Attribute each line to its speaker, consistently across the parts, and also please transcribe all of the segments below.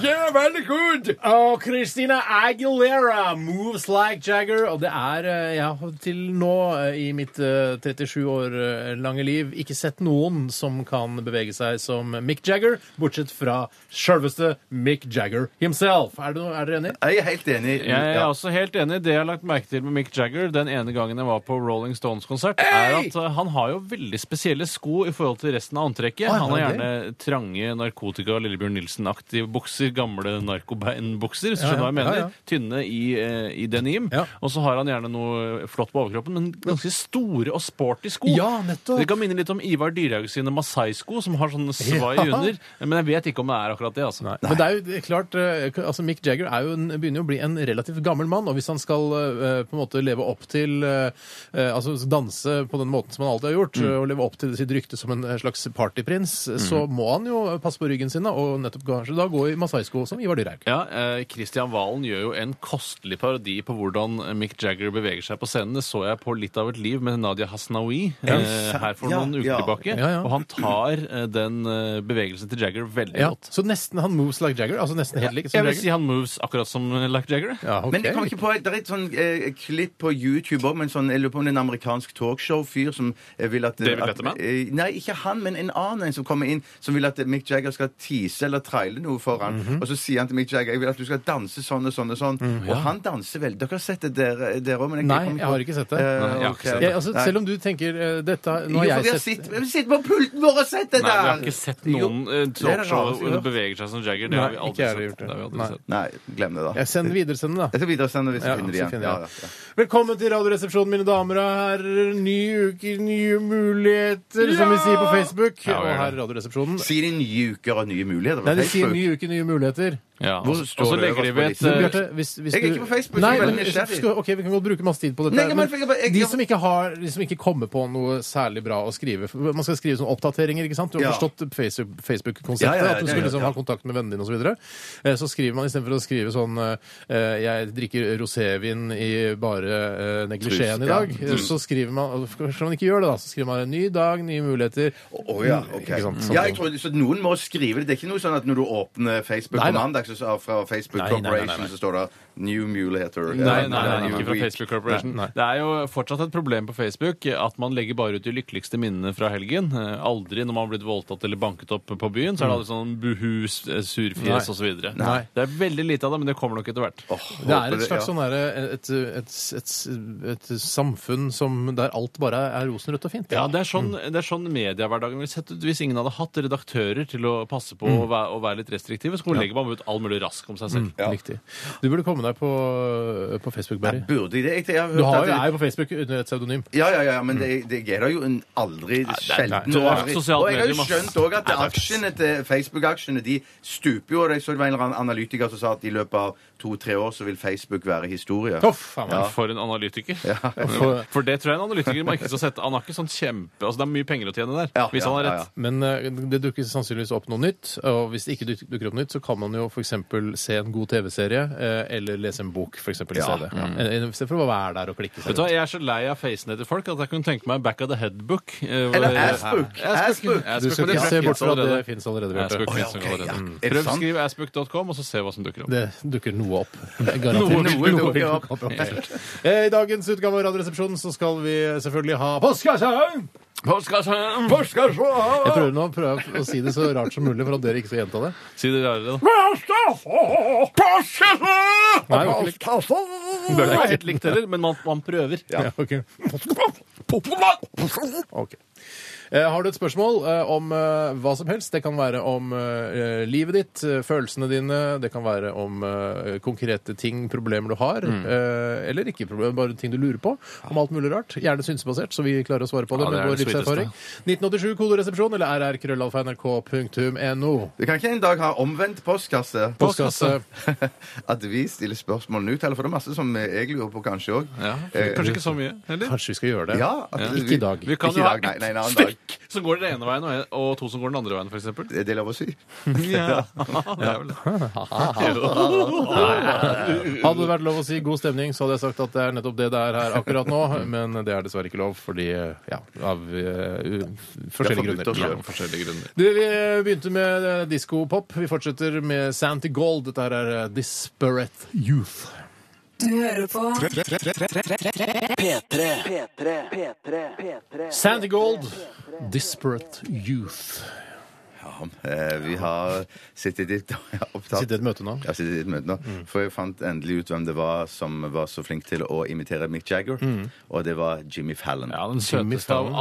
Speaker 1: Yeah, veldig good!
Speaker 2: Og Christina Aguilera, 'Moves Like Jagger'. Og det er eh, Jeg har til nå eh, i mitt eh, 37 år eh, lange liv ikke sett noen som kan bevege seg som Mick Jagger, bortsett fra sjølveste Mick Jagger himself. Er, du, er dere enig?
Speaker 3: Jeg er helt enig.
Speaker 1: Jeg er
Speaker 3: Ja.
Speaker 1: også helt enig. Det jeg har lagt merke til med Mick Jagger den ene gangen jeg var på Rolling Stones-konsert, er at eh, han har jo veldig spesielle sko i forhold til resten av antrekket.
Speaker 2: Oi,
Speaker 1: han har
Speaker 2: har han
Speaker 1: gjerne trange narkotika Lillebjørn Nilsen-aktige bukser, gamle narkobeinbukser, hvis du
Speaker 2: Ja,
Speaker 1: skjønner hva jeg
Speaker 2: ja,
Speaker 1: mener.
Speaker 2: ja, ja.
Speaker 1: Tynne i, eh, i denim.
Speaker 2: Ja.
Speaker 1: Og så har han gjerne noe flott på overkroppen, men ganske store og sporty sko.
Speaker 2: Ja, nettopp.
Speaker 1: Det kan minne litt om Ivar Dyrhaug sine masai-sko, som har sånne svai
Speaker 2: Ja.
Speaker 1: under. Men jeg vet ikke om det er akkurat det, altså.
Speaker 2: Men det er jo det- klart, eh, altså Mick Jagger er jo en, begynner jo å bli en relativt gammel mann, og hvis han skal eh, på en måte leve opp til eh, eh, Altså danse på den måten som han alltid har gjort, eh, og leve opp til sitt rykte som en eh, slags partyprins, eh, så må han jo passe på ryggen sin da, og nettopp kanskje da gå i masai-sko som Ivar Dyrhaug.
Speaker 1: Ja, eh, Christian Valen gjør jo en kostelig parodi på hvordan Mick Jagger beveger seg på scenen. Det så jeg på Litt av et liv med Nadia Hasnaoui eh, her for
Speaker 3: Ja,
Speaker 1: noen uker
Speaker 3: ja.
Speaker 1: tilbake.
Speaker 2: Ja, ja.
Speaker 1: Og han tar eh, den eh, bevegelsen til Jagger veldig
Speaker 2: Ja,
Speaker 1: godt.
Speaker 2: så nesten han moves like Jagger? Altså nesten helt lik som
Speaker 1: Jeg vil si
Speaker 2: Jagger?
Speaker 1: han moves akkurat som Lack Jagger.
Speaker 2: Ja, ok.
Speaker 3: Men jeg kom ikke på, det er et sånn eh, klipp på YouTube om en sånn, jeg lurer på om det er en amerikansk talkshow-fyr som eh, vil at
Speaker 1: David
Speaker 3: at-
Speaker 1: Letterman?
Speaker 3: eh, Nei, ikke han, men en annen en som kommer inn som vil at Mick Jagger skal tease eller traile noe for han.
Speaker 2: Mhm.
Speaker 3: Og så sier han til Mick Jagger jeg vil at du skal danse sånn og sånn og sånn. Og han danser veldig. Dere har sett det eh, dere dere òg?
Speaker 2: Mm. Nei, jeg har ikke sett det.
Speaker 3: Eh,
Speaker 1: Nei, jeg har ikke sett
Speaker 2: Ja, altså, selv om du tenker eh, dette
Speaker 3: jo,
Speaker 2: Nå
Speaker 3: for vi
Speaker 2: har
Speaker 3: har
Speaker 2: jeg
Speaker 3: sett...
Speaker 2: sett
Speaker 3: på pulten vår og sett det
Speaker 1: Nei, vi
Speaker 3: der!
Speaker 1: har ikke sett noen
Speaker 3: det
Speaker 1: eh,
Speaker 3: er det
Speaker 1: talkshow
Speaker 3: rareste vi har.
Speaker 1: bevege seg som Jagger. Det har
Speaker 2: Nei, ikke
Speaker 1: vi aldri
Speaker 2: jeg har
Speaker 1: sett.
Speaker 2: gjort det.
Speaker 1: Det har vi
Speaker 2: Nei.
Speaker 1: aldri sett.
Speaker 3: Nei, glem det, da.
Speaker 2: Jeg sender videresende, da.
Speaker 3: Jeg skal videresende hvis vi
Speaker 2: Ja,
Speaker 3: finner det
Speaker 2: så
Speaker 3: igjen.
Speaker 2: finner
Speaker 3: Ja,
Speaker 2: jeg.
Speaker 3: ja, ja.
Speaker 2: Velkommen til Radioresepsjonen, mine damer og herrer. Nye uker, nye muligheter, som vi sier på Facebook.
Speaker 1: Ja, vi
Speaker 2: og
Speaker 1: gjør det.
Speaker 2: her er Radioresepsjonen.
Speaker 3: Sier de nye uker og nye muligheter? på
Speaker 2: Nei, de
Speaker 3: Facebook?
Speaker 2: sier ny uke, nye muligheter.
Speaker 1: Ja,
Speaker 3: Hvor
Speaker 1: og
Speaker 3: står
Speaker 1: og så
Speaker 3: det
Speaker 1: legger de ved
Speaker 3: øverst på
Speaker 1: et eh,
Speaker 2: Bjarte, hvis, hvis
Speaker 3: eh, Jeg er
Speaker 2: du-
Speaker 3: ikke på Facebook,
Speaker 2: Nei,
Speaker 3: jeg er
Speaker 2: men,
Speaker 3: veldig nysgjerrig.
Speaker 2: skal, ok, Vi kan godt bruke masse tid på dette.
Speaker 3: Nei,
Speaker 2: her,
Speaker 3: men jeg bare- jeg-
Speaker 2: de, som ikke har, de som ikke kommer på noe særlig bra å skrive for Man skal skrive sånne oppdateringer, ikke sant? Du har
Speaker 3: Ja.
Speaker 2: forstått Facebook- Facebook-konseptet?
Speaker 3: Ja, ja, ja,
Speaker 2: at du
Speaker 3: det
Speaker 2: skulle
Speaker 3: gjør
Speaker 2: liksom
Speaker 3: jeg,
Speaker 2: ha kontakt med vennene dine osv. Så, videre. Eh, så skriver man istedenfor å skrive sånn eh, Jeg drikker rosévin i bare eh, neglisjeen
Speaker 3: Trus,
Speaker 2: i
Speaker 3: ja.
Speaker 2: dag. eh, Så skriver man Kanskje man ikke gjør det, da. Så skriver man en ny dag, nye muligheter.
Speaker 3: Å ja, ok.
Speaker 2: Ikke sant? sånn
Speaker 3: ja, jeg tror, så noen må skrive det. Det er ikke noe sånn at når du åpner Facebook
Speaker 2: Nei,
Speaker 3: på
Speaker 2: da.
Speaker 3: mandag, så, så- fra Facebook
Speaker 2: Nei, nei, nei, nei,
Speaker 3: Corporation, så står det 'New Mulehater'.
Speaker 1: Nei,
Speaker 3: Ja,
Speaker 1: nei, nei,
Speaker 3: New
Speaker 1: ikke fra
Speaker 3: Week.
Speaker 1: Facebook Corporation.
Speaker 2: Nei, nei.
Speaker 1: Det er jo fortsatt et problem på Facebook at man legger bare ut de lykkeligste minnene fra helgen. Eh, Aldri når man har blitt voldtatt eller banket opp på byen, så er det aldri sånn buhu, s- eh, surfjes
Speaker 2: Nei.
Speaker 1: osv.
Speaker 2: Nei.
Speaker 1: Det er veldig lite av det, men det kommer nok etter hvert.
Speaker 3: Åh,
Speaker 2: Det
Speaker 3: håper
Speaker 2: er et slags
Speaker 3: ja.
Speaker 2: sånn derre et, et, et, et, et samfunn som der alt bare er rosenrødt og fint.
Speaker 1: Ja, det er sånn, det er sånn mediehverdagen ville sett ut hvis ingen hadde hatt redaktører til å passe på å, være, å være litt restriktive. Så legger man ut all mulig rask om seg selv.
Speaker 2: Riktig. Du burde komme deg på, på Facebook, Barry.
Speaker 3: Burde jeg det? Jeg, jeg har hørt
Speaker 2: Du har
Speaker 3: at
Speaker 2: jo,
Speaker 3: det-
Speaker 2: er jo på Facebook under et pseudonym.
Speaker 3: Ja, ja, ja, men det, det er det jo en aldri sjelden.
Speaker 1: det
Speaker 3: Og
Speaker 1: er et
Speaker 3: aldri-
Speaker 1: sosialt
Speaker 3: Og jeg har jo
Speaker 1: medium, ass.
Speaker 3: skjønt òg at aksjene til Facebook-aksjene de stuper jo. og Jeg så det var en eller annen analytiker som sa at i løpet av to-tre år så vil Facebook være historie.
Speaker 2: Å, faen meg.
Speaker 1: For en analytiker.
Speaker 2: For-
Speaker 1: For det tror jeg en analytiker man ikke skal sette. Han har ikke sånn kjempe Altså, det er mye penger å tjene der,
Speaker 3: Ja,
Speaker 1: hvis
Speaker 3: ja,
Speaker 1: han har
Speaker 3: ja,
Speaker 1: rett.
Speaker 3: ja.
Speaker 2: Men eh, det dukker sannsynligvis opp noe nytt. Og hvis det ikke duk- dukker opp noe nytt, så kan man jo f.eks. se en god TV-serie eh, eller lese en bok, f.eks. i
Speaker 3: Ja.
Speaker 2: stedet. Eh, I stedet for å være der og klikke
Speaker 1: Vet
Speaker 2: seg
Speaker 1: du hva,
Speaker 2: rundt.
Speaker 1: Jeg er så lei av facene til folk at jeg kunne tenke meg Back of the Headbook. eh,
Speaker 3: Eller Assbook. Assbook.
Speaker 2: Du skal ikke se bort fra at det fins allerede. Bjarte.
Speaker 1: Assbook
Speaker 3: Å, ja,
Speaker 1: finnes nok
Speaker 3: ok, ja.
Speaker 1: allerede. Mm.
Speaker 3: Er det
Speaker 1: Prøv å
Speaker 3: sant?
Speaker 1: skrive assbook.com, og så se hva som dukker opp.
Speaker 2: Det dukker noe opp.
Speaker 3: Noe
Speaker 2: Garantert.
Speaker 3: dukker opp.
Speaker 2: Eh, I dagens utgave av Radioresepsjonen så skal vi selvfølgelig ha påskesang!
Speaker 1: Postkassen!
Speaker 2: Jeg prøver nå å prøve å si det så rart som mulig for at dere ikke skal gjenta det.
Speaker 1: Si det rarere, da.
Speaker 2: Nei, det var ikke likt.
Speaker 1: Det er ikke helt likt heller, men man, man prøver.
Speaker 2: Ja, ok. Ok. Eh, Har du et spørsmål eh, om eh, hva som helst? Det kan være om eh, livet ditt, eh, følelsene dine, det kan være om eh, konkrete ting, problemer du har,
Speaker 1: Mm.
Speaker 2: eh, eller ikke problemer, bare ting du lurer på, om alt mulig rart. Gjerne synsbasert, så vi klarer å svare på det
Speaker 1: Ja, det
Speaker 2: med
Speaker 1: er
Speaker 2: vår
Speaker 1: det sweeteste.
Speaker 2: livserfaring. 1987 kodoresepsjon eller rrkrøllalfa.nrk.no.
Speaker 3: Det kan ikke en dag ha omvendt postkasse.
Speaker 2: Postkasse.
Speaker 3: At vi stiller spørsmål nå, Telle, for det er masse som jeg lurer på kanskje òg.
Speaker 1: Ja, kanskje ikke så mye, heller?
Speaker 2: Kanskje vi skal gjøre det.
Speaker 3: Ja, at
Speaker 1: Ja.
Speaker 3: vi-
Speaker 2: Ikke i dag.
Speaker 1: Vi kan
Speaker 3: Ikke i
Speaker 1: jo ha
Speaker 3: dag, nei, nei, en annen
Speaker 1: ett
Speaker 3: dag.
Speaker 1: stykk som går den ene veien, og en- og to som går den andre veien, f.eks.
Speaker 3: Er det lov å si?
Speaker 1: Ja. Det er vel det.
Speaker 2: Hadde det vært lov å si god stemning, så hadde jeg sagt at det er nettopp det det er her akkurat nå, men det er dessverre ikke lov, fordi ja, av eh, u- forskjellige
Speaker 3: forbudt å
Speaker 2: grunner.
Speaker 3: kjøre.
Speaker 2: Ja.
Speaker 1: Av forskjellige grunner.
Speaker 2: Du, Vi begynte med eh, diskopop. Vi fortsetter med Santi Gold. Dette her er eh, Disparate Youth.
Speaker 4: Du hører på
Speaker 5: P3. P3. P3. P3.
Speaker 2: Santi Gold, Disparate Youth.
Speaker 3: Eh, Vi har sittet i et opptatt
Speaker 2: Sitter i et møte nå.
Speaker 3: Jeg sitter i et møte nå, for jeg fant endelig ut hvem det var som var så flink til å imitere Mick Jagger, og det var Jimmy Fallon.
Speaker 1: Ja, Den
Speaker 2: Jimmy
Speaker 1: søteste av
Speaker 2: Fallon.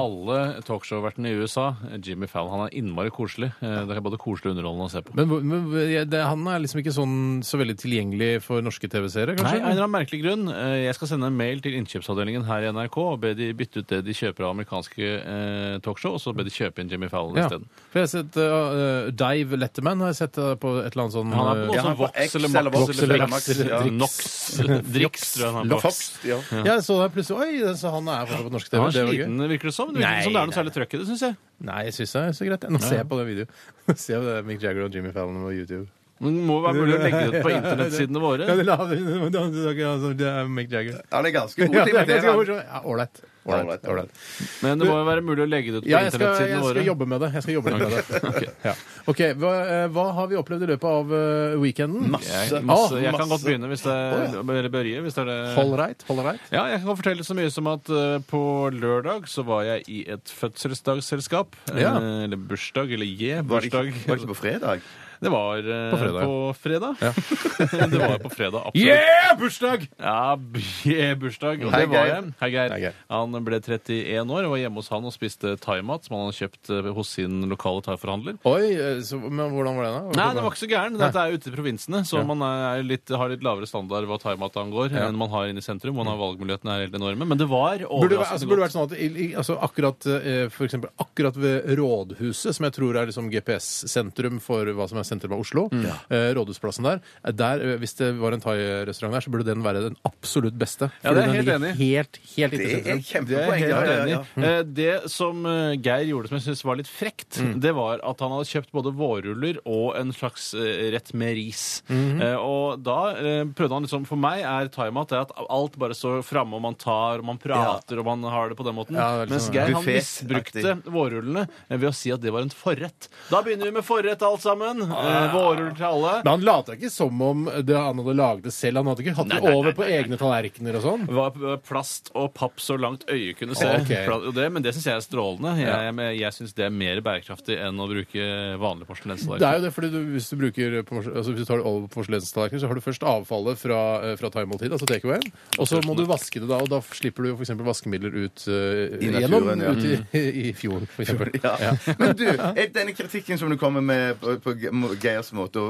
Speaker 1: alle talkshow-vertene i USA, Jimmy Fallon, han er innmari koselig. Eh, Det er både koselig og underholdende å se på.
Speaker 2: Men, hvor- men eh, det, han er liksom ikke sånn så veldig tilgjengelig for norske TV-seere,
Speaker 1: Nei,
Speaker 2: kanskje?
Speaker 1: av en eller annen merkelig grunn. Eh, Jeg skal sende en mail til innkjøpsavdelingen her i NRK og be de bytte ut det de kjøper av amerikanske eh, talkshow, og så be de kjøpe inn Jimmy Fallon
Speaker 2: Ja.
Speaker 1: isteden.
Speaker 2: For jeg har sett eh, Dave Letterman har jeg sett eh, på et eller annet sånn
Speaker 1: Han er på
Speaker 2: eh,
Speaker 1: noe
Speaker 3: Ja, han
Speaker 1: sånn
Speaker 3: er på X
Speaker 1: Vox eller
Speaker 3: eller
Speaker 1: Max
Speaker 3: Vox
Speaker 1: eller
Speaker 2: eller
Speaker 1: Max.
Speaker 2: Max,
Speaker 1: ja.
Speaker 2: Drix.
Speaker 1: Nox. eh, Drix, tror jeg han er på.
Speaker 3: Fox, ja.
Speaker 2: Ja, jeg så det plutselig. Oi, så han er fortsatt på norsk TV.
Speaker 1: Han er
Speaker 2: Det var gøy.
Speaker 1: sliten, virker det som. Det virker
Speaker 2: Nei,
Speaker 1: ikke som det er noe
Speaker 2: nei.
Speaker 1: særlig trøkk i det, syns jeg.
Speaker 2: Nei, jeg syns det er så greit. Nå ser jeg på den videoen. Se om det er Mick Jagger og Jimmy Fallon på YouTube.
Speaker 1: Men det må jo være mulig å legge det ut på internettsidene
Speaker 2: Ja,
Speaker 1: våre.
Speaker 2: de la det inn. Det er Mick Jagger.
Speaker 3: Han er ganske god
Speaker 2: Ja,
Speaker 3: til
Speaker 2: det
Speaker 3: å
Speaker 2: er
Speaker 3: imitere.
Speaker 2: ganske
Speaker 3: han.
Speaker 2: morsomt. Ja, Ålreit. Ålreit. ålreit.
Speaker 1: Men det må jo være mulig å legge det ut på
Speaker 2: Ja, jeg skal,
Speaker 1: internettsidene
Speaker 2: jeg
Speaker 1: våre.
Speaker 2: skal jobbe med det. Jeg skal jobbe med det. Ja. OK, hva, eh, hva har vi opplevd i løpet av eh, weekenden?
Speaker 1: Jeg,
Speaker 3: Masse.
Speaker 1: masse,
Speaker 2: Å,
Speaker 1: jeg kan godt
Speaker 3: masse.
Speaker 1: begynne, hvis det er, eller Børje. Hvis det er det.
Speaker 2: Ålreit, ålreit.
Speaker 1: Ja, jeg kan fortelle så mye som at eh, på lørdag så var jeg i et fødselsdagsselskap. eh,
Speaker 2: Ja.
Speaker 1: Eller bursdag, eller
Speaker 3: Var
Speaker 1: je,
Speaker 3: det,
Speaker 1: bursdag.
Speaker 3: ikke, var det ikke på fredag?
Speaker 1: Det var eh,
Speaker 2: På fredag.
Speaker 1: På fredag. det var på fredag, absolutt.
Speaker 2: Yeah! Bursdag!
Speaker 1: Ja, b- yeah, bursdag. Og
Speaker 3: Hei,
Speaker 1: det var
Speaker 3: Geir.
Speaker 1: jeg. Hei, Geir.
Speaker 2: Hei, Geir.
Speaker 1: Han ble 31 år og var hjemme hos han og spiste thaimat som han hadde kjøpt eh, hos sin lokale thaiforhandler.
Speaker 2: Oi, eh, så, men hvordan var det, da?
Speaker 1: Nei, den var ikke så gæren. Dette er ute i provinsene, så man er litt, har litt lavere standard hva thaimat angår enn man har inne i sentrum. Man har valgmulighetene er helt enorme. Men det var
Speaker 2: Burde det, væ- altså,
Speaker 1: overraskende
Speaker 2: burde det
Speaker 1: godt.
Speaker 2: vært sånn at i, i, altså, akkurat, eh, for eksempel, akkurat ved Rådhuset, som jeg tror er liksom GPS-sentrum for hva som er sentrum av Oslo,
Speaker 1: Mm.
Speaker 2: eh, Rådhusplassen der, eh, der eh, hvis det var en thai-restaurant der, så burde den være den absolutt beste.
Speaker 1: Ja,
Speaker 2: Fordi
Speaker 1: det er jeg
Speaker 2: den
Speaker 1: helt
Speaker 2: ligger
Speaker 1: enig i.
Speaker 2: Helt, helt inne i
Speaker 3: Det er
Speaker 2: sentrum.
Speaker 1: Det er
Speaker 3: kjempepoeng.
Speaker 1: jeg
Speaker 3: Ja,
Speaker 1: helt
Speaker 3: ja,
Speaker 1: enig
Speaker 3: ja.
Speaker 1: i. Eh, Det som eh, Geir gjorde som jeg syntes var litt frekt, det var at han hadde kjøpt både vårruller og en slags eh, rett med ris. Eh, Og da eh, prøvde han liksom For meg er thaimat det at alt bare står framme, og man tar, og man prater, og man har det på den måten.
Speaker 2: Ja, det er
Speaker 1: Mens
Speaker 2: liksom-
Speaker 1: Geir han
Speaker 3: Buffet-aktig.
Speaker 1: misbrukte vårrullene eh, ved å si at det var en forrett. Da begynner vi med forrett, alt sammen. Eh, Vårruller til alle.
Speaker 2: Men han lata ikke som om det han hadde laget det selv. Han hadde ikke hatt
Speaker 1: Nei,
Speaker 2: det
Speaker 1: nei, nei,
Speaker 2: over på egne tallerkener og sånn.
Speaker 1: Det var plast og papp så langt øyet kunne se.
Speaker 2: Ok.
Speaker 1: Pla- og Det, men det syns jeg er strålende. Jeg,
Speaker 2: Ja.
Speaker 1: jeg, jeg syns det er mer bærekraftig enn å bruke vanlig
Speaker 2: Det er
Speaker 1: porselenstallerken.
Speaker 2: jo det, fordi du, hvis, du bruker, på- altså hvis du tar det over på porselenstallerkener, så har du først avfallet fra, eh, fra thaimåltidet, altså takeawayen, og så må du vaske det da, og da slipper du f.eks. vaskemidler ut eh,
Speaker 3: I naturen,
Speaker 2: gjennom,
Speaker 3: ja.
Speaker 2: ut i, i fjorden, for eksempel.
Speaker 3: Ja. Men du, er denne kritikken som du kommer med på, på Geirs måte å,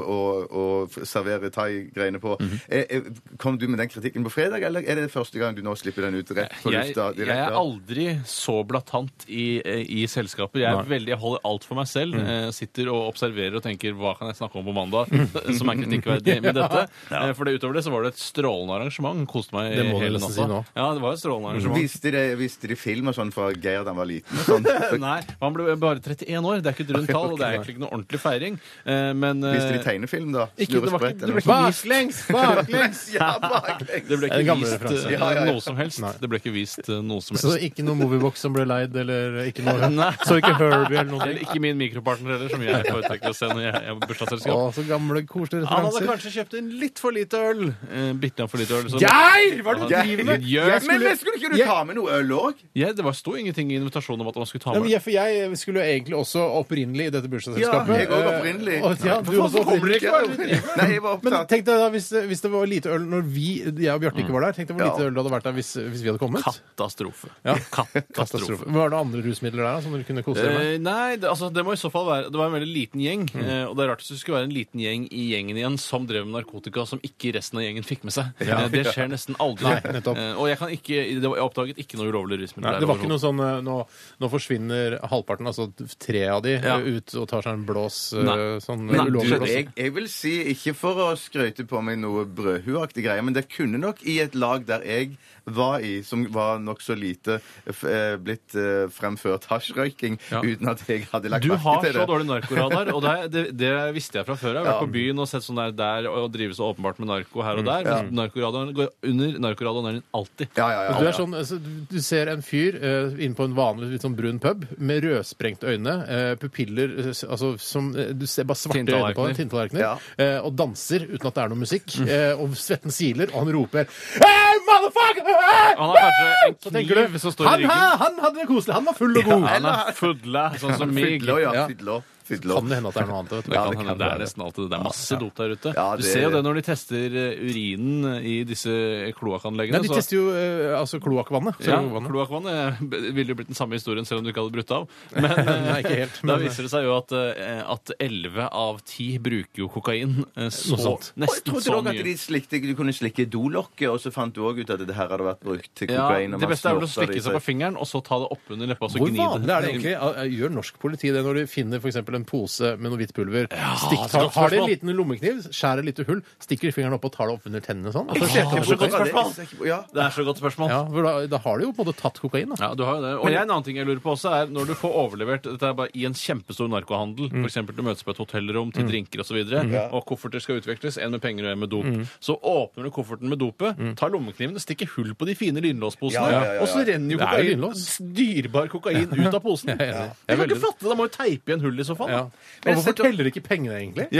Speaker 3: å, å servere thai-greiene på, er- er- kom du med den kritikken på fredag, eller er det første gang du nå slipper den ut rett på
Speaker 1: Jeg,
Speaker 3: lufta?
Speaker 1: jeg er aldri så blatant i, eh, i selskaper. Jeg, er veldig, jeg holder alt for meg selv.
Speaker 2: Mm.
Speaker 1: Eh, Sitter og observerer og tenker 'hva kan jeg snakke om på mandag?'
Speaker 2: Mm.
Speaker 1: som er kritikkverdig med dette. Eh, For det, utover det så var det et strålende arrangement. Koste meg
Speaker 2: Det må du
Speaker 1: hele
Speaker 2: nesten
Speaker 1: natta.
Speaker 2: si nå.
Speaker 1: ja, det var et strålende arrangement.
Speaker 3: Visste de, visste de film og sånn fra Geir da han var liten? og Sånn.
Speaker 1: Nei, han ble bare 31 år. Det er ikke et rundt tall, og det er egentlig ikke noe ordentlig feiring. Eh, Men eh,
Speaker 3: Visste de tegnefilm, da?
Speaker 1: Ikke- det var ikke- det ble ikke-
Speaker 2: Baklengs! Baklengs!
Speaker 3: Ja, baklengs!
Speaker 1: Det ble
Speaker 2: Er det
Speaker 1: ikke
Speaker 2: gamle
Speaker 1: vist
Speaker 2: referanse?
Speaker 1: eh,
Speaker 3: Ja, ja, ja.
Speaker 1: noe som helst. Det ble ikke vist eh, noe som
Speaker 2: Så
Speaker 1: helst.
Speaker 2: ikke noe moviebox som ble leid, eller ikke noe
Speaker 1: Nei.
Speaker 2: Så ikke Herbie eller noe
Speaker 1: Eller ikke min mikropartner heller, som jeg foretrekker å se når jeg er på
Speaker 2: Å,
Speaker 1: bursdagsselskap.
Speaker 2: så gamle, koselige
Speaker 1: Han hadde
Speaker 2: referanser.
Speaker 1: kanskje kjøpt inn litt for lite øl. Eh, Bitte litt for lite øl. så-
Speaker 2: Geir! Hva er det du
Speaker 1: Ja,
Speaker 2: driver med? Jeg
Speaker 1: Geir,
Speaker 3: Men,
Speaker 2: skulle-
Speaker 3: men skulle ikke du
Speaker 2: Jeg-
Speaker 3: ta med noe øl òg?
Speaker 1: Ja, det var sto ingenting i invitasjonen om at man skulle ta
Speaker 2: Ja, men
Speaker 1: med
Speaker 2: jeg, for jeg skulle jo egentlig også opprinnelig i dette bursdagsselskapet.
Speaker 3: Ja, jeg også opprinnelig.
Speaker 2: eh, Og Ja, du også.
Speaker 1: Hvorfor kommer dere ikke? Hva er det dere
Speaker 3: Nei, jeg var
Speaker 2: Men
Speaker 3: opptatt.
Speaker 2: tenk deg da, hvis, hvis det var lite øl når vi, jeg og Bjarte ikke var der, tenk deg hvor
Speaker 3: Ja.
Speaker 2: lite øl det hadde vært der hvis, hvis vi hadde kommet.
Speaker 1: Katastrofe.
Speaker 2: Ja.
Speaker 1: Katastrofe.
Speaker 2: Var det andre rusmidler der da, som dere kunne kose dere med?
Speaker 1: Eh, nei, det, altså, det må i så fall være Det var en veldig liten gjeng.
Speaker 2: Mm.
Speaker 1: eh, og det er rart hvis det skulle være en liten gjeng i gjengen igjen som drev med narkotika som ikke resten av gjengen fikk med seg. Eh, det skjer nesten aldri.
Speaker 2: Nei, nettopp.
Speaker 1: Eh, og jeg, kan ikke, det var, jeg oppdaget ikke noe ulovlig rusmiddel.
Speaker 2: Nei,
Speaker 1: der
Speaker 2: det var ikke
Speaker 1: overhodet.
Speaker 2: noe sånn eh, nå, nå forsvinner halvparten, altså tre av de,
Speaker 1: Ja.
Speaker 2: eh, ut og tar seg en blås eh,
Speaker 1: Nei.
Speaker 2: sånn
Speaker 1: Men
Speaker 3: Du,
Speaker 2: ulovlig blås.
Speaker 3: jeg, jeg vil si, ikke for å skryte på meg noe brødhueaktig greier, men det kunne nok i et lag der jeg var i, som var nokså lite, f- eh, blitt eh, fremført hasjrøyking
Speaker 1: Ja.
Speaker 3: uten at jeg hadde lagt
Speaker 1: Du
Speaker 3: merke
Speaker 1: har
Speaker 3: til
Speaker 1: så
Speaker 3: det.
Speaker 1: dårlig narkoradar, og det, det, det visste jeg fra før. Jeg har vært
Speaker 3: Ja.
Speaker 1: på byen og sett sånn der, der og drives så åpenbart med narko
Speaker 2: Mm.
Speaker 1: her og der. Men narkoradaren går under narkoradaren din alltid.
Speaker 3: Ja, ja, ja.
Speaker 2: Du, er sånn, altså, du- du ser en fyr eh, inne på en vanlig litt sånn brun pub med rødsprengte øyne, eh, pupiller eh, s- altså, som eh, Du ser bare svarte øyne på
Speaker 1: Tinntallerkener.
Speaker 2: den, tinntallerkener,
Speaker 3: Ja.
Speaker 2: eh, og danser uten at det er noe musikk.
Speaker 1: Mm.
Speaker 2: Eh, og svetten siler, og han roper hey, motherfucker! Hey!
Speaker 1: Han har kanskje en
Speaker 2: Så tenker du
Speaker 1: kniv som står i
Speaker 2: han,
Speaker 1: ryggen.
Speaker 2: her, han hadde det koselig! Han var full og god!
Speaker 1: Han er fudla, sånn som meg.
Speaker 3: Fidlå, ja.
Speaker 2: Ja.
Speaker 3: Fidlå.
Speaker 2: Det
Speaker 3: Fidlå.
Speaker 2: kan det hende at det er noe annet. Vet du.
Speaker 1: Det,
Speaker 3: Ja,
Speaker 1: kan
Speaker 3: det
Speaker 1: hende.
Speaker 3: kan
Speaker 1: det
Speaker 3: være
Speaker 1: er
Speaker 3: det.
Speaker 1: nesten alltid det. Det er masse dop der ute.
Speaker 3: Ja,
Speaker 1: Du
Speaker 3: det-
Speaker 1: ser jo det når de tester eh, urinen i disse kloakkanleggene.
Speaker 2: Nei, de
Speaker 1: så-
Speaker 2: tester jo eh, altså kloakkvannet.
Speaker 1: ja,
Speaker 2: Vannet.
Speaker 1: kloakkvann eh, ville jo blitt den samme historien selv om du ikke hadde brutt av. Men, eh,
Speaker 2: Nei, ikke helt,
Speaker 1: da
Speaker 2: men-
Speaker 1: viser det seg jo at, eh, at 11 av 10 bruker jo kokain eh, så,
Speaker 2: Noe sånt.
Speaker 3: Og jeg
Speaker 1: nesten
Speaker 3: trodde
Speaker 1: så
Speaker 3: også at
Speaker 1: mye.
Speaker 3: de slikte, du kunne slikke dolokket, og så fant du òg ut at det her hadde vært brukt til
Speaker 1: Ja,
Speaker 3: kokain. og
Speaker 1: det
Speaker 3: man
Speaker 1: beste er vel å
Speaker 3: snorter det i
Speaker 1: slikke seg på fingeren og så ta det oppunder leppa og så
Speaker 2: Hvor
Speaker 1: gni
Speaker 2: vanlig er det egentlig? Eh, Gjør norsk politi det når de finner for eksempel en pose med noe hvitt pulver?
Speaker 3: altså,
Speaker 2: Stikk,
Speaker 1: det er et
Speaker 2: tar,
Speaker 1: godt
Speaker 2: har de en
Speaker 1: spørsmål.
Speaker 2: liten lommekniv, skjærer et lite hull, stikker fingeren opp og tar det opp under tennene sånn?
Speaker 3: Altså,
Speaker 2: Og så
Speaker 1: Ja,
Speaker 2: sjekker man
Speaker 1: det er så
Speaker 2: kokain.
Speaker 1: godt spørsmål.
Speaker 3: Ja.
Speaker 1: Det er så godt spørsmål.
Speaker 2: Ja, for da, da har de jo på en måte tatt kokain. da.
Speaker 1: Ja, du har jo det. Og jeg, en annen ting jeg lurer på også er når du får overlevert dette er bare i en kjempestor narkohandel, for f.eks. du møtes på et hotellrom til drinker osv., og, så videre, og kofferter skal utveksles, en med penger og en med dop, så åpner du kofferten med dopet, tar lommekniven og stikker hull på de fine lynlåsposene,
Speaker 3: Ja, ja, ja, ja.
Speaker 1: og så renner jo
Speaker 2: Det er jo
Speaker 1: kokain,
Speaker 2: lynlås.
Speaker 1: dyrebar kokain ut av posen.
Speaker 2: Jeg er enig.
Speaker 1: Jeg kan ikke fatte det! Da må jo teipe igjen hull i så fall.
Speaker 2: Ja.
Speaker 3: Men
Speaker 1: da.
Speaker 2: Og hvorfor
Speaker 3: jeg setter-
Speaker 2: teller de ikke pengene, egentlig?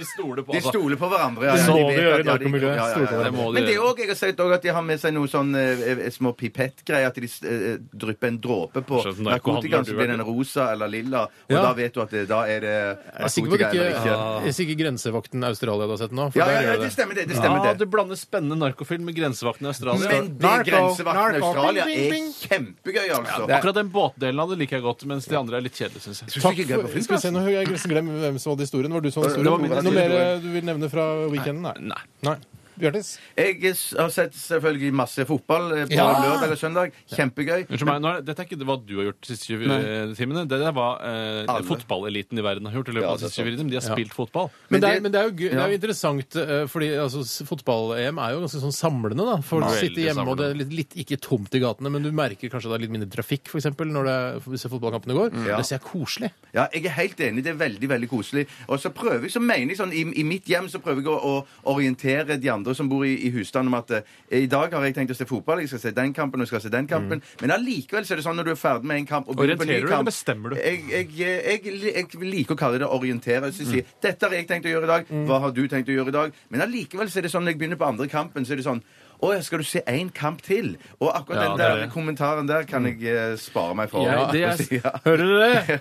Speaker 1: De stoler på,
Speaker 3: De
Speaker 1: altså.
Speaker 3: stoler på hverandre. Ja,
Speaker 2: Det må
Speaker 3: de
Speaker 2: vi
Speaker 3: vet at-
Speaker 2: gjøre i
Speaker 3: ja,
Speaker 2: narkomiljøet.
Speaker 3: ja, ja,
Speaker 2: Stoler på
Speaker 3: ja.
Speaker 1: hverandre. Det må de
Speaker 3: Men det er
Speaker 1: gjøre.
Speaker 3: også, jeg har sett også at de har med seg noen sånn, eh, eh, små pipettgreier. At de eh, drypper en dråpe på
Speaker 1: Skjønt, narkohandler
Speaker 3: narkotikaen,
Speaker 1: du
Speaker 3: så blir
Speaker 1: er.
Speaker 3: den rosa eller lilla. Og
Speaker 2: Ja.
Speaker 3: da vet du at det, da er det
Speaker 2: Jeg er sikker på
Speaker 3: narkotika
Speaker 2: at
Speaker 3: eller
Speaker 2: ikke,
Speaker 3: ikke.
Speaker 2: jeg er sikker grensevakten Australia du har sett nå. For
Speaker 3: Ja, ja,
Speaker 2: der
Speaker 3: ja,
Speaker 2: gjør
Speaker 3: det
Speaker 2: det.
Speaker 3: stemmer det. det, stemmer
Speaker 1: Ja,
Speaker 3: det.
Speaker 1: du blander spennende narkofilm med grensevakten i Australia.
Speaker 3: Men det
Speaker 2: Narko,
Speaker 3: grensevakten i
Speaker 2: narko,
Speaker 3: Australia
Speaker 2: bing,
Speaker 3: er
Speaker 2: bing, bing.
Speaker 3: kjempegøy, altså.
Speaker 1: Akkurat den båtdelen av det liker jeg godt, mens de andre er litt kjedelige, syns jeg.
Speaker 2: Takk for, skal vi se, nå har jeg nesten glemt hvem som hadde historien. Var du som hadde
Speaker 3: Det var min
Speaker 2: historien? Noe
Speaker 3: historie.
Speaker 2: mer eh, du vil nevne fra weekenden? Nei.
Speaker 1: Nei.
Speaker 2: Nei. Bjørtis?
Speaker 3: Jeg s- har sett selvfølgelig masse fotball eh, på
Speaker 2: Ja.
Speaker 3: lørdag eller søndag. Kjempegøy.
Speaker 1: Unnskyld meg, nå er, det- Dette er ikke hva du har gjort de siste 20 eh, timene. Det er hva eh,
Speaker 3: Alle.
Speaker 1: fotballeliten i verden har gjort i løpet
Speaker 3: Ja,
Speaker 1: av de
Speaker 3: det er
Speaker 1: siste 20 timene. De har spilt fotball.
Speaker 3: Men
Speaker 2: Men, det, er,
Speaker 3: det-
Speaker 2: men det, er jo, gøy- det er jo
Speaker 3: ja.
Speaker 2: interessant, eh, fordi altså, s- fotball-EM er jo ganske sånn samlende. da. Folk
Speaker 1: Veldig
Speaker 2: sitter hjemme, og det er litt, litt ikke tomt i gatene, men du merker kanskje det er litt mindre trafikk for eksempel, når det, hvis fotballkampene går.
Speaker 3: Mm. Ja.
Speaker 2: Det ser jeg er koselig.
Speaker 3: Ja, jeg er helt enig. Det er veldig veldig koselig. Og så prøver jeg, så mener jeg sånn, i, i mitt hjem så prøver jeg å, å orientere de andre som bor i, i husstanden, om at eh, i dag har jeg tenkt å se fotball, jeg skal se den kampen og jeg skal se den kampen. Men allikevel så er det sånn når du er ferdig med en kamp og begynner på en ny
Speaker 1: Mm. Orienterer du, eller
Speaker 3: kamp
Speaker 1: bestemmer du?
Speaker 3: Jeg, jeg, eh, jeg, li- jeg liker å kalle det å orientere. Så jeg
Speaker 1: Mm.
Speaker 3: sier, Dette har jeg tenkt å gjøre i dag. Hva har du tenkt å gjøre i dag? Men allikevel så er det sånn når jeg begynner på andre kampen, så er det sånn å, ja, skal du se én kamp til? Og akkurat
Speaker 1: Ja,
Speaker 3: den
Speaker 1: det
Speaker 3: der
Speaker 1: er det.
Speaker 3: kommentaren der kan jeg eh, spare meg for.
Speaker 1: Ja, det
Speaker 3: å
Speaker 1: er-
Speaker 3: si, ja.
Speaker 2: Hører dere det?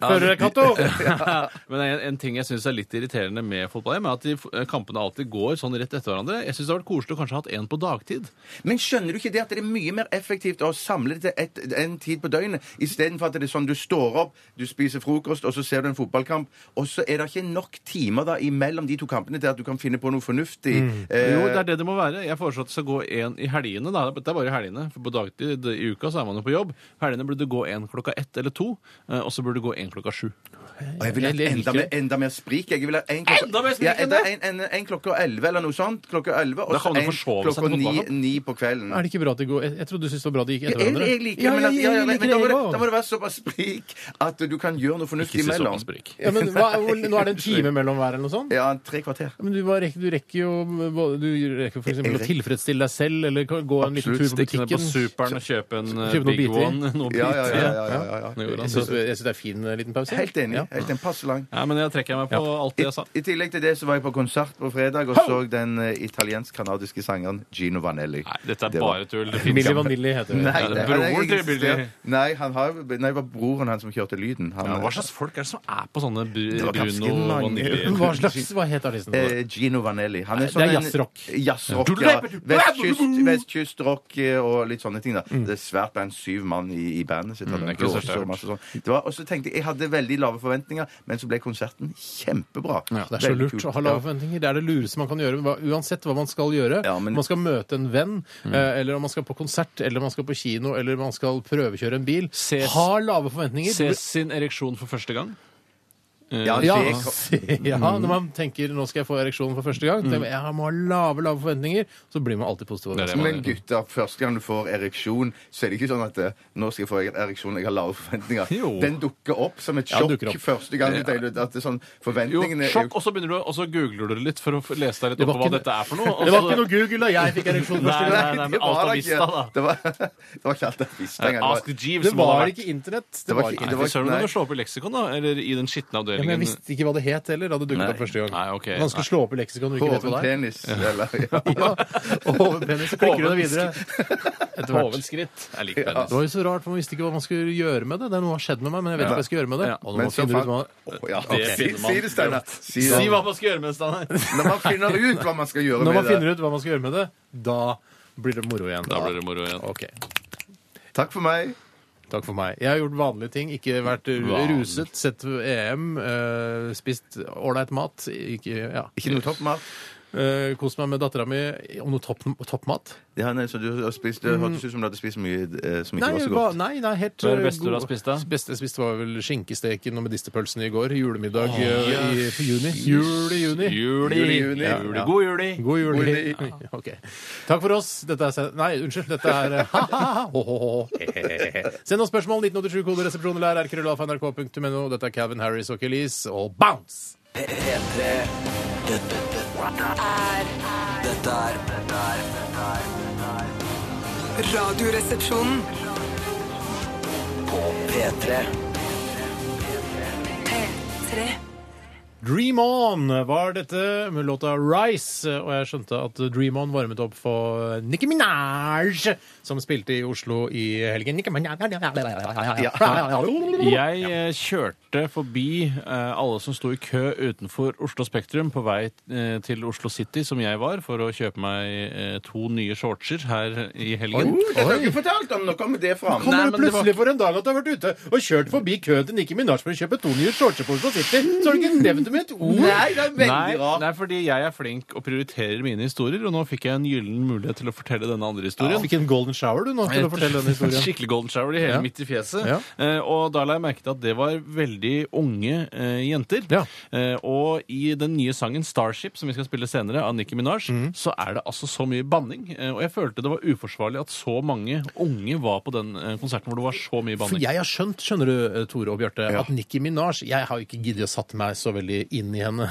Speaker 2: Hører dere, Cato?
Speaker 1: Men en, en ting jeg syns er litt irriterende med fotball-EM, er at de, f- eh, kampene alltid går sånn rett etter hverandre. Jeg syns det hadde vært koselig å kanskje ha hatt én på dagtid.
Speaker 3: Men skjønner du ikke det at det er mye mer effektivt å samle det til et, en tid på døgnet, istedenfor at det er sånn du står opp, du spiser frokost, og så ser du en fotballkamp, og så er det ikke nok timer da imellom de to kampene til at du kan finne på noe fornuftig.
Speaker 2: Mm.
Speaker 3: Eh,
Speaker 1: Jo, det er det det må være. Jeg foreslår at det skal gå én i helgene. Da. Det er bare i helgene. For på dagtid i uka så er man jo på jobb. Helgene burde det gå én klokka ett eller to, eh, og så burde det gå én klokka sju.
Speaker 3: og jeg vil ha
Speaker 2: jeg liker
Speaker 3: enda, mer- enda mer sprik. Jeg vil ha en klokka,
Speaker 1: Enda mer sprik
Speaker 3: ja,
Speaker 1: enn
Speaker 3: enda,
Speaker 1: det?
Speaker 3: en, en, en klokka elleve eller noe sånt. Klokka elleve,
Speaker 1: Da
Speaker 3: og
Speaker 1: kan
Speaker 3: så
Speaker 1: man
Speaker 3: en
Speaker 1: forsove seg til
Speaker 3: klokka ni,
Speaker 1: fotballkamp.
Speaker 3: ni på kvelden.
Speaker 2: Er det ikke bra at det går Jeg, jeg trodde du syntes det var bra at det gikk etter
Speaker 3: Jeg,
Speaker 2: hverandre.
Speaker 3: jeg liker
Speaker 2: Ja,
Speaker 3: men, at,
Speaker 2: jeg-
Speaker 3: ja, ja,
Speaker 2: jeg
Speaker 3: men
Speaker 2: liker
Speaker 3: da, må
Speaker 2: det,
Speaker 3: det,
Speaker 2: jeg
Speaker 3: da
Speaker 2: også.
Speaker 3: må det være såpass sprik at du kan gjøre noe fornuftig
Speaker 1: Ikke si
Speaker 3: imellom.
Speaker 1: såpass brik.
Speaker 2: Ja, men hva, hvor- Nå er det en time mellom hver, eller noe sånt?
Speaker 3: Ja, tre kvarter.
Speaker 2: Men du, bare rekker, du rekker jo både- Du rekker for eksempel å tilfredsstille deg selv, eller gå en liten tur på
Speaker 1: Stikke ned på
Speaker 2: butikken.
Speaker 1: superen og kjøpe en eh,
Speaker 2: Kjøpe noe
Speaker 1: Big
Speaker 2: biter.
Speaker 1: One. Noe
Speaker 3: Ja, ja, ja.
Speaker 1: biter.
Speaker 3: ja, ja, ja, ja.
Speaker 1: Nå gjorde
Speaker 2: Jeg
Speaker 1: han
Speaker 2: syns
Speaker 1: det.
Speaker 2: jeg syns det er fin eh, liten pause.
Speaker 3: Helt enig.
Speaker 2: Ja.
Speaker 3: Helt enig. Passe lang.
Speaker 1: Ja, men jeg trekker meg på alt det jeg sa.
Speaker 3: I tillegg til det så var jeg på konsert på fredag og så den eh, italiensk-kanadiske sangeren Gino Vanelli.
Speaker 1: Nei, dette er
Speaker 3: Det var-
Speaker 1: bare tull. Det finnes
Speaker 2: Milli
Speaker 1: ikke.
Speaker 2: Vanilli heter det.
Speaker 3: Nei,
Speaker 1: Ja, det
Speaker 3: han
Speaker 1: er
Speaker 3: er
Speaker 1: broren til
Speaker 3: registrert-
Speaker 1: Billy.
Speaker 3: Nei, han har, nei, det var broren han som kjørte lyden. Han,
Speaker 1: Ja, hva slags folk er det som er på sånne br
Speaker 3: var ganske
Speaker 1: Bruno
Speaker 3: mange.
Speaker 1: Vanilli?
Speaker 2: Hva slags Hva het artisten?
Speaker 3: Eh, Gino Vanelli. Han er sånn
Speaker 2: Det er
Speaker 3: en-
Speaker 2: jazzrock.
Speaker 3: Jazzrock, ja. Vestkyst, vestkystrock eh, og litt sånne ting. da
Speaker 2: Mm.
Speaker 3: Det er svært band, syv mann i, i bandet sitt. og
Speaker 1: Mm, det er
Speaker 3: det
Speaker 1: ikke så
Speaker 3: blåser
Speaker 1: sterkt.
Speaker 3: og masse sånn. Det var- Og så tenkte jeg jeg hadde veldig lave forventninger, men så ble konserten kjempebra.
Speaker 2: Det er så
Speaker 3: Veldig
Speaker 2: lurt
Speaker 3: kult.
Speaker 2: å ha lave forventninger. Det er det lureste man kan gjøre. hva- Uansett hva man skal gjøre.
Speaker 3: Ja, men-
Speaker 2: Om man skal møte en venn, eh, eller om man skal på konsert, eller om man skal på kino, eller om man skal prøvekjøre en bil.
Speaker 1: Ses-
Speaker 2: Ha lave forventninger.
Speaker 1: Ses sin ereksjon for første gang?
Speaker 3: Ja,
Speaker 2: Ja,
Speaker 3: det kom-
Speaker 2: ja, når man tenker 'nå skal jeg få ereksjon for første gang', tenker man, jeg må ha lave, lave forventninger, så blir man alltid positiv.
Speaker 1: Det er det
Speaker 2: overrasket.
Speaker 1: man
Speaker 3: Men gutter, første gang du får ereksjon, så er det ikke sånn at eh, nå skal jeg få ereksjon, jeg har lave forventninger.
Speaker 1: Jo.
Speaker 3: Den dukker opp som et
Speaker 2: Ja, den
Speaker 3: sjokk
Speaker 2: dukker opp.
Speaker 3: første gang du tenker at det er sånn
Speaker 1: Jo,
Speaker 3: Forventningene er
Speaker 1: sjokk, og så begynner du, og så googler du det litt for å få- lese deg litt
Speaker 2: Det
Speaker 1: opp
Speaker 2: var
Speaker 1: på hva
Speaker 2: ikke-
Speaker 1: dette er for noe. og
Speaker 2: Det var
Speaker 1: så-
Speaker 2: ikke noe Google da jeg fikk ereksjon
Speaker 1: Nei,
Speaker 2: første
Speaker 1: nei,
Speaker 2: gang.
Speaker 1: nei,
Speaker 3: det
Speaker 1: men
Speaker 3: var
Speaker 1: Alta
Speaker 3: da
Speaker 1: Vista, da.
Speaker 3: ikke Det var, det var ikke alt det visste engang.
Speaker 1: Ask
Speaker 3: Det var-
Speaker 1: Jeeves
Speaker 2: Det
Speaker 1: må det ha
Speaker 2: var
Speaker 1: vært.
Speaker 2: ikke internett.
Speaker 3: Det
Speaker 2: Det
Speaker 3: var
Speaker 2: var
Speaker 3: ikke-
Speaker 2: ikke
Speaker 3: det var-
Speaker 1: Nei, Søren, du
Speaker 3: nei.
Speaker 1: må slå opp i leksikon, da. Eller i den skitne
Speaker 2: ja, men jeg
Speaker 1: avdelingen.
Speaker 2: visste ikke hva det het heller. da Det dukket opp første gang.
Speaker 1: Nei, ok,
Speaker 2: Vanskelig å
Speaker 1: nei.
Speaker 2: slå opp i leksikon du ikke vet hva
Speaker 3: Hoven
Speaker 2: det er.
Speaker 3: penis, eller ja.
Speaker 2: Ja, og hovedpenis, så klikker du deg videre. Etter hvert.
Speaker 1: Hoven skritt. Jeg liker
Speaker 2: Det
Speaker 1: penis.
Speaker 2: var jo så rart, for man visste ikke hva man skulle gjøre med det. Det er noe som har skjedd med meg, men jeg vet ikke hva jeg skal gjøre med det.
Speaker 1: Ja.
Speaker 2: Og nå
Speaker 3: Men
Speaker 2: må
Speaker 3: så
Speaker 2: man finne ut hva...
Speaker 3: Å, ja,
Speaker 1: Det
Speaker 3: ok.
Speaker 1: finner man.
Speaker 3: Si det, Steinar. Si det.
Speaker 1: Si hva man skal gjøre med Steinar.
Speaker 3: Når man finner ut hva man skal gjøre
Speaker 2: Når man
Speaker 3: med det.
Speaker 2: finner ut hva man skal gjøre med det, da blir det moro igjen.
Speaker 1: Da blir det moro igjen.
Speaker 2: Ok,
Speaker 3: Takk for meg.
Speaker 2: Takk for meg. Jeg har gjort vanlige ting. Ikke vært ruset, sett EM, eh, spist ålreit mat. Ikke, ja.
Speaker 3: Ikke noe toppmat.
Speaker 2: Eh, kost meg med dattera mi om noe topp- toppmat.
Speaker 3: Det her er eh, som du har spist, det hørtes ut som du hadde spist mye eh, som ikke
Speaker 2: nei,
Speaker 3: var så
Speaker 2: hva-
Speaker 3: godt.
Speaker 2: nei, nei, helt
Speaker 1: Hva er det
Speaker 2: eh,
Speaker 1: beste du har spist, da?
Speaker 2: beste jeg spiste, var vel skinkesteken og medisterpølsen i går. Julemiddag eh, i, på juni. Jul i juni.
Speaker 1: Juli.
Speaker 3: Juli, juli.
Speaker 1: Juli.
Speaker 3: Ja.
Speaker 1: God juli.
Speaker 2: God jul.
Speaker 3: God jul.
Speaker 2: Ja, Ok. Takk for oss. Dette er se- Nei, unnskyld. Dette er eh, Ho-ho-ho. Send oss spørsmål 1987 koderesepsjon eller rkrøllalfa.nrk.no. Dette er Calvin Harris og Kelis og Bounce!
Speaker 5: P- P3 Dette dette er Dette er Dette er dette er
Speaker 4: Radioresepsjonen.
Speaker 5: På P3
Speaker 4: P3.
Speaker 2: Dream On var dette med låta Rise, og jeg skjønte at Dream On varmet opp for Nicki Minaj, som spilte i Oslo i helgen. Nicki Minaj
Speaker 1: Jeg eh, kjørte forbi eh, alle som sto i kø utenfor Oslo Spektrum på vei eh, til Oslo City, som jeg var, for å kjøpe meg eh, to nye shortser her i helgen.
Speaker 3: Uh, dette har du ikke fortalt om! Nå kommer det fram.
Speaker 1: Nei,
Speaker 2: Kommer du
Speaker 1: men det var-
Speaker 2: plutselig for en dag at du har vært ute og kjørt forbi køen til Nicki Minaj for å kjøpe to nye shortser på Oslo City, så har du ikke nevnt det med et ord?
Speaker 3: Nei, det er
Speaker 1: Nei,
Speaker 3: veldig rart.
Speaker 1: nei, fordi jeg er flink og prioriterer mine historier, og nå fikk jeg en gyllen mulighet til å fortelle denne andre
Speaker 2: Du
Speaker 1: historien.
Speaker 2: fikk en golden shower, du, nå, til å fortelle denne historien.
Speaker 1: Skikkelig golden shower i hele
Speaker 2: Ja.
Speaker 1: midt i fjeset.
Speaker 2: Ja.
Speaker 1: Eh, og da la jeg merke til at det var veldig unge eh, jenter.
Speaker 2: Ja.
Speaker 1: Eh, og i den nye sangen 'Starship', som vi skal spille senere, av Nicki Minaj,
Speaker 2: Mm.
Speaker 1: så er det altså så mye banning. Eh, og jeg følte det var uforsvarlig at så mange unge var på den eh, konserten hvor det var så mye
Speaker 2: For
Speaker 1: banning.
Speaker 2: jeg har skjønt, skjønner du, eh, Tore og Bjarte,
Speaker 3: Ja.
Speaker 2: at Nicki Minaj Jeg har jo ikke giddet å satt meg så veldig inn i henne.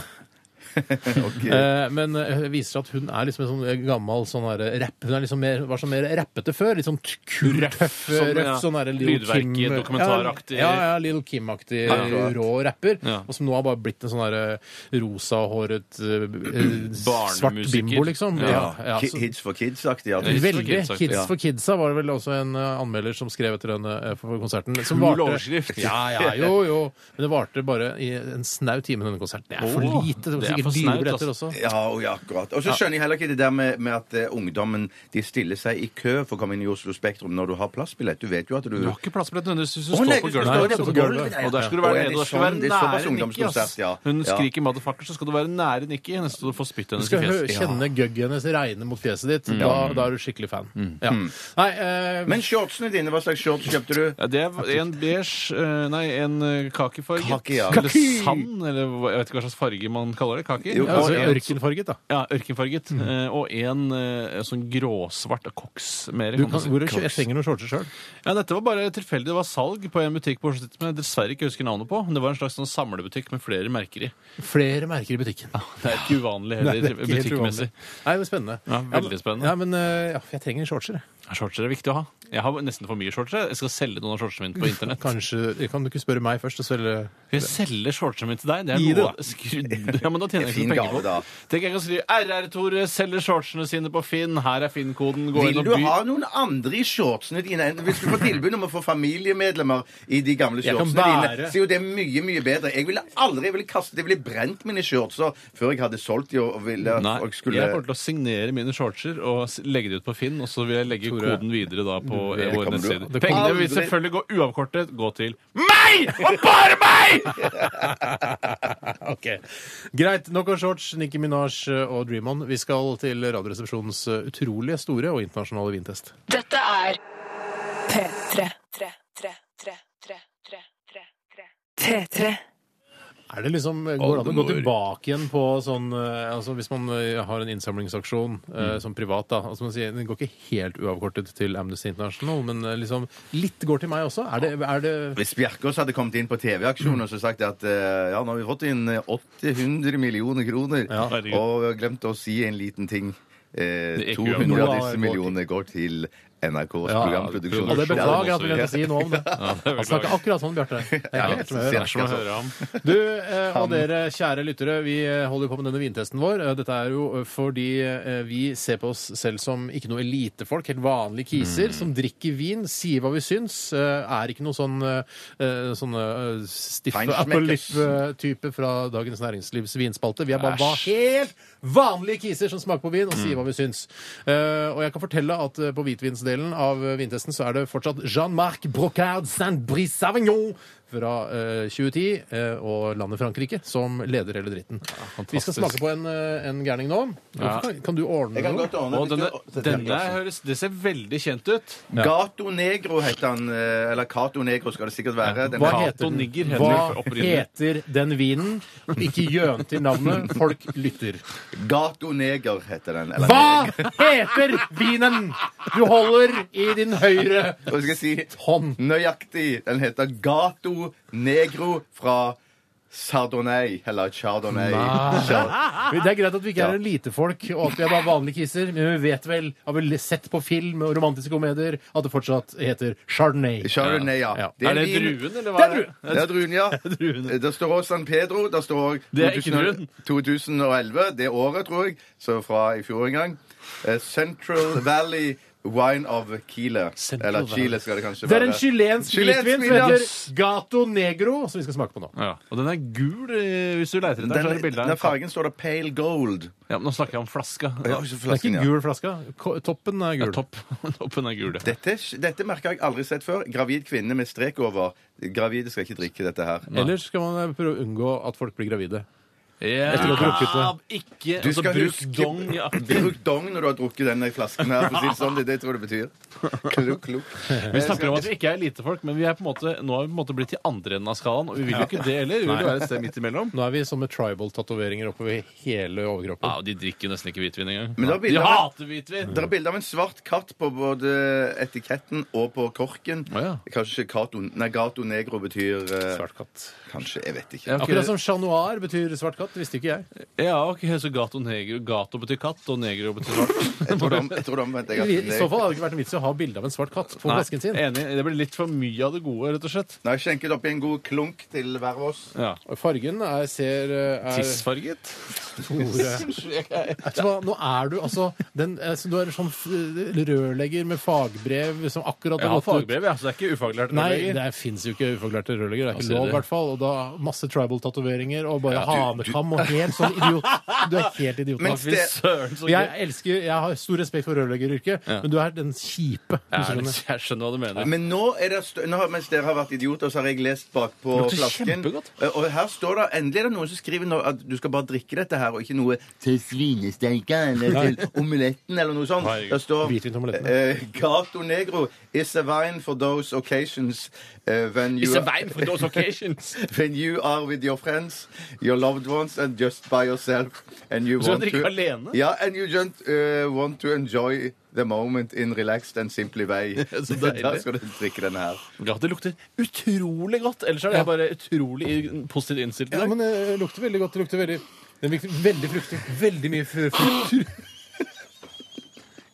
Speaker 3: Ok.
Speaker 2: Eh, Men eh, det viser at hun er liksom en sånn gammel sånn her rapp... Hun er liksom mer, var sånn mer rappete før. Litt sånn t- kul,
Speaker 1: Røff,
Speaker 2: tøff,
Speaker 1: sånn,
Speaker 2: røff,
Speaker 1: ja.
Speaker 2: sånn her Lil Kim
Speaker 1: Lydverkedokumentaraktig.
Speaker 2: Ja, ja, Lil Kim-aktig
Speaker 3: Ja.
Speaker 2: rå rapper.
Speaker 1: Ja.
Speaker 2: Og som nå har bare blitt en sånn her eh, rosahåret eh, eh, svart
Speaker 1: Barnemusiker.
Speaker 2: bimbo, liksom.
Speaker 1: Ja.
Speaker 2: Ja,
Speaker 3: Ki-
Speaker 2: så-
Speaker 3: Kids for kids-aktig. ja.
Speaker 1: Kids for
Speaker 2: Veldig.
Speaker 1: Kids, sagt,
Speaker 2: Kids
Speaker 1: ja.
Speaker 2: for Kidsa var det vel også en eh, anmelder som skrev etter den eh, for- for konserten. Som
Speaker 1: Kul
Speaker 2: varte-
Speaker 1: overskrift.
Speaker 2: Ja, ja, jo, jo. Men det varte bare i en snau time, denne konserten. Det er for
Speaker 1: Åh,
Speaker 2: lite. Det
Speaker 1: det
Speaker 2: var
Speaker 1: er for
Speaker 2: sikkert
Speaker 1: snaut,
Speaker 2: dyre billetter
Speaker 1: altså.
Speaker 2: også.
Speaker 3: Ja, og ja, akkurat. Og så skjønner jeg heller ikke det der med, med at eh, ungdommen de stiller seg i kø for å komme inn i Oslo Spektrum når du har plassbillett. Du vet jo at du
Speaker 1: Du har ikke plassbillett nødvendigvis hvis du
Speaker 3: Å,
Speaker 1: står
Speaker 3: nei,
Speaker 1: på
Speaker 3: du
Speaker 1: gulvet.
Speaker 3: står
Speaker 2: der på gulvet,
Speaker 3: ja, ja.
Speaker 1: Og der skal du være
Speaker 3: Å, ja,
Speaker 1: nede,
Speaker 3: det
Speaker 1: og
Speaker 3: er
Speaker 1: der skal du
Speaker 3: sånn, det er
Speaker 1: være
Speaker 3: såpass
Speaker 1: nære Nikki. ass.
Speaker 3: ungdomskonsert, ja.
Speaker 1: Hun
Speaker 3: Ja.
Speaker 1: skriker 'motherfucker', så skal du være nære Nikki. Nesten så du får spyttet
Speaker 2: Du
Speaker 1: hennes i
Speaker 2: skal hø-
Speaker 1: fjeset.
Speaker 2: kjenne gøgget hennes regne mot fjeset ditt. Da, da er du skikkelig fan. Ja. Nei, eh,
Speaker 3: Men shortsene dine, hva slags shorts kjøpte du?
Speaker 1: Ja, det er en beige eh, Nei, en eh, kakifarget.
Speaker 3: Kaki, ja.
Speaker 1: Eller
Speaker 2: Kaki!
Speaker 1: sand, eller hva- jeg vet ikke hva slags farge man kaller det. Kaki?
Speaker 3: Jo,
Speaker 2: ja, altså,
Speaker 3: og-
Speaker 2: ørkenfarget, da.
Speaker 1: Ja, ørkenfarget.
Speaker 2: Mm.
Speaker 1: Eh, og en eh, sånn gråsvart koks. Mer,
Speaker 2: Du
Speaker 1: kan man
Speaker 2: kan,
Speaker 1: si.
Speaker 2: hvor, jeg
Speaker 1: Crocs.
Speaker 2: trenger noen shortser sjøl.
Speaker 1: Ja, dette var bare tilfeldig. Det var salg på en butikk på Oslo City som jeg dessverre ikke husker navnet på. Men det var en slags sånn samlebutikk med flere merker i.
Speaker 2: Flere merker i butikken.
Speaker 1: Det er ikke
Speaker 2: Nei,
Speaker 1: uvanlig heller
Speaker 2: det er ikke helt
Speaker 1: butikkmessig.
Speaker 2: uvanlig. Nei, men spennende.
Speaker 1: Ja, veldig spennende.
Speaker 2: Ja, men eh, ja, jeg trenger shortser, jeg.
Speaker 1: Shortser er viktig å ha. Jeg har nesten for mye shortser. Jeg skal selge noen av shortsene mine på internett.
Speaker 2: Kanskje, kan du ikke spørre meg først og selge
Speaker 1: Skal jeg selge shortsene mine til deg? Det
Speaker 2: Gi
Speaker 1: er
Speaker 2: det,
Speaker 1: noe skrudd. Ja, men da tjener jeg ikke
Speaker 3: Fin
Speaker 1: noe
Speaker 3: gave,
Speaker 1: penger på
Speaker 3: da.
Speaker 1: det. Tenk jeg kan skrive RR-Tore selger shortsene sine på Finn. Her er Finn-koden. Gå
Speaker 3: Vil
Speaker 1: inn og
Speaker 3: du
Speaker 1: by.
Speaker 3: ha noen andre i shortsene dine? enn- Hvis du får tilbud om å få familiemedlemmer i de gamle
Speaker 1: Jeg kan
Speaker 3: shortsene dine,
Speaker 1: bære.
Speaker 3: så er jo det mye, mye bedre. Jeg ville aldri jeg ville kastet, jeg ville brent mine shortser før jeg hadde solgt de og og ville at
Speaker 1: Nei,
Speaker 3: folk
Speaker 1: jeg
Speaker 3: skulle
Speaker 1: kommer til å signere mine shortser og s- legge det ut på Finn, og så vil jeg legge
Speaker 2: Tore,
Speaker 1: koden videre da på eh,
Speaker 3: det
Speaker 1: våre
Speaker 3: kommer du-
Speaker 1: nettsider.
Speaker 3: det kommer-
Speaker 1: Pengene vil
Speaker 3: Aldri.
Speaker 1: selvfølgelig gå uavkortet gå til meg! Og bare meg!
Speaker 2: Ok. Greit. Nok om shorts, Nicki Minaj og Dream On. Vi skal til Radioresepsjonens utrolig store og internasjonale vintest.
Speaker 6: Dette er
Speaker 4: P3. P3. P3.
Speaker 2: Er det liksom, Går det an å gå tilbake igjen på sånn eh, altså Hvis man eh, har en innsamlingsaksjon eh, som privat, da altså man sier, Den går ikke helt uavkortet til Amnesty International, men eh, liksom litt går til meg også. Er det, er det
Speaker 3: hvis Bjerkås hadde kommet inn på TV-aksjonen og så sagt at eh, ja, nå har vi fått inn eh, 800 millioner kroner,
Speaker 2: Ja,
Speaker 3: og
Speaker 1: herregud.
Speaker 3: vi har glemt å si en liten ting.
Speaker 1: Det er
Speaker 3: Eh,
Speaker 1: ikke
Speaker 3: 200 av
Speaker 2: uavgjort.
Speaker 3: disse millionene går til NRKs
Speaker 2: Ja,
Speaker 3: programproduksjon.
Speaker 2: Og det beklager jeg at vi
Speaker 3: Ja,
Speaker 2: glemte å si noe om det. Han snakker akkurat sånn, Bjarte. Det er helt som jeg hører.
Speaker 1: Det er som å høre ham.
Speaker 2: Du eh, og dere kjære lyttere, vi eh, holder jo på med denne vintesten vår. Eh, Dette er jo eh, fordi eh, vi ser på oss selv som ikke noe elitefolk, helt vanlige kiser som drikker vin, sier hva vi syns. eh, Er ikke noe sånn eh, eh, sånne eh, stiffe eh,
Speaker 3: Feinschmeckers.
Speaker 2: appelliff-type fra Dagens Næringslivs vinspalte. Vi er bare
Speaker 1: Æsj. Mm.
Speaker 2: hva helt vanlige kiser som smaker på vin og sier hva vi syns. Eh, og jeg kan fortelle at eh, på hvitvinsdelen av eh, vintesten så er det fortsatt Jean-Marc Brocard Saint-Brice Savignon fra eh, 2010 eh, og landet Frankrike som leder hele dritten. Vi skal
Speaker 1: fantastisk.
Speaker 2: smake på en, eh, en gærning nå.
Speaker 1: Ja.
Speaker 2: Kan, kan du ordne
Speaker 3: Jeg kan
Speaker 2: noe?
Speaker 3: godt ordne
Speaker 1: Og denne,
Speaker 3: hvis du-
Speaker 1: denne høres, det ser veldig kjent ut.
Speaker 3: Gato Negro heter han. eh, Eller Cato Negro skal det sikkert være. Den
Speaker 2: Hva
Speaker 3: er-
Speaker 2: heter,
Speaker 1: Cato Nigger
Speaker 2: den?
Speaker 1: heter den
Speaker 2: Hva
Speaker 1: opprinnelig.
Speaker 2: heter den vinen? Ikke gjøn til navnet. Folk lytter.
Speaker 3: Gato Neger heter den. Eller
Speaker 2: Hva heter vinen du holder i din høyre
Speaker 3: Hva skal jeg si?
Speaker 2: hånd?
Speaker 3: Nøyaktig. Den heter Gato Negro fra Sardonnay. Eller Chardonnay. Chard-
Speaker 2: Men Det er greit at vi ikke
Speaker 3: Ja.
Speaker 2: er elitefolk, og at vi er bare vanlige kisser, men vi vet vel, har vel sett på film og romantiske komedier, at det fortsatt heter chardonnay.
Speaker 3: Chardonnay, ja.
Speaker 2: Ja.
Speaker 1: Er det
Speaker 3: en vin-
Speaker 1: druen, eller hva
Speaker 2: Det er druen.
Speaker 3: Det er druen, ja.
Speaker 1: druen.
Speaker 3: Der står også San Pedro. Der står også
Speaker 1: Det er ikke druen.
Speaker 3: 2011. Det året, tror jeg. Så fra i fjor en gang. Eh, Central Valley Wine of Chile.
Speaker 1: Central
Speaker 3: Eller
Speaker 1: Valley.
Speaker 3: Chile skal det kanskje
Speaker 2: Det er
Speaker 3: være.
Speaker 2: en chilensk
Speaker 3: Chilensk
Speaker 2: hvitvin som
Speaker 3: vin, ja.
Speaker 2: heter Gato Negro, som vi skal smake på nå.
Speaker 1: Ja. Og den er gul, eh, hvis du leter etter den. så er
Speaker 3: Den,
Speaker 1: det bildet av
Speaker 3: den
Speaker 1: en katt.
Speaker 3: fargen står det Pale Gold.
Speaker 1: Ja, men nå snakker jeg om flaska.
Speaker 3: Ja, ikke så
Speaker 2: Det er
Speaker 3: flasken, ja.
Speaker 2: ikke gul flaska. Ko- Toppen er
Speaker 1: Ja,
Speaker 2: gul.
Speaker 1: topp. Toppen er gul. ja.
Speaker 3: Dette, dette merker jeg aldri sett før. Gravid kvinne med strek over. Gravide skal ikke drikke dette her.
Speaker 2: Ellers skal man eh, prøve å unngå at folk blir gravide.
Speaker 1: Ja,
Speaker 2: tror du har drukket
Speaker 1: ikke
Speaker 3: Du
Speaker 1: altså,
Speaker 3: skal
Speaker 1: Bruk
Speaker 3: huske-
Speaker 1: dong. Ja.
Speaker 3: Bruk dong når du har drukket denne flasken her. For å si det sånn, det, er det jeg tror det betyr. Klukk, klukk.
Speaker 1: Vi snakker om at vi ikke er elitefolk, men vi er på en måte, nå har vi på en måte blitt i andre enden av skalaen. Og vi vil jo ikke det heller. Vi vil jo være et sted midt imellom.
Speaker 2: Nå er vi som med tribal-tatoveringer oppover hele overkroppen.
Speaker 1: Ja, og De drikker jo nesten ikke hvitvin engang.
Speaker 3: Men da
Speaker 1: De
Speaker 3: begynner-
Speaker 1: hater hvitvin!
Speaker 3: Det er bilde av en svart katt på både etiketten og på korken.
Speaker 1: Å, ja.
Speaker 3: Kanskje Cato Nei, Gato Negro betyr eh,
Speaker 2: Svart katt.
Speaker 3: Kanskje. Jeg vet ikke.
Speaker 1: Ja, ok.
Speaker 2: Akkurat som chat noir betyr svart katt, visste ikke jeg.
Speaker 1: Ja, ok, så gato negro. Gato betyr katt, og negro betyr svart.
Speaker 3: Jeg tror det om- jeg tror det omvendt. jeg,
Speaker 2: I
Speaker 3: at
Speaker 2: så fall hadde det ikke vært en vits i å ha bilde av en svart katt på
Speaker 1: Nei,
Speaker 2: flasken sin.
Speaker 1: Enig. Det blir litt for mye av det gode, rett og slett.
Speaker 3: Nei, skjenket oppi en god klunk til hver av oss.
Speaker 1: Ja.
Speaker 2: Fargen er, ser eh, er
Speaker 1: Tissfarget.
Speaker 2: Tore. Vet du hva, nå er du altså den, eh, så Du er en sånn f- rørlegger med fagbrev som akkurat
Speaker 1: Jeg
Speaker 2: har
Speaker 1: har
Speaker 2: gått ut.
Speaker 1: fagbrev, ja, så det er ikke ufaglært.
Speaker 2: Nei,
Speaker 1: rørlegger.
Speaker 2: det fins jo ikke ufaglærte rørleggere. Det er
Speaker 1: Hva
Speaker 2: ikke
Speaker 1: sier
Speaker 2: lov,
Speaker 1: du?
Speaker 2: i hvert fall. Og da masse tribal-tatoveringer og bare hanekam og helt sånn idiot. Du er helt idiot.
Speaker 3: Men
Speaker 2: Lars.
Speaker 3: det-
Speaker 1: Fy søren, så
Speaker 2: Og jeg elsker, jeg har stor respekt for rørleggeryrket, men du er den kjipe. Du
Speaker 1: gøy.
Speaker 2: skjønner.
Speaker 1: Jeg skjønner hva du mener.
Speaker 3: Men nå er det stø nå, har- mens dere har vært idioter, så har jeg lest bak på
Speaker 1: lukter
Speaker 3: flasken.
Speaker 1: kjempegodt.
Speaker 3: Eh, Og her står det endelig er det noen som skriver nå at du skal bare drikke dette her, og ikke noe til svinesteika eller til omeletten eller noe sånt.
Speaker 1: Herregud.
Speaker 3: Det står
Speaker 2: Hvitvin til omeletten.
Speaker 3: eh, Gato Negro is a wine for those occasions eh, when you
Speaker 1: It's a vine for those occasions.
Speaker 3: When you are with your friends, your loved ones, and just by yourself, and you
Speaker 1: skal
Speaker 3: want
Speaker 1: drikke
Speaker 3: to,
Speaker 1: alene?
Speaker 3: Ja, and you just uh, want to enjoy the moment in relaxed and simply way.
Speaker 1: Så deilig.
Speaker 3: Da skal du drikke denne her.
Speaker 1: Ja, det lukter utrolig godt. Ellers er det bare utrolig i- positivt innstilt. i
Speaker 2: Ja,
Speaker 1: dag.
Speaker 2: men eh, det lukter veldig godt. Det lukter veldig, den lukter veldig fruktig. Veldig mye fru- frukt.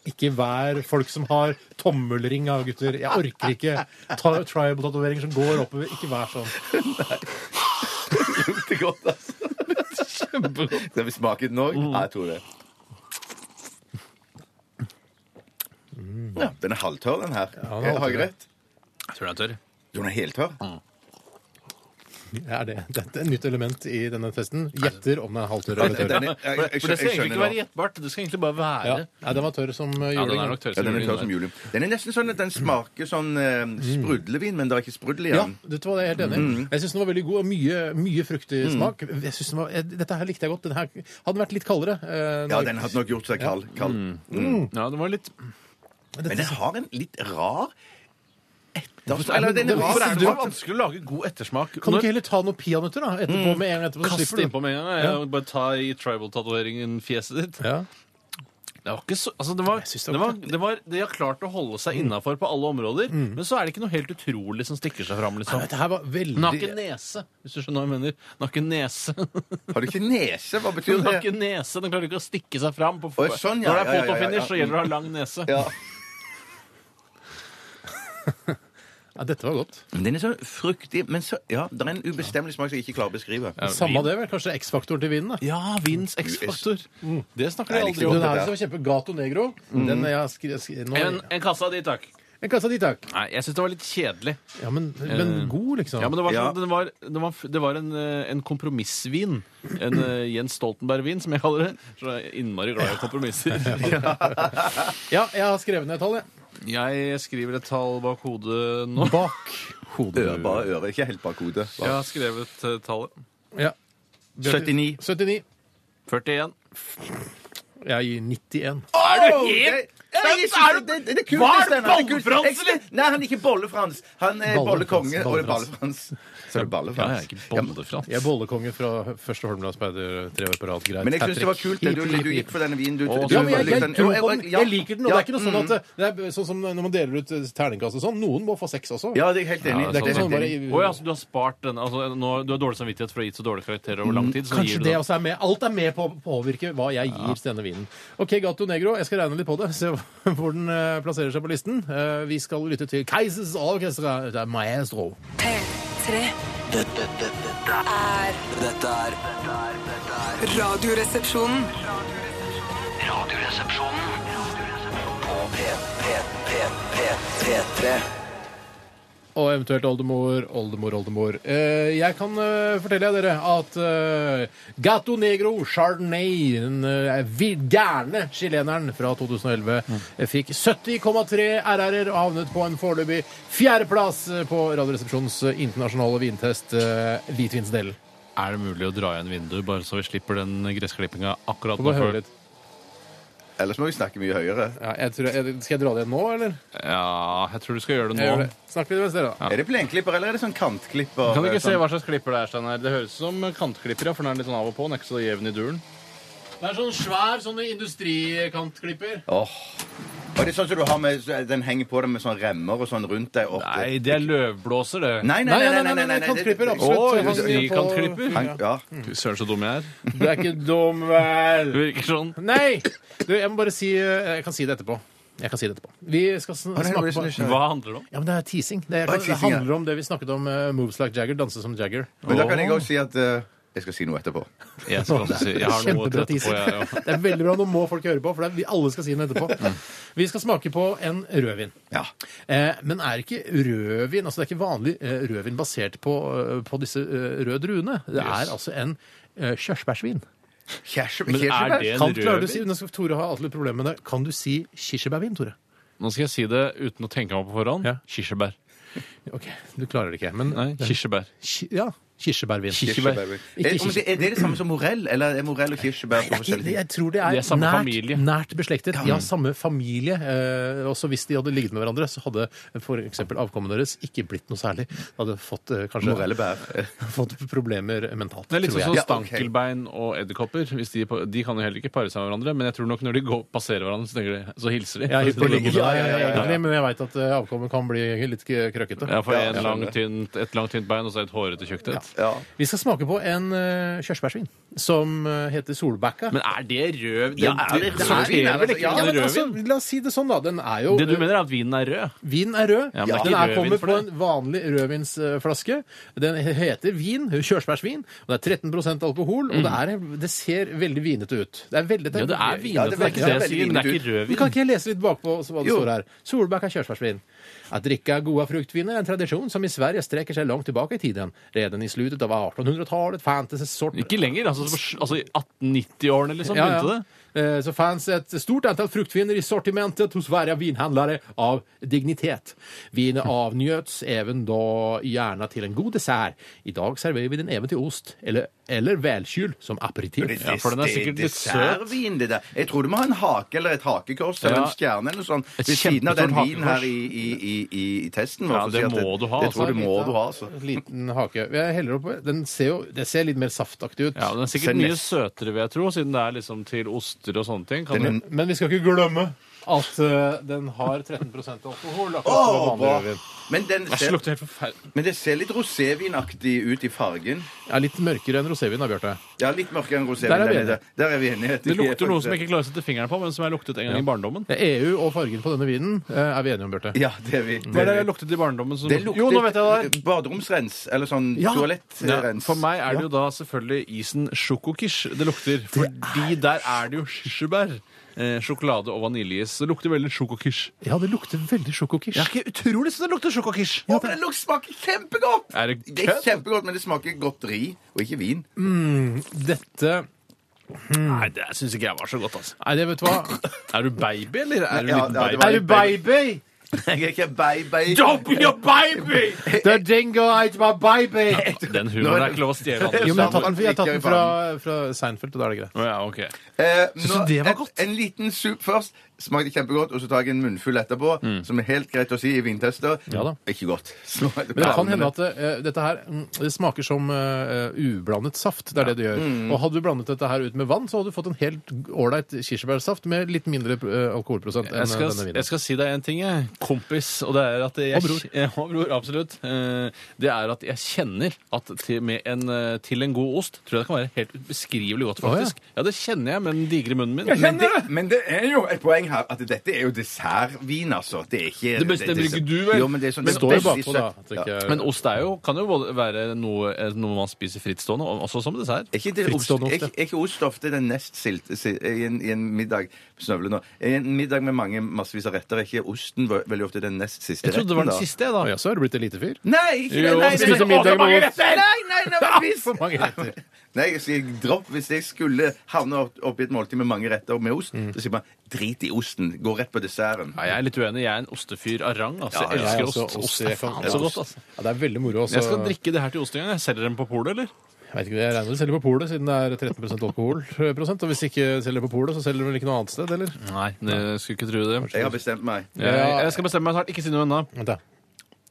Speaker 2: ikke vær folk som har tommelring av gutter. Jeg orker ikke ta tribal-tatoveringer som går oppover. Ikke vær sånn.
Speaker 3: Det er godt, altså. Skal vi smake den òg?
Speaker 1: Mm.
Speaker 3: Ja, jeg tror det.
Speaker 1: Mm.
Speaker 3: Ja, den er halvtørr, den her.
Speaker 2: den er
Speaker 3: har jeg
Speaker 2: halvtørr.
Speaker 3: rett?
Speaker 1: Jeg tror det er tørr.
Speaker 3: Jo, den er heltørr.
Speaker 2: Er det, dette er et nytt element i denne testen. Gjetter om den er halvtørr eller
Speaker 3: Den
Speaker 2: tørr.
Speaker 3: er- jeg-
Speaker 1: For
Speaker 3: jeg- jeg
Speaker 1: det skal egentlig
Speaker 3: skjønner
Speaker 1: ikke være
Speaker 3: nå.
Speaker 1: gjettbart. Det skal egentlig bare være
Speaker 2: Ja. Nei, den var tørr som eh,
Speaker 1: Ja, den
Speaker 2: juling.
Speaker 1: er
Speaker 2: da.
Speaker 1: nok tørr
Speaker 3: Ja,
Speaker 1: som
Speaker 3: den er
Speaker 1: juling,
Speaker 3: tørr som
Speaker 1: den.
Speaker 3: julium. Den er nesten sånn at den smaker sånn eh,
Speaker 1: Mm.
Speaker 3: sprudlevin, men det er ikke sprudel i
Speaker 2: Ja,
Speaker 3: den.
Speaker 2: vet du hva, det er jeg helt enig. i. Jeg syns den var veldig god og mye, mye fruktig
Speaker 1: Mm.
Speaker 2: smak. Jeg synes den var, jeg, dette her likte jeg godt. Den her hadde den vært litt kaldere. eh,
Speaker 3: Ja,
Speaker 2: når-
Speaker 3: den hadde nok gjort seg kald. kald.
Speaker 1: Mm. Ja, det var litt...
Speaker 3: Men den har en litt rar etterspørsel.
Speaker 1: Eller,
Speaker 3: Eller den er rar
Speaker 1: Hvorfor er det så
Speaker 3: smak.
Speaker 1: vanskelig å lage god ettersmak?
Speaker 2: Kan du
Speaker 1: Når-
Speaker 2: ikke heller ta noen peanøtter da, etterpå med en gang? etterpå, så
Speaker 1: Mm. Kast
Speaker 2: slipper du.
Speaker 1: innpå med en gang. jeg. Bare ta i tribal-tatoveringen fjeset ditt.
Speaker 2: Ja.
Speaker 1: Det var ikke så, altså det var,
Speaker 2: Jeg synes det
Speaker 1: det
Speaker 2: var Mm.
Speaker 1: var, det var, de har klart å holde seg innafor på alle områder, men så er det ikke noe helt utrolig som stikker seg fram.
Speaker 2: Ja,
Speaker 1: Liksom.
Speaker 2: Dette her var veldig
Speaker 1: Naken nese, hvis du skjønner hva jeg mener. Naken nese.
Speaker 3: Har du ikke nese? Hva betyr det?
Speaker 1: Naken nese, Den klarer ikke å stikke seg fram. På
Speaker 3: Å, sånn, ja,
Speaker 1: Når det
Speaker 3: ja,
Speaker 1: er
Speaker 3: ja, ja, ja.
Speaker 1: fotofinish, så gjelder det å ha lang nese.
Speaker 3: Ja.
Speaker 2: Ja, dette var godt.
Speaker 3: Den er så fruktig, men så Ja, det er en ubestemmelig smak som jeg ikke klarer å beskrive.
Speaker 1: Ja,
Speaker 2: Samme av
Speaker 1: vin.
Speaker 2: det, vel. Kanskje X-faktoren til vinen. da.
Speaker 1: Ja, vins X-faktor. Det snakker de
Speaker 3: Nei,
Speaker 1: aldri
Speaker 3: liksom.
Speaker 1: om.
Speaker 2: Den her som var kjempe Gato Negro.
Speaker 3: Mm.
Speaker 2: Den jeg skri, skri, nå,
Speaker 1: En, en kasse av de, eh, takk.
Speaker 2: En kasse av de, takk.
Speaker 1: Nei, jeg syns det var litt kjedelig.
Speaker 2: Ja, men, men god, liksom.
Speaker 1: Ja, men det var,
Speaker 3: Sånn. Eh. Ja.
Speaker 1: sånn, det var, det var, det var en, eh, en kompromissvin. En eh, Jens Stoltenberg-vin, som jeg kaller det. Så jeg er innmari glad i kompromisser.
Speaker 2: Ja, jeg har skrevet ned et tall, jeg.
Speaker 1: Jeg skriver et tall bak hodet nå.
Speaker 2: Bak
Speaker 1: hodet?
Speaker 3: Øre, bare øre, ikke helt bak hodet.
Speaker 1: Jeg har skrevet eh, tallet.
Speaker 2: ja.
Speaker 3: 79.
Speaker 2: 79.
Speaker 1: 41.
Speaker 2: Jeg gir 91.
Speaker 3: Er
Speaker 1: du helt- Er du-
Speaker 3: det, det, det er kult,
Speaker 1: Hva er
Speaker 3: Steinar, det er kult.
Speaker 1: Bollefrans,
Speaker 3: Jeg- Nei, han er ikke Bollefrans. Han er
Speaker 2: Ballefrans,
Speaker 3: Bollekonge og det er
Speaker 2: Ballefrans.
Speaker 3: Ballefrans. Så er det
Speaker 1: Ja,
Speaker 3: Ballefrans.
Speaker 1: jeg er ikke bollefrans.
Speaker 2: Jeg er bollekonge fra første Holmland Speider tre år på rad. Greit.
Speaker 3: Men jeg syns det var kult
Speaker 2: Hat-trick.
Speaker 3: det du,
Speaker 2: Hipp, hipp,
Speaker 3: du
Speaker 2: hipp.
Speaker 3: gikk for denne vinen. Du, du,
Speaker 1: Å,
Speaker 3: du,
Speaker 2: Ja, men jeg, jeg,
Speaker 3: den-
Speaker 2: tror
Speaker 3: Ja,
Speaker 2: på den.
Speaker 3: ja. Mm.
Speaker 2: jeg liker den, og det er ikke noe sånn
Speaker 3: Ja,
Speaker 2: at det- det er sånn som når man deler ut terningkast og sånn. Noen må få seks også.
Speaker 3: Ja, det er jeg helt enig. i.
Speaker 1: Ja,
Speaker 3: Det er
Speaker 2: det er ikke
Speaker 3: helt
Speaker 2: sånn bare
Speaker 3: enig i.
Speaker 1: Oi, altså, du har spart den altså, nå, Du har dårlig samvittighet for å ha gitt så dårlige karakterer over lang tid. Så
Speaker 2: Kanskje
Speaker 1: gir du
Speaker 2: det
Speaker 1: den.
Speaker 2: også er med. Alt er med på å påvirke hva jeg gir til denne vinen. OK, Gato Negro, jeg skal regne litt på det, se hvor den eh, plasserer seg på listen. Eh, Vi skal lytte til Keisers Orchestra det er Maestro.
Speaker 4: P3.
Speaker 5: Dette, dette, dette er Dette er dette er- dette er
Speaker 4: Radioresepsjonen.
Speaker 5: Radioresepsjonen på P, P, P, P, P3.
Speaker 2: Og eventuelt oldemor, oldemor, oldemor. Eh, jeg kan eh, fortelle dere at eh, Gato Negro Chardonnay, den eh, vi- gærne chileneren fra 2011, eh, fikk 70,3 RR-er og havnet på en foreløpig fjerdeplass eh, på Radioresepsjonens eh, internasjonale vintest eh, hvitvinsdelen.
Speaker 1: Er det mulig å dra igjen vinduet, bare så vi slipper den gressklippinga akkurat
Speaker 2: Få
Speaker 1: nå?
Speaker 2: bare høre litt.
Speaker 3: Ellers må vi snakke mye høyere.
Speaker 2: Ja, jeg tror jeg, skal jeg dra det igjen nå, eller?
Speaker 1: Ja, jeg tror du skal gjøre det
Speaker 2: Jeg gjør
Speaker 1: nå.
Speaker 2: det. Snakk litt mens dere, da.
Speaker 3: Er det plenklipper, eller er det sånn kantklipper?
Speaker 1: Kan du ikke se
Speaker 3: sånn-
Speaker 1: hva slags klipper det er, Steinar? Det høres ut som kantklipper, ja, for den er litt sånn av og på. Den er ikke så jevn i duren.
Speaker 2: Det er sånn svær sånne industrikantklipper.
Speaker 3: Åh. Og det er sånn som du har med så Den henger på deg med sånn remmer og sånn rundt deg oppe.
Speaker 1: Nei, det er løvblåser, det.
Speaker 3: Nei, nei, nei, nei, nei, nei, nei,
Speaker 2: kantklipper,
Speaker 3: det-
Speaker 2: absolutt.
Speaker 1: Å,
Speaker 2: Hang på-
Speaker 1: industrikantklipper?
Speaker 3: Hang- Ja.
Speaker 1: Fy søren, så dum jeg er.
Speaker 2: Du er ikke dum, vel?
Speaker 1: Det virker sånn.
Speaker 2: Nei! Du, jeg må bare si eh, Jeg kan si det etterpå. Jeg kan si det etterpå. Vi skal sn
Speaker 3: nei, det
Speaker 2: snakke
Speaker 3: blir
Speaker 2: på
Speaker 3: så nysgjerrig.
Speaker 1: Hva handler det om?
Speaker 2: Ja, men det er teasing. Det, er,
Speaker 3: Bare
Speaker 2: det
Speaker 3: teasing, ja.
Speaker 2: handler om det vi snakket om eh, Moves Like Jagger, danse som Jagger.
Speaker 3: Men da kan jeg òg si at eh, jeg skal si noe etterpå.
Speaker 1: Jeg, skal også si, jeg har noe til
Speaker 2: Kjempebra
Speaker 1: etterpå,
Speaker 2: teasing.
Speaker 1: jeg òg.
Speaker 2: Det er veldig bra. Nå må folk høre på, for det er, vi alle skal si den etterpå. Vi skal smake på en rødvin.
Speaker 3: Ja.
Speaker 2: Eh, men er ikke rødvin altså det er ikke vanlig eh, rødvin basert på, eh, på disse eh, røde druene? Det er
Speaker 1: Yes.
Speaker 2: altså en eh, kirsebærsvin.
Speaker 3: Kjærsebær?
Speaker 1: Men er det en
Speaker 2: Kan, klarer du å si,
Speaker 1: rødvin?
Speaker 2: nå skal Tore ha alltid litt problemer med det. Kan du si kirsebærvin, Tore?
Speaker 1: Nå skal jeg si det uten å tenke meg om på forhånd.
Speaker 2: Ja.
Speaker 1: Kirsebær.
Speaker 2: Ok, Du klarer det ikke. Men
Speaker 1: Nei, kirsebær.
Speaker 2: Ki- Ja. Kirsebærvin.
Speaker 1: Kirsebær.
Speaker 3: Kirsebær.
Speaker 2: Ikke
Speaker 3: Er, Eh, om det, er det det samme som morell, eller er morell og kirsebær på
Speaker 2: Jeg,
Speaker 3: forskjellige
Speaker 2: jeg tror det er,
Speaker 1: De er samme
Speaker 2: nært,
Speaker 1: familie.
Speaker 2: nært beslektet. Ja, samme familie. Eh, også hvis de hadde ligget med hverandre, så hadde f.eks. avkommet deres ikke blitt noe særlig. De hadde fått eh, kanskje
Speaker 3: Morellebær. Eh,
Speaker 2: fått problemer mentalt,
Speaker 1: Det er litt
Speaker 2: tror
Speaker 1: sånn
Speaker 2: jeg.
Speaker 1: som
Speaker 3: Ja, ok.
Speaker 1: stankelbein og edderkopper. Hvis De, på- de kan jo heller ikke pare seg med hverandre, men jeg tror nok når de går, passerer hverandre, så, tenker de, så hilser de.
Speaker 2: Jeg er hypp på å ligge med
Speaker 1: ja,
Speaker 2: deg, egentlig, men jeg veit at eh, avkommet kan bli litt k- krøkkete.
Speaker 1: for
Speaker 3: Ja,
Speaker 1: en
Speaker 3: jeg
Speaker 1: lang,
Speaker 3: skjønner.
Speaker 1: tynt, Et langt, tynt bein og så et hårete, tjukt et.
Speaker 3: Ja.
Speaker 2: Vi skal smake på en eh, kirsebærsvin som eh, heter Solbækka.
Speaker 1: Men er det rød?
Speaker 3: Ja, er det
Speaker 1: det
Speaker 3: rød
Speaker 1: er
Speaker 3: vin, er
Speaker 1: vel
Speaker 3: det-
Speaker 1: ikke
Speaker 3: ja,
Speaker 1: en
Speaker 2: men
Speaker 1: rød
Speaker 2: altså,
Speaker 1: vin?
Speaker 2: la oss si det sånn, da. Den er jo
Speaker 1: Det du mener er at vinen er rød?
Speaker 2: Vinen er rød.
Speaker 1: Ja, men det er
Speaker 2: Den
Speaker 1: ikke
Speaker 2: er
Speaker 1: rødvin
Speaker 2: kommet
Speaker 1: for
Speaker 2: på
Speaker 1: det.
Speaker 2: en vanlig rødvinsflaske. Den heter vin, kjørsbærsvin, og det er 13 alkohol, og det, er, det ser veldig vinete ut. Det er veldig
Speaker 1: Mm. Ja, det er vinete.
Speaker 3: Ja,
Speaker 1: det,
Speaker 3: det
Speaker 1: er ikke det jeg
Speaker 3: veldig
Speaker 1: sier, men det er
Speaker 3: vinete
Speaker 1: ikke rødvin.
Speaker 2: Men Kan ikke jeg lese litt bakpå så hva det
Speaker 3: Jo.
Speaker 2: står her? Solbæk er kjørsbærsvin. At drikke gode fruktviner er en tradisjon som i Sverige strekker seg langt tilbake i tiden. Redan i slutet av 1800-tallet fantes et sort
Speaker 1: Ikke lenger. Altså, så- altså i 1890-årene, liksom.
Speaker 2: Ja,
Speaker 1: Begynte
Speaker 2: ja.
Speaker 1: det.
Speaker 2: Eh, Så fanns ett stort antal fruktviner i sortimentet hos varje vinhandlare av dignitet. Vin avnjöts även då gärna till en god dessert. Idag serverar vi den även till ost eller, eller välkyld som aperitif.
Speaker 1: Ja, for den er
Speaker 3: Det-
Speaker 1: sikkert
Speaker 3: det er
Speaker 1: litt søt.
Speaker 3: dessertvin, det der. Jeg tror du må ha en hake eller et hakekors eller
Speaker 1: Ja.
Speaker 3: en stjerne eller sånn
Speaker 1: Et
Speaker 3: ved siden av den
Speaker 1: kjempestort
Speaker 3: vinen her i, i, i, i, i testen. vår,
Speaker 1: Ja,
Speaker 3: for å
Speaker 1: det
Speaker 3: si at
Speaker 1: må du ha,
Speaker 3: Det tror jeg
Speaker 2: altså.
Speaker 3: du må du ha, altså.
Speaker 2: Liten hake. Jeg heller opp, den ser jo det ser litt mer saftaktig ut.
Speaker 1: Ja, Den er
Speaker 3: Ser
Speaker 1: sikkert mye
Speaker 3: nest-
Speaker 1: søtere, vil jeg tro, siden det er liksom til oster og sånne ting. Kan
Speaker 3: Den er-
Speaker 1: det-
Speaker 2: Men vi skal ikke glemme at eh, den har 13 alkohol. akkurat som
Speaker 3: Åh,
Speaker 2: vanlig
Speaker 3: bra.
Speaker 2: rødvin.
Speaker 3: Men, den
Speaker 1: Æsj, det
Speaker 3: ser,
Speaker 1: lukter helt forferdelig.
Speaker 3: men det ser litt rosévinaktig ut i fargen.
Speaker 2: Ja, litt mørkere enn rosévin, da, Bjarte.
Speaker 3: Ja, litt mørkere enn rosévin.
Speaker 2: Der er vi
Speaker 3: den
Speaker 2: enige.
Speaker 3: Der er vi enige.
Speaker 1: Det lukter noe som jeg ikke klarer å sette fingeren på, men som jeg luktet en gang i barndommen.
Speaker 2: Det er EU E og fargen på denne vinen eh, er vi enige om, Bjarte.
Speaker 3: Ja, det er vi.
Speaker 1: Hva er det
Speaker 3: er
Speaker 1: jeg
Speaker 3: vi.
Speaker 1: luktet i barndommen som
Speaker 3: Det lukter
Speaker 1: Jo, nå vet jeg det!
Speaker 3: baderomsrens, eller sånn
Speaker 2: Ja.
Speaker 1: Ja,
Speaker 3: toalettrens.
Speaker 1: for meg er det jo da selvfølgelig isen sjokokish det lukter. Fordi der er det jo kirsebær. eh, Sjokolade og vaniljeis. Det lukter veldig sjokokish.
Speaker 2: Ja, det lukter veldig sjokokish.
Speaker 1: Jeg er ikke utrolig så det lukter sjokokish!
Speaker 3: Å, men det lukter smaker kjempegodt!
Speaker 1: Er det
Speaker 3: Det er
Speaker 1: kødd?
Speaker 3: kjempegodt, men det smaker godteri, og ikke vin.
Speaker 2: Dette
Speaker 1: Nei, det syns ikke jeg var så godt, altså.
Speaker 2: Nei, det vet du hva.
Speaker 1: Er du baby, eller er du
Speaker 3: Ja,
Speaker 1: liten
Speaker 3: ja, det
Speaker 1: baby?
Speaker 3: var litt baby.
Speaker 2: baby?
Speaker 3: Jeg er ikke baby.
Speaker 1: be a baby!
Speaker 2: The dingo ate my baby!
Speaker 1: Den humoren er ikke lov å stjele. altså.
Speaker 2: Jo,
Speaker 1: Anders.
Speaker 2: men
Speaker 3: Samme
Speaker 2: jeg har tatt den, jeg har tatt den
Speaker 3: drikker i
Speaker 2: fra, fra Seinfeld, og da er det greit.
Speaker 1: Å, Ja, ok.
Speaker 3: Eh,
Speaker 1: du
Speaker 3: nå-
Speaker 1: det var
Speaker 3: et-
Speaker 1: godt?
Speaker 3: En liten sup først. Smakte kjempegodt. Og så tar jeg en munnfull etterpå, som er helt greit å si i vintester.
Speaker 2: Ja da.
Speaker 3: Ikke godt. Smakte
Speaker 2: Men det kan
Speaker 3: blandende.
Speaker 2: hende at eh, dette her mm, det smaker som eh, ublandet saft. Det er det det gjør. Og hadde du blandet dette her ut med vann, så hadde du fått en helt ålreit kirsebærsaft med litt mindre eh, alkoholprosent enn
Speaker 1: Jeg skal,
Speaker 2: denne
Speaker 1: jeg
Speaker 2: vinen.
Speaker 1: skal si deg en ting, jeg, kompis. Og det er at jeg,
Speaker 2: Og bror.
Speaker 1: Ja, og bror, absolutt. Eh, Det er at jeg kjenner at til, med en, eh, til en god ost tror jeg det kan være helt ubeskrivelig godt,
Speaker 2: Å, ja.
Speaker 1: faktisk. Ja, det kjenner jeg med den digre munnen min.
Speaker 3: men det, men det er jo et poeng her at dette er jo dessertvin, altså. Det er ikke
Speaker 1: Det bestemmer ikke du, vel?
Speaker 3: Jo, men det er sånn,
Speaker 2: Men
Speaker 3: det er
Speaker 2: står jo
Speaker 3: veldig
Speaker 2: bakpå, da.
Speaker 3: søtt.
Speaker 2: At det ikke
Speaker 3: Ja.
Speaker 2: er-
Speaker 1: Men ost er jo, kan jo både være noe, eh, noe man spiser frittstående, og også som dessert.
Speaker 3: Er ikke, det ost,
Speaker 2: Frittstående
Speaker 3: er,
Speaker 2: ost,
Speaker 3: ikke- er ikke ost ofte den nest silte si- i, en- i en middag Snøvle nå. I en middag med mange massevis av retter er ikke osten ve- veldig ofte den nest siste
Speaker 1: Jeg trodde det var den
Speaker 3: da?
Speaker 1: siste, jeg, da.
Speaker 2: Å ja, så er du blitt elitefyr.
Speaker 3: Nei! ikke det,
Speaker 1: Jo,
Speaker 3: nei,
Speaker 1: vi
Speaker 3: nei, nei,
Speaker 1: spiser middag
Speaker 3: å,
Speaker 1: med
Speaker 3: mange
Speaker 1: ost.
Speaker 3: retter! Nei, nei, nei, men hvis-
Speaker 2: For mange retter.
Speaker 3: Nei, jeg sier dropp. Hvis jeg skulle havne opp- oppi et måltid med mange retter med ost, så sier man drit i osten. Gå rett på desserten.
Speaker 1: Mm. Nei, jeg er litt uenig. Jeg er en ostefyr av rang.
Speaker 3: Ja,
Speaker 1: Altså. Jeg
Speaker 3: jeg
Speaker 2: Jeg er
Speaker 1: elsker
Speaker 2: også
Speaker 1: ost. Ost
Speaker 2: jeg
Speaker 1: er
Speaker 2: kan-
Speaker 1: faen så godt, altså.
Speaker 2: Ja, det er veldig moro. Også.
Speaker 1: Jeg skal drikke det her til ost en gang. Jeg selger dem på polet, eller?
Speaker 2: Jeg vet ikke, jeg regner med de selger på polet, siden det er 13 alkoholprosent. Og hvis de ikke selger på polet, så selger de vel ikke noe annet sted, eller?
Speaker 1: Nei, det skulle ikke tro det.
Speaker 3: Jeg har bestemt meg.
Speaker 1: Jeg, jeg skal bestemme meg snart. Ikke si noe ennå.
Speaker 2: Vent, da.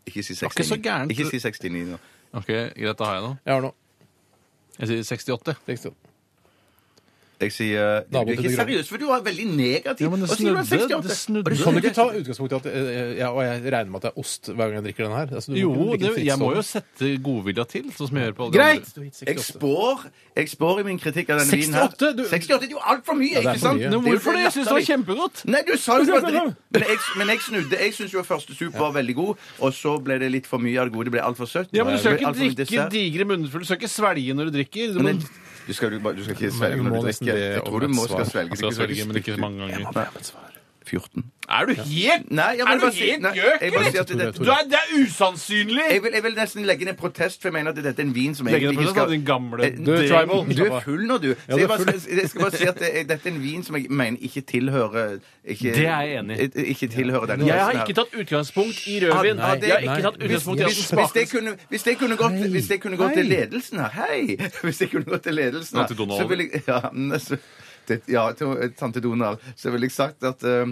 Speaker 3: Ikke si
Speaker 1: var ikke så
Speaker 3: 69.
Speaker 1: gærent.
Speaker 3: Ikke si 69 nå.
Speaker 1: Ok, Greit, da har jeg noe.
Speaker 2: Jeg har noe.
Speaker 1: Jeg sier 68.
Speaker 2: Tekst opp.
Speaker 3: Jeg sier Du
Speaker 2: Nabo
Speaker 3: er ikke
Speaker 2: til det grønne.
Speaker 3: seriøs, for du var veldig negativ.
Speaker 1: Ja, men det
Speaker 3: Og sier du er
Speaker 1: snudde,
Speaker 3: 68.
Speaker 1: det snudde.
Speaker 3: Og du
Speaker 2: Du kan jo ikke ta utgangspunkt i at eh, eh, ja, Og jeg regner med at det er ost hver gang jeg drikker den her. Altså, du må
Speaker 1: Jo,
Speaker 2: ikke drikke
Speaker 1: det,
Speaker 2: fritt
Speaker 1: jeg må
Speaker 2: sånn.
Speaker 1: jo sette godvilja til, sånn som jeg gjør på alle de
Speaker 2: Greit!
Speaker 1: andre.
Speaker 2: Du gikk
Speaker 3: Jeg
Speaker 2: 68.
Speaker 3: spår, jeg spår i min kritikk av denne vinen her.
Speaker 2: 68, du-
Speaker 3: 68 det er jo altfor mye,
Speaker 2: det er
Speaker 3: ikke
Speaker 2: for
Speaker 3: sant?
Speaker 2: mye.
Speaker 1: Men
Speaker 3: er jo
Speaker 1: hvorfor det? Jeg syns det var kjempegodt!
Speaker 3: Nei, du sa jo bare dritt. Men jeg, men jeg snudde. Jeg syns jo første sup var veldig god, og så ble det litt for mye av det gode. Det ble altfor søtt.
Speaker 1: Ja, men altså, Du
Speaker 3: Det ble
Speaker 1: skal ikke
Speaker 3: alt for mye
Speaker 1: drikke
Speaker 3: dessert.
Speaker 1: digre munnfulle. Du skal ikke svelge når du drikker. Du
Speaker 3: Men
Speaker 1: må,
Speaker 3: det- Du skal, du, bare- du skal ikke svelge
Speaker 2: du
Speaker 3: når
Speaker 2: må
Speaker 3: du
Speaker 2: nesten
Speaker 3: drikker.
Speaker 2: be
Speaker 3: Jeg
Speaker 2: om
Speaker 3: tror du
Speaker 2: et
Speaker 3: må
Speaker 2: svar.
Speaker 3: skal svelge.
Speaker 1: Man skal svelge, men ikke mange ganger.
Speaker 3: Nei, 14.
Speaker 1: Er du helt
Speaker 3: Nei, jeg må
Speaker 1: Er du
Speaker 3: bare si-
Speaker 1: helt
Speaker 3: nei,
Speaker 1: gjøk,
Speaker 3: jeg bare
Speaker 1: eller?
Speaker 3: sier at det-
Speaker 1: Du er, det er usannsynlig!
Speaker 3: Jeg vil, jeg vil nesten legge ned protest, for jeg mener at dette er en vin som
Speaker 1: Legge
Speaker 3: egentlig
Speaker 1: ned
Speaker 3: ikke
Speaker 1: protest,
Speaker 3: skal
Speaker 1: da, din gamle
Speaker 3: Eh,
Speaker 1: Du er tribal.
Speaker 3: Du er full nå, du. Så
Speaker 2: du er
Speaker 3: jeg, bare,
Speaker 2: full.
Speaker 3: skal- jeg skal bare si at det, er- dette er en vin som jeg mener ikke tilhører ikke,
Speaker 1: Det er jeg enig i.
Speaker 3: i. Ikke tilhører denne
Speaker 1: Jeg har
Speaker 3: festen her.
Speaker 1: ikke tatt utgangspunkt i rødvin.
Speaker 3: Ah, nei,
Speaker 1: Jeg har ikke
Speaker 2: nei.
Speaker 1: tatt utgangspunkt i at den
Speaker 3: Hvis, hvis, det
Speaker 1: smaker
Speaker 3: kunne, hvis det kunne gått, hvis det kunne gått til ledelsen her Hei! Hvis det kunne gått til ledelsen
Speaker 1: Ja, til Donald.
Speaker 3: så ville jeg ja, men så, det, ja, til eh, tante Donald. Så ville jeg sagt at eh,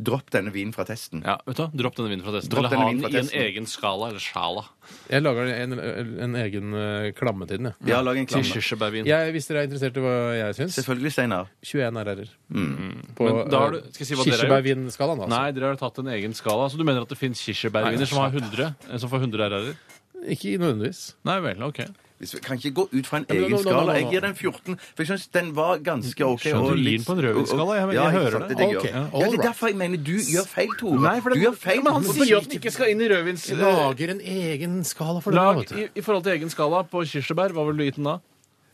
Speaker 3: dropp denne vinen fra testen.
Speaker 1: ja, vet du, hva? Dropp denne vinen fra testen.
Speaker 3: Dropp
Speaker 1: Eller
Speaker 3: denne
Speaker 1: ha
Speaker 3: vinen
Speaker 1: den
Speaker 3: fra
Speaker 1: i en
Speaker 3: testen.
Speaker 1: egen skala. Eller sjala.
Speaker 2: Jeg lager en, en, en egen eh, klamme til den, jeg.
Speaker 3: Ja, lag en
Speaker 1: Til
Speaker 3: klamme.
Speaker 1: kirsebærvin.
Speaker 2: jeg. Hvis dere er interessert i hva jeg syns
Speaker 3: Selvfølgelig, Steinar.
Speaker 2: 21 RR-er. På
Speaker 1: Mm.
Speaker 2: eh,
Speaker 1: Men da har du- skal jeg si hva dere har gjort?
Speaker 2: kirsebærvinskalaen, altså.
Speaker 1: Nei, dere har tatt en egen skala. Så du mener at det fins kirsebærviner
Speaker 2: Nei,
Speaker 1: som har 100? eh, Som får 100 RR-er?
Speaker 2: Ikke nødvendigvis.
Speaker 1: Nei vel, ok.
Speaker 3: Hvis vi kan ikke gå ut fra en
Speaker 2: men nå-
Speaker 3: egen
Speaker 2: nå- nå- nå-
Speaker 3: skala. Jeg
Speaker 2: nå.
Speaker 3: gir den 14, for jeg syns den var ganske OK.
Speaker 1: Skjønner du
Speaker 3: og
Speaker 1: gir
Speaker 3: litt-
Speaker 1: den på en rødvinsskala? Jeg- jeg
Speaker 3: Ja,
Speaker 1: hører
Speaker 3: sant,
Speaker 1: det.
Speaker 3: det.
Speaker 2: Ok,
Speaker 3: gjør jeg.
Speaker 2: all
Speaker 3: Ja, det er
Speaker 2: right.
Speaker 3: derfor jeg mener du gjør feil, Tore.
Speaker 1: Nei, for det-
Speaker 3: du gjør feil.
Speaker 1: Men han
Speaker 3: Hvorfor
Speaker 1: sier
Speaker 3: gjør
Speaker 1: at den ikke skal inn i rødvins...
Speaker 2: Lager en egen skala for det. da,
Speaker 1: Lag
Speaker 2: vet du.
Speaker 1: i, I forhold til egen skala på kirsebær, hva ville du gitt den da?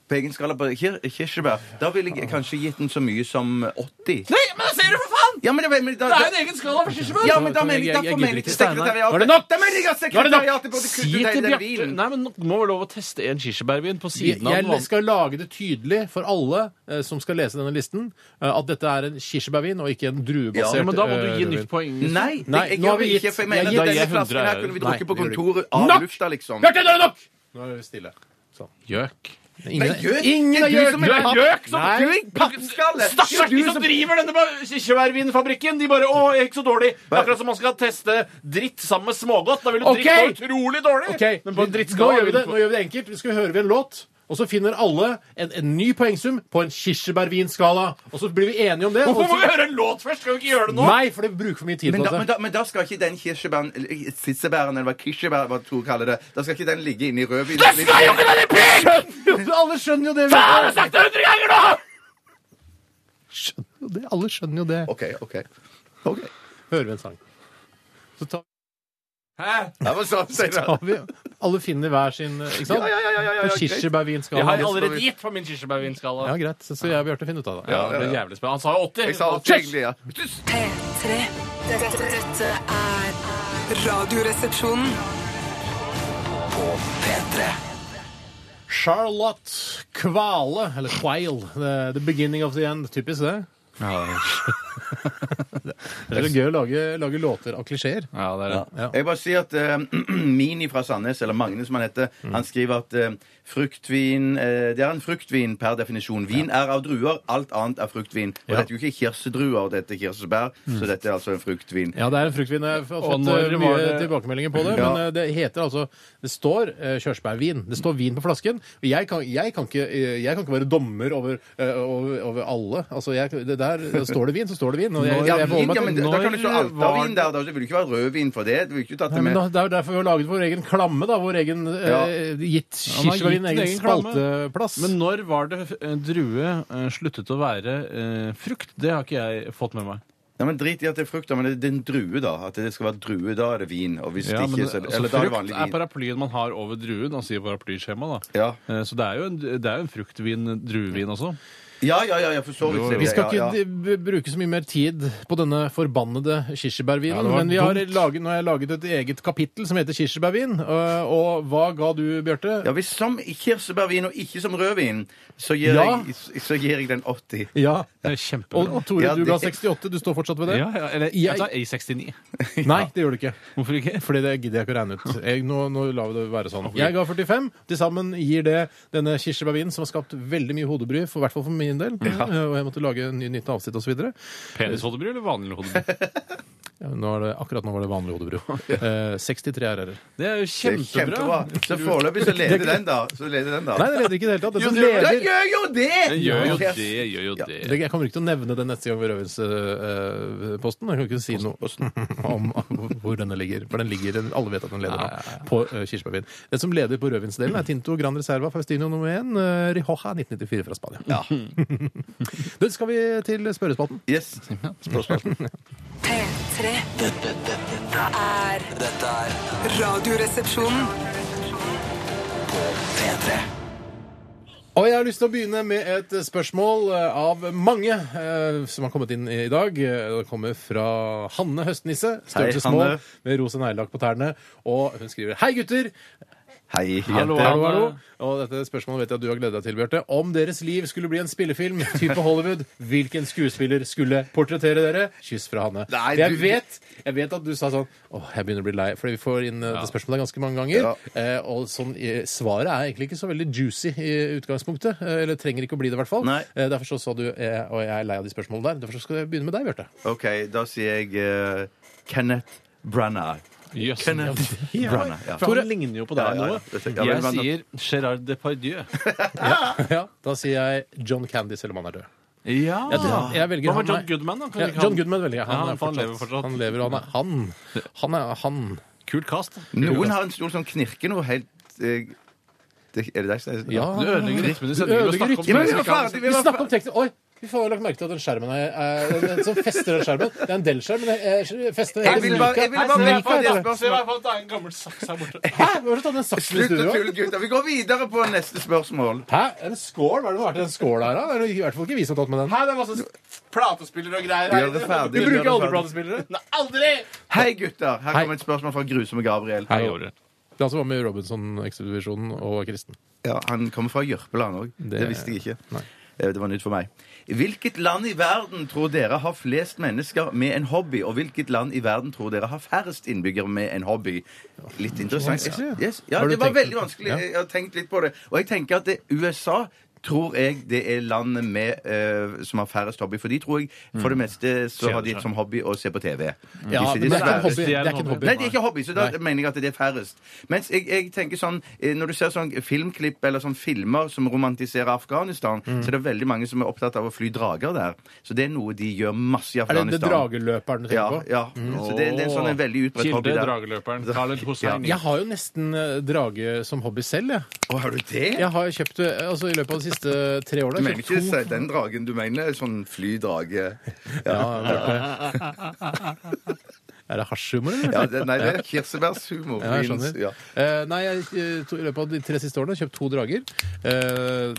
Speaker 3: på egen skala på kir- kirsebær. Da ville jeg kanskje gitt den så mye som 80.
Speaker 1: Nei, men da ser du, for faen!
Speaker 3: Ja, men det, men, da,
Speaker 1: Det er jo en egen skala for kirsebær!
Speaker 3: ja, men da
Speaker 2: Jeg-
Speaker 3: mener jeg
Speaker 2: jeg- jeg
Speaker 3: derfor
Speaker 2: gidder
Speaker 3: mener jeg
Speaker 2: ikke.
Speaker 3: sekretariatet
Speaker 1: Var det nok?
Speaker 3: Da mener jeg at
Speaker 1: Nå er det nok!
Speaker 3: sekretariatet burde
Speaker 1: Si
Speaker 3: kutte ut
Speaker 1: til
Speaker 3: hele
Speaker 1: Bjarte
Speaker 3: vinen.
Speaker 1: Nei, men nå må vi lov å teste en kirsebærvin på
Speaker 2: Jeg,
Speaker 1: siden av den
Speaker 2: jeg
Speaker 1: vanlige.
Speaker 2: skal lage det tydelig for alle eh, som skal lese denne listen, eh, at dette er en kirsebærvin og ikke en druebasert
Speaker 1: Ja, men da må
Speaker 2: eh,
Speaker 1: du gi
Speaker 2: rødvin.
Speaker 1: nytt poeng.
Speaker 3: Nei, det,
Speaker 2: Nei,
Speaker 3: jeg
Speaker 2: nå har
Speaker 3: gjør
Speaker 2: vi
Speaker 3: det ikke,
Speaker 2: gitt-
Speaker 3: for jeg
Speaker 2: jeg
Speaker 3: mener
Speaker 2: gir
Speaker 3: at denne
Speaker 1: deg 100
Speaker 3: flasken her kunne vi
Speaker 1: euro.
Speaker 3: drukket på
Speaker 2: Nei, det gjør
Speaker 3: kontoret av
Speaker 2: Nok!
Speaker 3: lufta, liksom.
Speaker 2: Bjarte, nå er det nok! Nå er det stille. Sånn.
Speaker 1: Gjøk.
Speaker 2: Ingen,
Speaker 3: Nei, gjøk!
Speaker 2: ingen
Speaker 3: Det er
Speaker 2: er
Speaker 3: du
Speaker 2: gjøk!
Speaker 3: som er papp-
Speaker 1: gjøk som-
Speaker 2: Nei.
Speaker 3: Du er en pappskalle!
Speaker 1: Stakkars de som driver denne ba- kirsebærvinfabrikken! De bare 'Å, jeg er ikke så dårlig'. Det er Akkurat som man skal teste dritt sammen med smågodt. Da vil du
Speaker 2: Ok.
Speaker 1: drikke så utrolig dårlig!
Speaker 2: Ok,
Speaker 1: Men på en
Speaker 2: nå,
Speaker 1: drittskala
Speaker 2: gjør vi
Speaker 1: vil
Speaker 2: det,
Speaker 1: du
Speaker 2: nå gjør vi det enkelt. Vi skal høre vi en låt, og så finner alle en, en ny poengsum på en kirsebærvinskala. Og så blir vi enige om det.
Speaker 1: Hvorfor
Speaker 2: og
Speaker 1: må vi
Speaker 2: så,
Speaker 1: høre en låt først? Skal vi ikke gjøre det nå?
Speaker 2: Nei, for det bruker for mye tid
Speaker 3: Men
Speaker 2: på
Speaker 3: da, men,
Speaker 2: dette.
Speaker 3: da, men da skal ikke den kirsebæren eller Sitsebæren, eller hva kirsebær hva Tor kaller det Da skal ikke den ligge inni rødvinen. Det skal jo ikke den!
Speaker 2: Alle skjønner jo det.
Speaker 1: Faen, jeg har sagt det hundre ganger nå!
Speaker 2: Skjønner jo det. Alle skjønner jo det.
Speaker 3: OK, OK. ok.
Speaker 2: Hører vi en sang. Så tar
Speaker 1: Hæ?
Speaker 3: Det var sånn, sier du.
Speaker 2: tar vi Alle finner hver sin eh, Ikke sant?
Speaker 3: Ja, ja, ja, ja, ja, ja,
Speaker 2: På kirsebærvinskala.
Speaker 1: Jeg har
Speaker 3: det-
Speaker 1: allerede gitt på min kirsebærvinskala.
Speaker 2: Ja, greit. Så, så jeg og Bjarte finner ut av det.
Speaker 1: Ja, det er jævlig spennende. Han sa jo 80.
Speaker 3: Jeg sa alt egentlig, ja.
Speaker 4: P3. Dette, dette er Radioresepsjonen.
Speaker 5: P3
Speaker 2: Charlotte Kvale, eller Quail. The, the beginning of the end. Typisk det. Det er så gøy å lage, lage låter av klisjeer.
Speaker 1: Ja, det er det.
Speaker 3: Jeg bare sier at eh, Mini fra Sandnes, eller Magne som han heter,
Speaker 1: Mm.
Speaker 3: han skriver at eh, fruktvin eh, Det er en fruktvin per definisjon. Vin er av druer, alt annet er fruktvin. Og
Speaker 2: Ja.
Speaker 3: dette er jo ikke kirsedruer, dette er kirsebær,
Speaker 1: Mm.
Speaker 3: så dette er altså en fruktvin.
Speaker 2: Ja, det er en fruktvin. Jeg har
Speaker 1: Og
Speaker 2: fått
Speaker 1: når
Speaker 2: eh,
Speaker 1: var
Speaker 2: mye
Speaker 1: det-
Speaker 2: tilbakemeldinger på det.
Speaker 3: Ja.
Speaker 2: Men eh, det heter altså Det står eh, kjørsbærvin. Det står vin på flasken. Og jeg kan, jeg kan, ikke, eh, jeg kan ikke være dommer over, eh, over, over alle. Altså, jeg, det der står det vin, så står det vin. Og jeg,
Speaker 3: Ja,
Speaker 2: jeg
Speaker 3: vin,
Speaker 2: forholder meg
Speaker 3: ja,
Speaker 2: til
Speaker 3: men da da kan du ikke ha
Speaker 1: Når var
Speaker 3: altavin der, da. Det vil jo ikke være rødvin for det. Du vil ikke tatt
Speaker 2: Nei,
Speaker 3: det
Speaker 2: men
Speaker 3: med.
Speaker 2: da, det er jo derfor vi har laget vår egen klamme, da. Vår egen eh,
Speaker 3: Ja.
Speaker 2: gitt
Speaker 1: Han har
Speaker 2: kirsebærvin,
Speaker 1: gitt en
Speaker 2: egen,
Speaker 1: egen klamme.
Speaker 2: spalteplass.
Speaker 1: Men når var det eh, drue eh, sluttet å være eh, frukt? Det har ikke jeg fått med meg.
Speaker 3: Nei, men Drit i at det er frukt, da, men det det er en drue, da. At det skal være drue, da er det vin. Og hvis
Speaker 1: Ja,
Speaker 3: det
Speaker 1: men,
Speaker 3: ikke, så,
Speaker 1: altså,
Speaker 3: eller da er det
Speaker 1: frukt
Speaker 3: vanlig
Speaker 1: er
Speaker 3: vin.
Speaker 1: paraplyen man har over druen, altså i paraplyskjemaet. da.
Speaker 3: Ja.
Speaker 1: Eh, Så det er jo en, det er jo en fruktvin, druevin også.
Speaker 3: Ja, ja, ja, ja, for så vidt.
Speaker 1: Jo, jo.
Speaker 3: ser
Speaker 2: Vi
Speaker 3: det,
Speaker 2: skal
Speaker 3: ja, ja.
Speaker 2: ikke d- b- bruke så mye mer tid på denne forbannede kirsebærvinen,
Speaker 1: Ja, det var
Speaker 2: men vi har
Speaker 1: dumt.
Speaker 2: laget, nå har jeg laget et eget kapittel som heter kirsebærvin. Og, og hva ga du, Bjarte?
Speaker 3: Ja, hvis som kirsebærvin og ikke som rødvin, så gir,
Speaker 2: Ja.
Speaker 3: jeg, så gir jeg den 80.
Speaker 2: Ja.
Speaker 1: Det er
Speaker 2: Og,
Speaker 1: kjempebra.
Speaker 2: og Tore,
Speaker 3: Ja,
Speaker 2: du ga
Speaker 3: det-
Speaker 2: 68. Du står fortsatt ved det?
Speaker 1: Ja, ja, eller jeg tar A69.
Speaker 2: Nei, det gjør du ikke.
Speaker 1: Hvorfor ikke?
Speaker 2: Fordi det gidder jeg ikke å regne ut. Jeg, nå, nå lar vi det være sånn. Jeg ga 45. Til sammen gir det denne kirsebærvinen, som har skapt veldig mye hodebry, for, i hvert fall for min del. Eh, Og jeg måtte lage en ny, nytt avsnitt osv.
Speaker 1: Penishodebry eller vanlig hodebry?
Speaker 2: Akkurat nå var det vanlig hodebry. Eh, 63 RR-er.
Speaker 1: Det er
Speaker 3: Det er
Speaker 1: jo kjempebra.
Speaker 3: kjempebra. Så foreløpig så leder den, da. Så leder den, da.
Speaker 2: Nei, det leder ikke i det hele tatt. Den
Speaker 3: jo,
Speaker 2: som
Speaker 3: det,
Speaker 2: leder
Speaker 3: den gjør jo det!
Speaker 1: Den gjør jo
Speaker 3: Yes.
Speaker 1: det, gjør jo det.
Speaker 2: Det- Jeg kommer ikke til å nevne det neste gang ved Røverposten. eh, Jeg kan ikke si noe om hvor denne ligger. For den ligger, den- alle vet at den leder nå, på eh, kirsebærvin. Den som leder på rødvinsdelen, er Tinto Gran Reserva Faustino nummer 1, eh, Rioja 1994 fra Spania. Da skal vi til spørrespalten.
Speaker 3: Yes.
Speaker 4: P3.
Speaker 5: Dette, dette, dette
Speaker 4: Er
Speaker 5: er- dette er
Speaker 4: Radioresepsjonen.
Speaker 5: P3
Speaker 2: Og jeg har lyst til å begynne med et spørsmål eh, av mange eh, som har kommet inn i dag. Eh, Det kommer fra Hanne Høstnisse, størrelse
Speaker 3: Hei,
Speaker 2: små,
Speaker 3: Hanne.
Speaker 2: med rosa neglelakk på tærne. Og hun skriver Hei, gutter!
Speaker 3: Hei,
Speaker 1: Hallo,
Speaker 3: jente.
Speaker 1: hallo.
Speaker 2: Hallo, hallo. Og dette spørsmålet vet jeg at du har gledet deg til, Bjarte. Om deres liv skulle bli en spillefilm, type Hollywood, hvilken skuespiller skulle portrettere dere? Kyss fra Hanne.
Speaker 3: Nei,
Speaker 2: jeg,
Speaker 3: du-
Speaker 2: vet, jeg vet at du sa sånn Åh, jeg begynner å bli lei. Fordi vi får inn eh, det spørsmålet ganske mange ganger. Eh, og sånn, eh, svaret er egentlig ikke så veldig juicy i utgangspunktet. Eh, eller trenger ikke å bli det, i hvert fall.
Speaker 3: Nei.
Speaker 2: Eh, derfor så sa du eh, Og jeg er lei av de spørsmålene der. Derfor skal jeg begynne med deg, Bjarte.
Speaker 3: OK, da sier jeg eh, Kenneth Branagh.
Speaker 1: Jøss.
Speaker 3: Kenneth Branagh. Ja.
Speaker 1: For han ligner jo på deg
Speaker 3: Ja, ja, ja.
Speaker 1: noe.
Speaker 3: Dette- ja,
Speaker 1: Jeg
Speaker 3: men- altså,
Speaker 1: sier Gerard Depardieu.
Speaker 2: Ja, da sier jeg John Candy, selv om han er død.
Speaker 1: Ja!
Speaker 2: Jeg, jeg velger
Speaker 1: Hva med
Speaker 2: han,
Speaker 1: John
Speaker 2: nei.
Speaker 1: Goodman, da? Kan
Speaker 2: Ja,
Speaker 1: ikke
Speaker 2: John Goodman velger jeg.
Speaker 1: Ja,
Speaker 2: Han,
Speaker 1: han-
Speaker 2: er fortsatt,
Speaker 1: han lever fortsatt.
Speaker 2: Han lever, og han er han. Han er han.
Speaker 1: Kult cast.
Speaker 3: Noen har en stol som knirker noe helt eh, Det, er det deg som er
Speaker 2: Ja.
Speaker 1: Du ødelegger rytmen i sendingen.
Speaker 2: Ødelegger
Speaker 1: ved å snakke om
Speaker 2: rytmen.
Speaker 3: Ja, men vi
Speaker 1: ting som
Speaker 3: var
Speaker 1: ikke har-
Speaker 3: ferdig!
Speaker 2: Vi
Speaker 3: Vi var
Speaker 2: snakker om teknikk Oi! Fy faen, jeg har lagt merke til at den skjermen er, er den, den som fester den skjermen. Det er en del-skjerm, men jeg fester
Speaker 3: Jeg
Speaker 2: hele
Speaker 3: vil bare- jeg vil bare
Speaker 2: Nei,
Speaker 3: vekk fra det
Speaker 2: Mikael,
Speaker 3: spørsmålet.
Speaker 1: Se i hvert fall at det er en gammel saks her borte.
Speaker 2: Hæ? Hvorfor har du tatt den saksen i
Speaker 3: Slutt å
Speaker 2: studio?
Speaker 3: tulle, gutter. Vi går videre på neste spørsmål.
Speaker 2: Hæ? En skål? Hva er det som har vært i den skåla her, da? Det er jo i hvert fall ikke vi som har tatt med den.
Speaker 1: Her er det masse platespillere og greier.
Speaker 3: Gjør det ferdig,
Speaker 2: Vi
Speaker 3: gjør det
Speaker 2: bruker alle
Speaker 3: ferdig.
Speaker 2: platespillere.
Speaker 1: Nei, aldri!
Speaker 3: Hei, gutter. Her
Speaker 2: Hei.
Speaker 3: kommer et spørsmål fra grusomme Gabriel.
Speaker 2: Det er altså var med i Robinson-ekspedisjonen og var kristen.
Speaker 3: Ja, han kommer fra Jørpeland òg. Det,
Speaker 2: Det-
Speaker 3: visste jeg ikke.
Speaker 2: nei.
Speaker 3: Eh, Det var nytt for meg. Hvilket land i verden tror dere har flest mennesker med en hobby? Og hvilket land i verden tror dere har færrest innbyggere med en hobby? Litt interessant.
Speaker 2: vanskelig.
Speaker 3: Yes. Ja,
Speaker 2: Har du
Speaker 3: det var
Speaker 2: tenkt-
Speaker 3: veldig vanskelig.
Speaker 2: Ja.
Speaker 3: Jeg har tenkt litt på det. Og jeg tenker at det, USA tror jeg det er landet med, eh, som har færrest hobby. For de tror jeg
Speaker 2: Mm.
Speaker 3: for det meste så har de som hobby å se på TV.
Speaker 2: Ja,
Speaker 3: Disse- disse
Speaker 2: men det er ikke en
Speaker 3: svære-
Speaker 2: hobby. Det er ikke en hobby.
Speaker 3: Nei, det er ikke hobby, så da
Speaker 2: Nei.
Speaker 3: mener jeg at det er færrest. Mens jeg, jeg tenker sånn, eh, Når du ser sånn filmklipp eller sånn filmer som romantiserer Afghanistan,
Speaker 2: Mm.
Speaker 3: så er det veldig mange som er opptatt av å fly drager der. Så det er noe de gjør masse i
Speaker 2: Er det det
Speaker 3: Afghanistan.
Speaker 2: drageløperen du
Speaker 3: Ja,
Speaker 2: tenker på? Mm.
Speaker 3: ja. Så det, det er en sånn en veldig utbredt hobby
Speaker 1: Kilde,
Speaker 3: der.
Speaker 1: drageløperen, Khaled Hosseini.
Speaker 2: Jeg har jo nesten eh, drage som hobby selv, jeg.
Speaker 3: Å, har du det?
Speaker 2: Jeg har kjøpt eh, altså, I løpet av de siste
Speaker 3: Du
Speaker 2: tre årene har
Speaker 3: mener
Speaker 2: jeg
Speaker 3: ikke
Speaker 2: kjøpt to.
Speaker 3: se- den dragen, du mener sånn flydrage
Speaker 2: Ja, Bjarte. er det hasjhumor, eller?
Speaker 3: ja, det, Nei, det er kirsebærshumor.
Speaker 2: Ja, jeg skjønner.
Speaker 3: Ja.
Speaker 2: Eh, nei, jeg, eh, to, I løpet av de tre siste årene har jeg kjøpt to drager. Eh,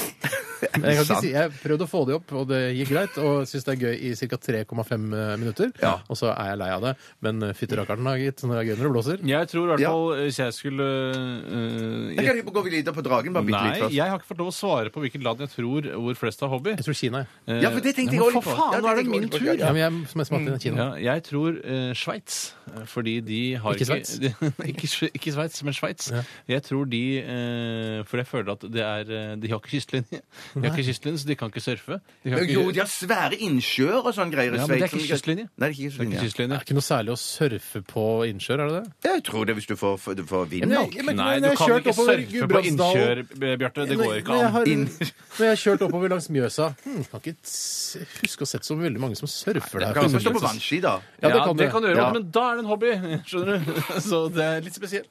Speaker 2: jeg kan ikke si, jeg prøvde å få de opp, og det gikk greit. Og syns det er gøy i ca. 3,5 eh, minutter.
Speaker 3: Ja.
Speaker 2: Og så er jeg lei av det. Men eh, fytterakker'n har gitt når jeg gøy når det blåser.
Speaker 1: Jeg tror i hvert
Speaker 3: Ja.
Speaker 1: fall eh, hvis jeg skulle øh,
Speaker 3: Jeg kan gå videre på dragen, bare bitte
Speaker 1: Nei,
Speaker 3: litt først.
Speaker 1: jeg har ikke fått lov å svare på hvilket land jeg tror hvor flest har hobby.
Speaker 2: Jeg tror Kina. jeg.
Speaker 1: Eh,
Speaker 3: Ja, for det tenkte jeg
Speaker 1: ja, men
Speaker 3: også litt
Speaker 1: for
Speaker 3: på.
Speaker 1: faen,
Speaker 3: Ja, det
Speaker 1: nå er det
Speaker 3: tenkte jeg
Speaker 1: min
Speaker 3: også
Speaker 1: tur!
Speaker 3: litt på.
Speaker 2: Ja, men jeg, som jeg smakte, er Kina.
Speaker 1: Ja, jeg tror eh, Sveits, eh, fordi de har
Speaker 2: Ikke Sveits?
Speaker 1: ikke, Sve- ikke Sveits, men Sveits.
Speaker 2: Ja.
Speaker 1: Jeg tror de eh, For jeg føler at det er eh, De har ikke kystlinje. De har ikke kystlinje, så de kan ikke surfe. De kan ikke,
Speaker 3: Jo, de har svære innsjøer og sånn greier i
Speaker 1: Ja, men det er
Speaker 3: Sveits.
Speaker 1: ikke
Speaker 3: som-
Speaker 1: kystlinje.
Speaker 3: Nei, det er ikke
Speaker 1: det er
Speaker 3: kystlinje.
Speaker 1: ikke
Speaker 2: Det
Speaker 1: kystlinje.
Speaker 2: er ikke noe særlig å surfe på innsjøer, er det det?
Speaker 3: Jeg tror det hvis du får, får, får vind.
Speaker 2: Ja, men jeg- men-
Speaker 1: Nei,
Speaker 2: men
Speaker 1: du
Speaker 2: jeg
Speaker 1: kan
Speaker 2: kjørte
Speaker 1: ikke
Speaker 2: oppover
Speaker 1: surfe på
Speaker 2: Gudbrandsdalen.
Speaker 1: innkjør, eh, Bjarte. Det går ikke
Speaker 2: Når jeg
Speaker 1: an.
Speaker 2: har,
Speaker 3: Inn.
Speaker 2: når jeg har kjørt oppover langs Mjøsa hmm, Kan ikke s- huske å ha sett så veldig mange som surfer der.
Speaker 3: Kan også stå på vannski, da.
Speaker 2: Ja, det
Speaker 1: Ja,
Speaker 2: kan du.
Speaker 1: det kan du gjøre,
Speaker 3: Ja.
Speaker 1: men da er det en hobby. Skjønner du? Så det er litt spesielt.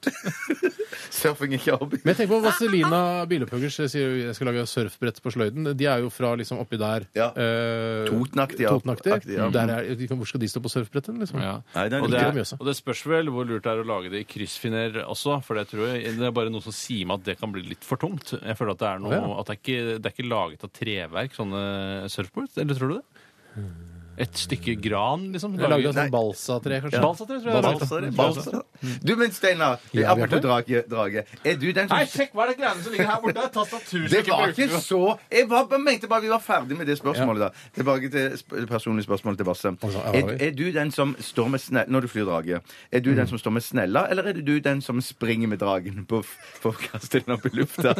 Speaker 3: Surfing er ikke hobby.
Speaker 2: Men jeg tenker på Vaselina Bilopphuggers jeg sier jo jeg skal lage surfbrett på sløyden. De er jo fra liksom oppi der.
Speaker 3: Ja.
Speaker 2: eh,
Speaker 3: Totenaktig, ja.
Speaker 2: Totenaktig.
Speaker 3: Aktig, ja.
Speaker 2: Der er, hvor skal de stå på surfbrettet? Liksom?
Speaker 3: Nei, det er
Speaker 1: og,
Speaker 3: ikke
Speaker 1: det
Speaker 2: det
Speaker 1: er,
Speaker 2: Mjøsa.
Speaker 1: og det spørs vel hvor lurt det er å lage det i kryssfiner også. For det tror jeg det er bare noe som sier meg at det kan bli litt for tungt. Jeg føler at det er noe
Speaker 2: Å, ja.
Speaker 1: at det er, ikke, det er ikke laget av treverk, sånne surfboards. Eller tror du det? Et stykke gran, liksom?
Speaker 2: Jeg lagde
Speaker 3: Nei.
Speaker 2: sånn balsatre, kanskje.
Speaker 1: Balsatre, tror jeg.
Speaker 3: Balsar- Balsar. Du, men Steinar,
Speaker 2: Ja,
Speaker 3: apropos
Speaker 2: Bjarte.
Speaker 3: drage, drage, er du den som
Speaker 1: Nei, sjekk hva er det greiene som ligger her borte? Tastatur som
Speaker 3: Det var
Speaker 1: ikke
Speaker 3: ikke
Speaker 1: bruker.
Speaker 3: så Jeg var, bare mente bare vi var ferdig med det spørsmålet, da. Tilbake til sp det personlige spørsmålet til Basse.
Speaker 2: Altså, ja,
Speaker 3: Er, er du den som står med sne Når du flyr drage, er
Speaker 1: Mm.
Speaker 3: du den som står med snella, eller er det du den som springer med dragen på f- for å kaste den opp i lufta?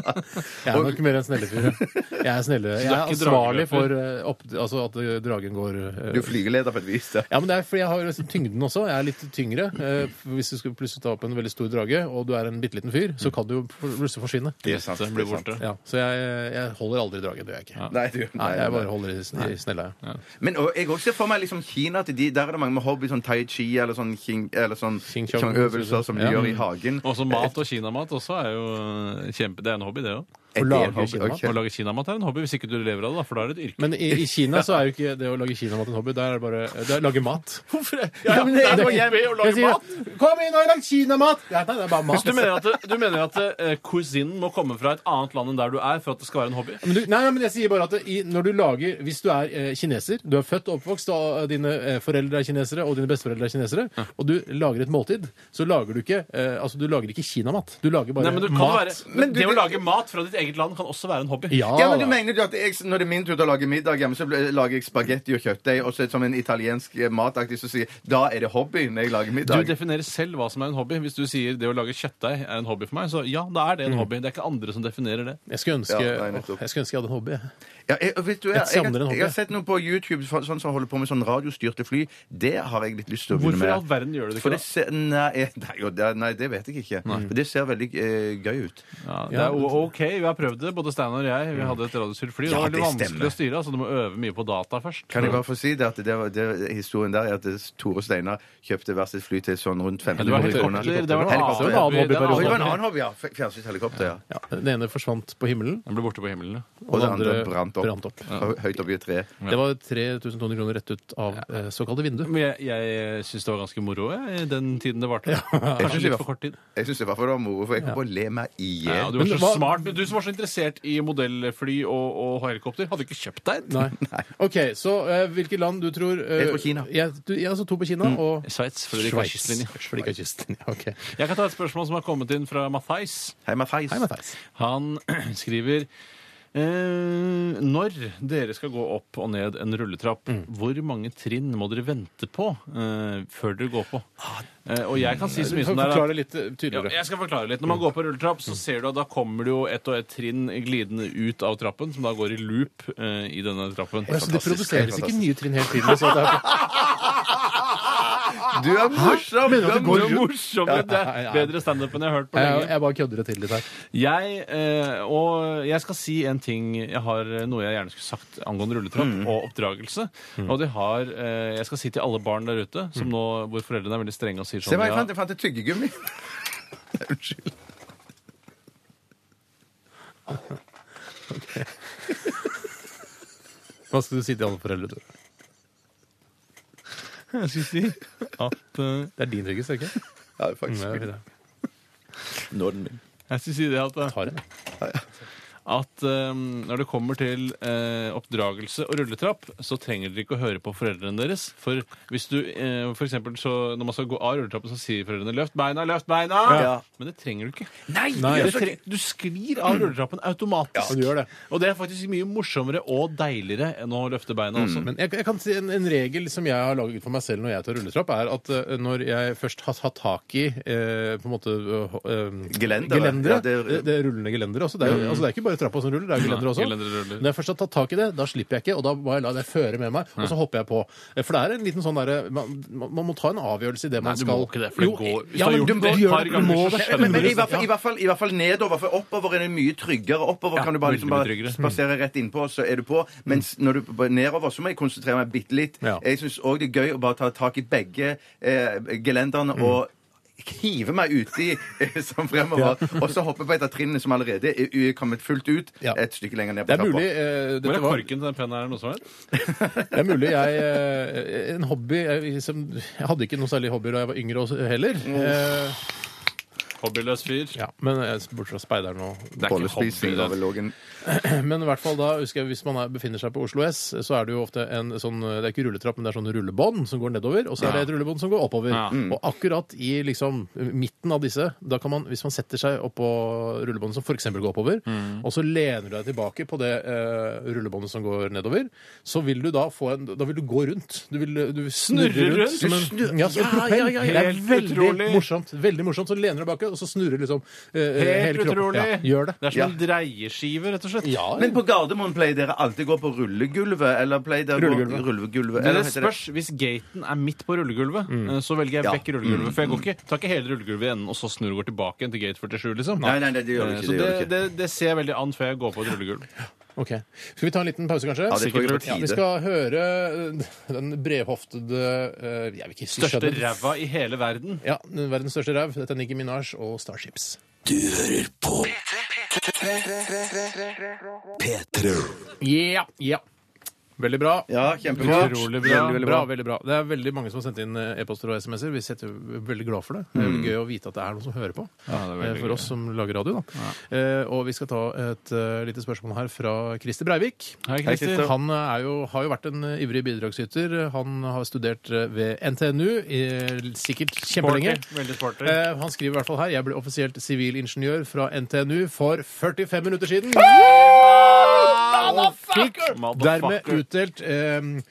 Speaker 2: Jeg er nok mer en snellefyr. ja. Jeg er snelle. Jeg er
Speaker 1: ikke
Speaker 2: ansvarlig
Speaker 1: drageløper?
Speaker 2: for eh, opp, altså at eh, dragen går eh,
Speaker 3: Du er flygeleder på et vis, da.
Speaker 2: Ja, men det er fordi jeg har liksom tyngden også. Jeg er litt tyngre. Eh, for hvis du skulle plutselig ta opp en veldig stor drage, og du er en bitte liten fyr, så kan du jo plutselig forsvinne.
Speaker 3: Det er sant,
Speaker 1: Den blir
Speaker 3: det er sant.
Speaker 1: borte.
Speaker 2: Ja, så jeg, jeg holder aldri dragen. Det gjør jeg ikke.
Speaker 3: Nei, du,
Speaker 2: Nei, jeg bare holder i, sn- i snella. Ja.
Speaker 3: Men og, jeg også ser for meg liksom Kina at de, Der er det mange med hobby, sånn tai chi eller sånn, king, eller sånn
Speaker 2: King chong,
Speaker 3: chong-øvelser som de
Speaker 2: ja.
Speaker 3: gjør i hagen.
Speaker 1: Også mat Mm. og kinamat også er jo eh, kjempe... Det er en hobby, det òg.
Speaker 3: Er det
Speaker 2: lage
Speaker 3: en hobby?
Speaker 2: kinamat.
Speaker 3: Ok.
Speaker 1: Å lage kinamat er en hobby hvis ikke du lever av det, da, for da er det et yrke.
Speaker 2: Men i, i Kina så er jo ikke det å lage kinamat en hobby. Der er det bare det er å lage mat.
Speaker 1: Hvorfor det?
Speaker 2: Ja, men det-
Speaker 1: der må
Speaker 2: det-
Speaker 1: jeg med og lage
Speaker 2: jeg sier,
Speaker 1: mat.
Speaker 2: Kom inn og lag kinamat! Ja, nei, det er bare
Speaker 1: Så
Speaker 2: mat.
Speaker 1: du mener at, du mener at eh, kusinen må komme fra et annet land enn der du er for at det skal være en hobby?
Speaker 2: Men du, nei, nei, men jeg sier bare at det, i, når du lager, Hvis du er eh, kineser, du er født og oppvokst og eh, dine eh, foreldre er kinesere og dine besteforeldre er kinesere, og du lager et måltid, så lager du ikke eh, altså du lager ikke kinamat. Du lager bare
Speaker 1: Nei, men du kan
Speaker 2: mat.
Speaker 1: være,
Speaker 3: Men du-
Speaker 1: det å lage mat fra ditt eget land kan også være en hobby.
Speaker 2: Ja,
Speaker 3: Ja, men du
Speaker 2: da.
Speaker 3: mener jo at jeg, Når det er min tur til å lage middag hjemme, så bl- lager jeg spagetti og kjøttdeig, og så som en italiensk eh, mataktig som sier da er det hobby når jeg lager
Speaker 1: Du
Speaker 3: middag.
Speaker 1: definerer selv hva som er en hobby. Hvis du sier det å lage kjøttdeig er en
Speaker 3: Mm.
Speaker 1: hobby for meg, så ja, da er det en hobby. Det er ikke andre som definerer det.
Speaker 2: jeg skulle ønske,
Speaker 3: Ja, nei, nettopp.
Speaker 2: jeg skulle ønske jeg hadde en hobby. jeg.
Speaker 3: Ja, jeg, vet du, jeg,
Speaker 2: Et
Speaker 3: jeg,
Speaker 2: savner en
Speaker 3: jeg,
Speaker 2: hobby.
Speaker 3: har sett noe på YouTube sånn som holder på med sånn radiostyrte fly. Det har jeg litt lyst til å
Speaker 1: Hvorfor
Speaker 3: begynne med.
Speaker 1: i all verden gjør du det ikke
Speaker 3: For
Speaker 1: da?
Speaker 3: det ser, nei, jeg- nei, jo, det, nei, det vet jeg ikke. For det ser veldig eh, gøy ut.
Speaker 1: Ja, det er o- OK, vi har prøvd det, både Steinar og jeg. Vi hadde et radiostyrt fly.
Speaker 3: Mm.
Speaker 1: det
Speaker 3: Ja,
Speaker 1: var veldig
Speaker 3: det stemmer.
Speaker 1: vanskelig å styre, så du må øve mye på data først.
Speaker 3: Kan jeg bare få si det at det, var- det, historien der er at Tore Steinar kjøpte hvert sitt fly til sånn rundt
Speaker 1: Ja,
Speaker 3: 15
Speaker 1: det var
Speaker 3: millioner
Speaker 1: helikopter.
Speaker 3: kroner.
Speaker 1: Det var
Speaker 3: Helikopter,
Speaker 1: en
Speaker 3: ja.
Speaker 1: annen-
Speaker 2: hobby-
Speaker 1: det var en annen
Speaker 3: Å, det var en
Speaker 1: hobby.
Speaker 3: annen hobby, ja. Fjernsynt helikopter, ja.
Speaker 2: Ja, Den ene forsvant på himmelen,
Speaker 1: Den ble borte på himmelen. ja.
Speaker 3: Og det andre brant opp.
Speaker 2: brant opp.
Speaker 3: Høyt opp i et tre.
Speaker 2: Det var 3200 kroner rett ut av eh, såkalte vindu.
Speaker 1: Men jeg, jeg syns det var ganske moro jeg, i den tiden det varte.
Speaker 3: Jeg synes
Speaker 1: Kanskje
Speaker 3: det
Speaker 1: litt
Speaker 3: var-
Speaker 1: for kort tid.
Speaker 3: Jeg syns i hvert fall det var moro, for jeg kom på å le meg i E.
Speaker 1: Ja,
Speaker 3: hjel.
Speaker 1: du,
Speaker 2: Men
Speaker 1: var så
Speaker 2: hva-
Speaker 1: smart, men du som var så interessert i modellfly og, og helikopter, hadde ikke kjøpt deg et?
Speaker 2: Nei. OK, så eh, hvilke land du tror eh,
Speaker 3: Jeg tror Kina.
Speaker 2: Jeg, du, jeg så to på
Speaker 1: Mm.
Speaker 2: Kina, og
Speaker 1: Sveits. fordi de ikke har kystlinje.
Speaker 2: Sveits. For de ikke har kystlinje. Ok.
Speaker 1: Jeg kan ta et spørsmål som har kommet inn fra Mathais.
Speaker 3: Hei, Matheis.
Speaker 2: Hei, Matheis.
Speaker 1: Han skriver eh, når dere skal gå opp og ned en rulletrapp, hvor mange trinn må dere vente på eh, før dere går på? Eh, og jeg kan si så mye som det er. at-
Speaker 2: Forklar det litt eh,
Speaker 1: Ja,
Speaker 2: tydeligere.
Speaker 1: jeg skal forklare litt. Når man går på rulletrapp, så ser du at da kommer det jo ett og ett trinn glidende ut av trappen, som da går i loop eh, i denne trappen.
Speaker 2: Ja, så det
Speaker 3: Fantastisk. Helt
Speaker 2: produseres ikke
Speaker 3: fantastisk.
Speaker 2: nye trinn hele tiden? Så det er,
Speaker 3: Du er morsom!
Speaker 1: Det er
Speaker 3: morsom.
Speaker 1: morsommere. Det er bedre standup enn jeg har hørt på
Speaker 2: jeg,
Speaker 1: lenge.
Speaker 2: jeg bare kødder det til litt her.
Speaker 1: Jeg, eh, og jeg skal si en ting Jeg har eh, noe jeg gjerne skulle sagt angående rulletrapp og oppdragelse. Og det har eh, Jeg skal si til alle barn der ute, som nå, hvor foreldrene er veldig strenge og sier
Speaker 3: Se
Speaker 1: sånn
Speaker 3: hva jeg
Speaker 1: ja,
Speaker 3: fant. Jeg fant et tyggegummi. Unnskyld.
Speaker 2: Hva skal du si til alle foreldre? Tore?
Speaker 1: Jeg skal si at eh,
Speaker 2: Det er din trygghet, er det ikke? Mm,
Speaker 3: Ja,
Speaker 2: Ja,
Speaker 3: faktisk.
Speaker 2: det er fint, ja.
Speaker 3: Nå er den min.
Speaker 1: Jeg skal si det at eh,
Speaker 2: Tar en.
Speaker 1: at ehm, når det kommer til eh, oppdragelse og rulletrapp, så trenger dere ikke å høre på foreldrene deres. For hvis du, eh, for eksempel, så når man skal gå av rulletrappen, så sier foreldrene 'løft beina', 'løft beina'!
Speaker 3: Ja.
Speaker 1: Men det trenger du ikke.
Speaker 2: Nei,
Speaker 1: Det tre du sklir av rulletrappen automatisk.
Speaker 2: Ja, du gjør det.
Speaker 1: Og det er faktisk mye morsommere og deiligere enn å løfte beina også.
Speaker 2: Mm. Men jeg, jeg kan si en, en regel som jeg har laget for meg selv når jeg tar rulletrapp, er at eh, når jeg først har tatt tak i eh, på en måte eh, eh,
Speaker 3: Gelendere.
Speaker 2: gelendere
Speaker 3: Ja,
Speaker 2: det,
Speaker 3: det-
Speaker 2: det er rullende gelendere også. Det er, jo- altså, det er ikke bare trappa som ruller, det er jo gelendere også.
Speaker 1: gelendere Mm. ruller.
Speaker 2: Når jeg først har tatt tak i det, da slipper jeg ikke, og da må jeg la det føre med meg, og så hopper jeg på. Eh, For det er en liten sånn derre man, man man må ta en avgjørelse i det man
Speaker 1: du
Speaker 2: skal
Speaker 1: må ikke det, for det
Speaker 2: Jo,
Speaker 1: går- hvis
Speaker 2: ja,
Speaker 1: du har
Speaker 2: men
Speaker 1: gjort det et
Speaker 2: gjør
Speaker 1: par
Speaker 2: du
Speaker 1: ganger,
Speaker 2: må
Speaker 1: så
Speaker 2: det.
Speaker 3: Men,
Speaker 1: skjønner
Speaker 2: Men-
Speaker 3: men i,
Speaker 2: men-
Speaker 3: hvert fall, i, hvert fall, I hvert fall nedover. For oppover er det mye tryggere. Oppover kan du bare,
Speaker 1: veldig
Speaker 3: liksom
Speaker 1: mye
Speaker 3: bare
Speaker 1: tryggere.
Speaker 3: spasere rett innpå, så er du på. Mens når du bare nedover, så må jeg konsentrere meg bitte litt.
Speaker 2: Ja.
Speaker 3: Jeg syns òg det er gøy å bare ta tak i begge eh, gelenderne og hive meg uti eh, som fremover, og så hoppe på et av trinnene som allerede er u- kommet fullt ut
Speaker 2: Ja.
Speaker 3: et stykke lenger ned
Speaker 2: Det
Speaker 3: på
Speaker 2: er mulig eh,
Speaker 1: Hvor
Speaker 2: dette
Speaker 1: er
Speaker 2: var-
Speaker 1: korken til den pennen her? Noe som er?
Speaker 2: Det er mulig jeg eh, En hobby jeg, som, jeg hadde ikke noe særlig hobbyer da jeg var yngre også, heller.
Speaker 1: Mm.
Speaker 2: Eh,
Speaker 1: Hobbyløs fyr.
Speaker 2: ja, men eh, Bortsett fra speideren og
Speaker 1: Det er ikke hobby.
Speaker 3: Bollespising
Speaker 1: det.
Speaker 3: over lågen.
Speaker 2: Men i hvert fall da, husker jeg, hvis man er, befinner seg på Oslo S, så er det jo ofte en sånn Det er ikke rulletrapp, men det er sånn rullebånd som går nedover, og så er det et rullebånd som går oppover.
Speaker 1: Ja.
Speaker 2: Og akkurat i liksom midten av disse, da kan man, hvis man setter seg oppå rullebåndet som f.eks. går oppover, og så lener du deg tilbake på det eh, rullebåndet som går nedover, så vil du da få en Da vil du gå rundt. Du vil, du vil snurre,
Speaker 1: Snurre rundt?
Speaker 2: rundt. Som en,
Speaker 3: Du snur-
Speaker 2: ja, som en
Speaker 1: Ja, ja,
Speaker 2: propell.
Speaker 1: ja,
Speaker 2: det er
Speaker 1: helt
Speaker 2: veldig
Speaker 1: utrolig.
Speaker 2: morsomt. Veldig morsomt. Så lener du deg tilbake, og så snurrer liksom eh, hele
Speaker 1: Helt
Speaker 2: kroppen.
Speaker 1: utrolig!
Speaker 2: Ja, gjør det.
Speaker 1: er som en dreieskive, rett og slett.
Speaker 2: Ja,
Speaker 3: Men på Gardermoen pleier dere alltid gå på rullegulvet? Eller pleier dere
Speaker 2: Rullegulvet.
Speaker 3: gå rullegulvet?
Speaker 1: Men
Speaker 3: eller
Speaker 1: det
Speaker 3: heter Mm.
Speaker 1: spørs hvis gaten er midt på rullegulvet, eh, så velger jeg
Speaker 3: Ja. Mm.
Speaker 1: vekk rullegulvet. For jeg går ikke, tar ikke hele rullegulvet i enden og så snur og går tilbake igjen til gate 47, liksom.
Speaker 3: Nei, nei, nei, det gjør du
Speaker 1: Eh,
Speaker 3: ikke,
Speaker 1: Så
Speaker 3: det
Speaker 1: det,
Speaker 3: gjør du ikke.
Speaker 1: det, det ser jeg veldig an før jeg går på et rullegulv.
Speaker 2: Ok. Skal vi ta en liten pause, kanskje?
Speaker 3: Ja, det tror jeg er på
Speaker 2: Ja, vi
Speaker 3: tide.
Speaker 2: skal høre eh, den bredhoftede eh, Jeg vil ikke si
Speaker 1: Største
Speaker 2: skjønnhet.
Speaker 1: ræva i hele verden.
Speaker 2: Ja, verdens største ræv. Dette er Nikki Minaj og Starships.
Speaker 5: P3.
Speaker 2: Ja, ja. Veldig bra.
Speaker 3: Ja, kjempebra.
Speaker 1: Utrolig
Speaker 2: Bra,
Speaker 1: Veldig, veldig
Speaker 2: bra,
Speaker 1: bra.
Speaker 2: veldig bra. Det er veldig mange som har sendt inn eh, e-poster og SMS-er. Vi setter vi er veldig glad for det. Det er veldig gøy å vite at det er noen som hører på.
Speaker 1: Mm. det er veldig
Speaker 2: Eh, for
Speaker 1: gøy.
Speaker 2: oss som lager radio, da. Eh, og vi skal ta et eh, lite spørsmål her fra Christer Breivik.
Speaker 1: Hei, Christer.
Speaker 2: Han er jo, har jo vært en eh, ivrig bidragsyter. Han har studert eh, ved NTNU i eh, sikkert kjempelenge.
Speaker 1: Sporty, veldig sporty.
Speaker 2: Eh, han skriver i hvert fall her jeg ble offisielt sivilingeniør fra NTNU for 45 minutter siden. Og fikk dermed
Speaker 1: Motherfucker.
Speaker 2: utdelt eh,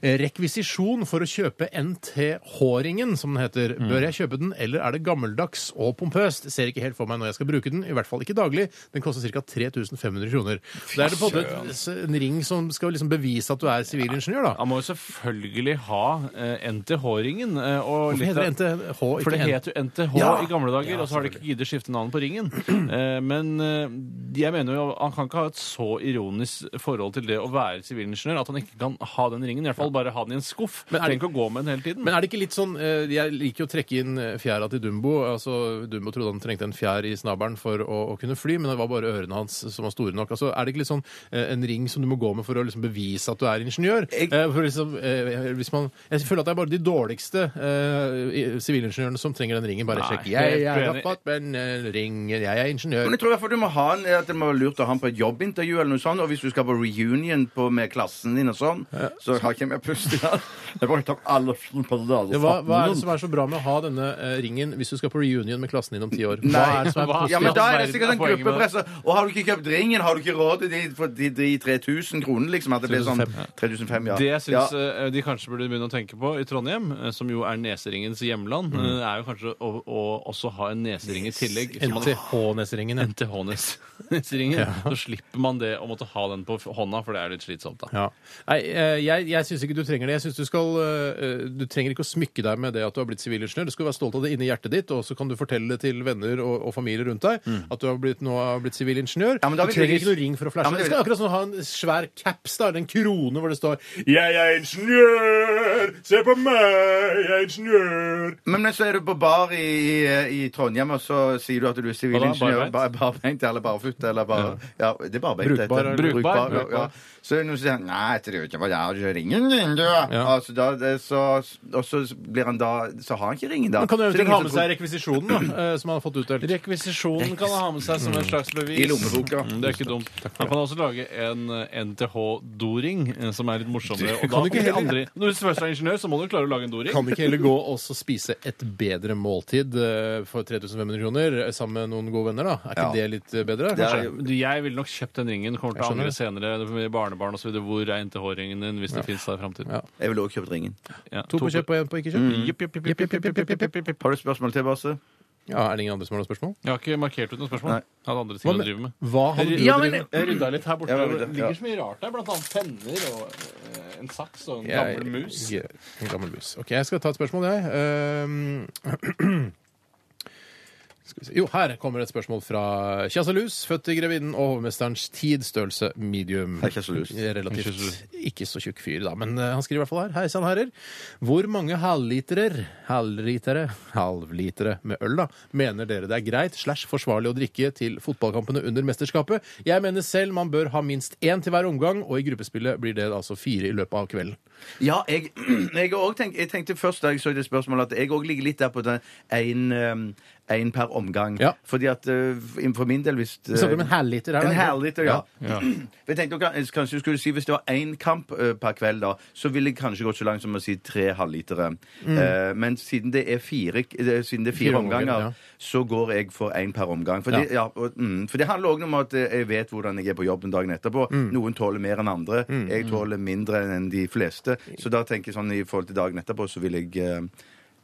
Speaker 2: Rekvisisjon for å kjøpe NT-håringen, som den heter.
Speaker 1: Mm.
Speaker 2: Bør jeg kjøpe den, eller er det gammeldags og pompøst? Ser ikke helt for meg når jeg skal bruke den, i hvert fall ikke daglig. Den koster ca. 3500 kroner. Det er det på en måte en ring som skal liksom bevise at du er sivilingeniør, da.
Speaker 1: Han må jo selvfølgelig ha eh, NTH-ringen. eh, og
Speaker 2: Hvorfor
Speaker 1: litt
Speaker 2: heter det
Speaker 1: av-
Speaker 2: NTH? ikke
Speaker 1: For det
Speaker 2: N-
Speaker 1: het jo NTH
Speaker 2: Ja.
Speaker 1: i gamle dager,
Speaker 2: Ja,
Speaker 1: og så har de ikke giddet skifte navn på ringen. Eh, Men eh, jeg mener jo han kan ikke ha et så ironisk forhold til det å være sivilingeniør at han ikke kan ha den ringen. I hvert fall bare ha den i en skuff.
Speaker 2: Men er det-
Speaker 1: Trenger ikke å gå med den hele tiden.
Speaker 2: Men er det ikke litt sånn eh, Jeg liker jo å trekke inn eh, fjæra til Dumbo. Altså, Dumbo trodde han trengte en fjær i snabelen for å, å kunne fly, men det var bare ørene hans som var store nok. Altså, er det ikke litt sånn eh, en ring som du må gå med for å liksom bevise at du er ingeniør?
Speaker 3: Jeg-
Speaker 2: Eh, for liksom, eh, hvis man, jeg føler at det er bare de dårligste eh, i- sivilingeniørene som trenger den ringen. Bare
Speaker 1: Nei,
Speaker 2: sjekk. Jeg,
Speaker 1: helt
Speaker 2: er
Speaker 1: uenig.
Speaker 2: rappet, men eh, ringen, jeg er ingeniør.
Speaker 3: Men jeg tror i hvert fall du må ha en, at det må være lurt å ha en på et jobbintervju, eller noe sånt, og hvis du skal på reunion på, med klassen din og sånn, så har ikke jeg mer pust i dag. Jeg bare tar alle på det der.
Speaker 2: Ja, Hva, hva er det som er så bra med å ha denne eh, ringen hvis du skal på reunion med klassen din om ti år? Hva
Speaker 3: Nei.
Speaker 2: er det som er
Speaker 1: Hva-
Speaker 2: positivt?
Speaker 3: Ja, men da er det
Speaker 1: Ja,
Speaker 3: sikkert en
Speaker 1: poenget med
Speaker 3: gruppepress. Og har du ikke kjøpt ringen, har du ikke råd til de, for de, de 3000 kronene, liksom? At det blir sånn 3005, ja.
Speaker 1: Det jeg syns
Speaker 3: ja.
Speaker 1: eh, de kanskje burde begynne å tenke på i Trondheim, eh, som jo er neseringens hjemland,
Speaker 2: Mm.
Speaker 1: eh, er jo kanskje å, å også ha en nesering i tillegg. så man-
Speaker 2: NTH-neseringen.
Speaker 1: NTH-neseringen. Så slipper man det å måtte ha den på f- hånda, for det er litt slitsomt. da.
Speaker 2: Ja. Nei, eh, jeg, jeg syns ikke du trenger det. Jeg synes du, skal, eh, du trenger ikke å smykke deg med det at du har blitt sivilingeniør. Du skal være stolt av det inni hjertet ditt, og så kan du fortelle det til venner og, og familie rundt deg at du har blitt, nå har blitt sivilingeniør.
Speaker 3: Ja, men da
Speaker 2: du
Speaker 3: vil
Speaker 2: trenger
Speaker 3: de-
Speaker 2: ikke noe ring for å
Speaker 3: Ja,
Speaker 2: flashe.
Speaker 3: men
Speaker 2: du
Speaker 3: det
Speaker 2: skal
Speaker 3: vil-
Speaker 2: akkurat sånn ha en svær caps, da, eller en krone hvor det står 'Jeg er ingeniør! Se på meg, jeg er ingeniør!'
Speaker 3: Men, men så er du på bar i, i, i Trondheim, og så sier du at du er sivilingeniør.
Speaker 1: Barbeint?
Speaker 3: Bar- Barbeint eller barføtt eller bare Ja, det er barbeint. det heter.
Speaker 2: Brukbar, eller-
Speaker 3: Brukbar,
Speaker 1: Brukbar.
Speaker 3: ja, ja. Så er det noen som sier 'Nei, jeg tror ikke på det, du har ringen din, du'. Altså, da, det, så, og så blir han da Så har han ikke ringen, da.
Speaker 2: Man kan jo
Speaker 3: Så det er
Speaker 2: eventuelt ha
Speaker 3: ingen
Speaker 2: med
Speaker 3: som
Speaker 2: seg rekvisisjonen, da, eh, som man har fått utdelt.
Speaker 1: Rekvisisjonen kan han ha med seg som en slags bevis.
Speaker 3: I lommeboka.
Speaker 1: Mm, Det er ikke dumt. Han kan også lage en NTH-doring, som er litt morsommere. Og da,
Speaker 2: du ikke
Speaker 1: de
Speaker 2: heller-
Speaker 1: andre, når du først er ingeniør, så må du klare å lage en doring.
Speaker 2: Kan ikke heller gå og så spise et bedre måltid eh, for 3500 kroner eh, sammen med noen gode venner, da? Er ikke
Speaker 3: Ja.
Speaker 2: det litt eh, bedre?
Speaker 3: Det er-
Speaker 2: kanskje?
Speaker 1: Du, Jeg ville nok kjøpt den ringen. Kommer til å
Speaker 2: Jeg
Speaker 1: angre senere med barnebarn osv. Hvor er NTH-ringen din, hvis det fins der i framtiden?
Speaker 2: Ja.
Speaker 3: Jeg ville også kjøpt ringen.
Speaker 1: Ja.
Speaker 2: To på Mm. kjøp og én på ikke kjøp?
Speaker 1: Jipp, jipp, jipp, jipp, jipp, jipp, jipp, jipp, jipp.
Speaker 3: Har du spørsmål til, Basse?
Speaker 2: Ja, Er det ingen andre som har noen spørsmål?
Speaker 1: Jeg har ikke markert ut noen spørsmål.
Speaker 3: Nei.
Speaker 1: Jeg hadde andre ting å drive med.
Speaker 2: hva hadde du
Speaker 3: Ja,
Speaker 2: å
Speaker 3: men-
Speaker 2: drive med?
Speaker 1: Jeg rydda litt her borte.
Speaker 3: Ja, jeg
Speaker 1: det
Speaker 3: rydda,
Speaker 1: ligger
Speaker 3: ja.
Speaker 1: så mye rart der. Blant annet penner og eh, en saks og en
Speaker 2: Jeg-
Speaker 1: gammel mus.
Speaker 2: jeg- En gammel mus. OK, jeg skal ta et spørsmål, jeg. Ehm, skal vi se. Jo, her kommer et spørsmål fra Kjasalus, født i grevinnen og hovmesterens tid, størrelse medium. Eh,
Speaker 3: Hei, Kjasalus.
Speaker 2: Relativt ikke så tjukk fyr, da, men eh, han skriver i hvert fall her. Hei sann, herrer. Hvor mange halvliterer, halvlitere, halvlitere med øl, da, mener dere det er greit slash forsvarlig å drikke til fotballkampene under mesterskapet? Jeg mener selv man bør ha minst én til hver omgang, og i gruppespillet blir det altså fire i løpet av kvelden.
Speaker 3: Ja, jeg, jeg, har også tenkt, jeg tenkte først da jeg så det spørsmålet, at jeg òg ligger litt der på den én en per omgang.
Speaker 2: Ja.
Speaker 3: Fordi at eh, for min del hvis eh,
Speaker 2: Vi snakker om en halvliter her. da.
Speaker 3: en halvliter, ja.
Speaker 1: Ja.
Speaker 3: Jeg tenkte dere, kanskje du skulle si Hvis det var én kamp eh, per kveld, da, så ville jeg kanskje gått så langt som å si tre halvlitere. Eh, men siden det er fire, eh, siden det er fire,
Speaker 2: Mm. Fire omganger,
Speaker 3: omganger,
Speaker 2: ja.
Speaker 3: så går jeg for én per omgang. For,
Speaker 2: Ja.
Speaker 3: det, ja, og, mm, for det handler òg om at eh, jeg vet hvordan jeg er på jobben dagen etterpå.
Speaker 2: Mm.
Speaker 3: Noen tåler mer enn andre. Jeg tåler mindre enn de fleste. Så da tenker jeg sånn i forhold til dagen etterpå, så vil jeg eh,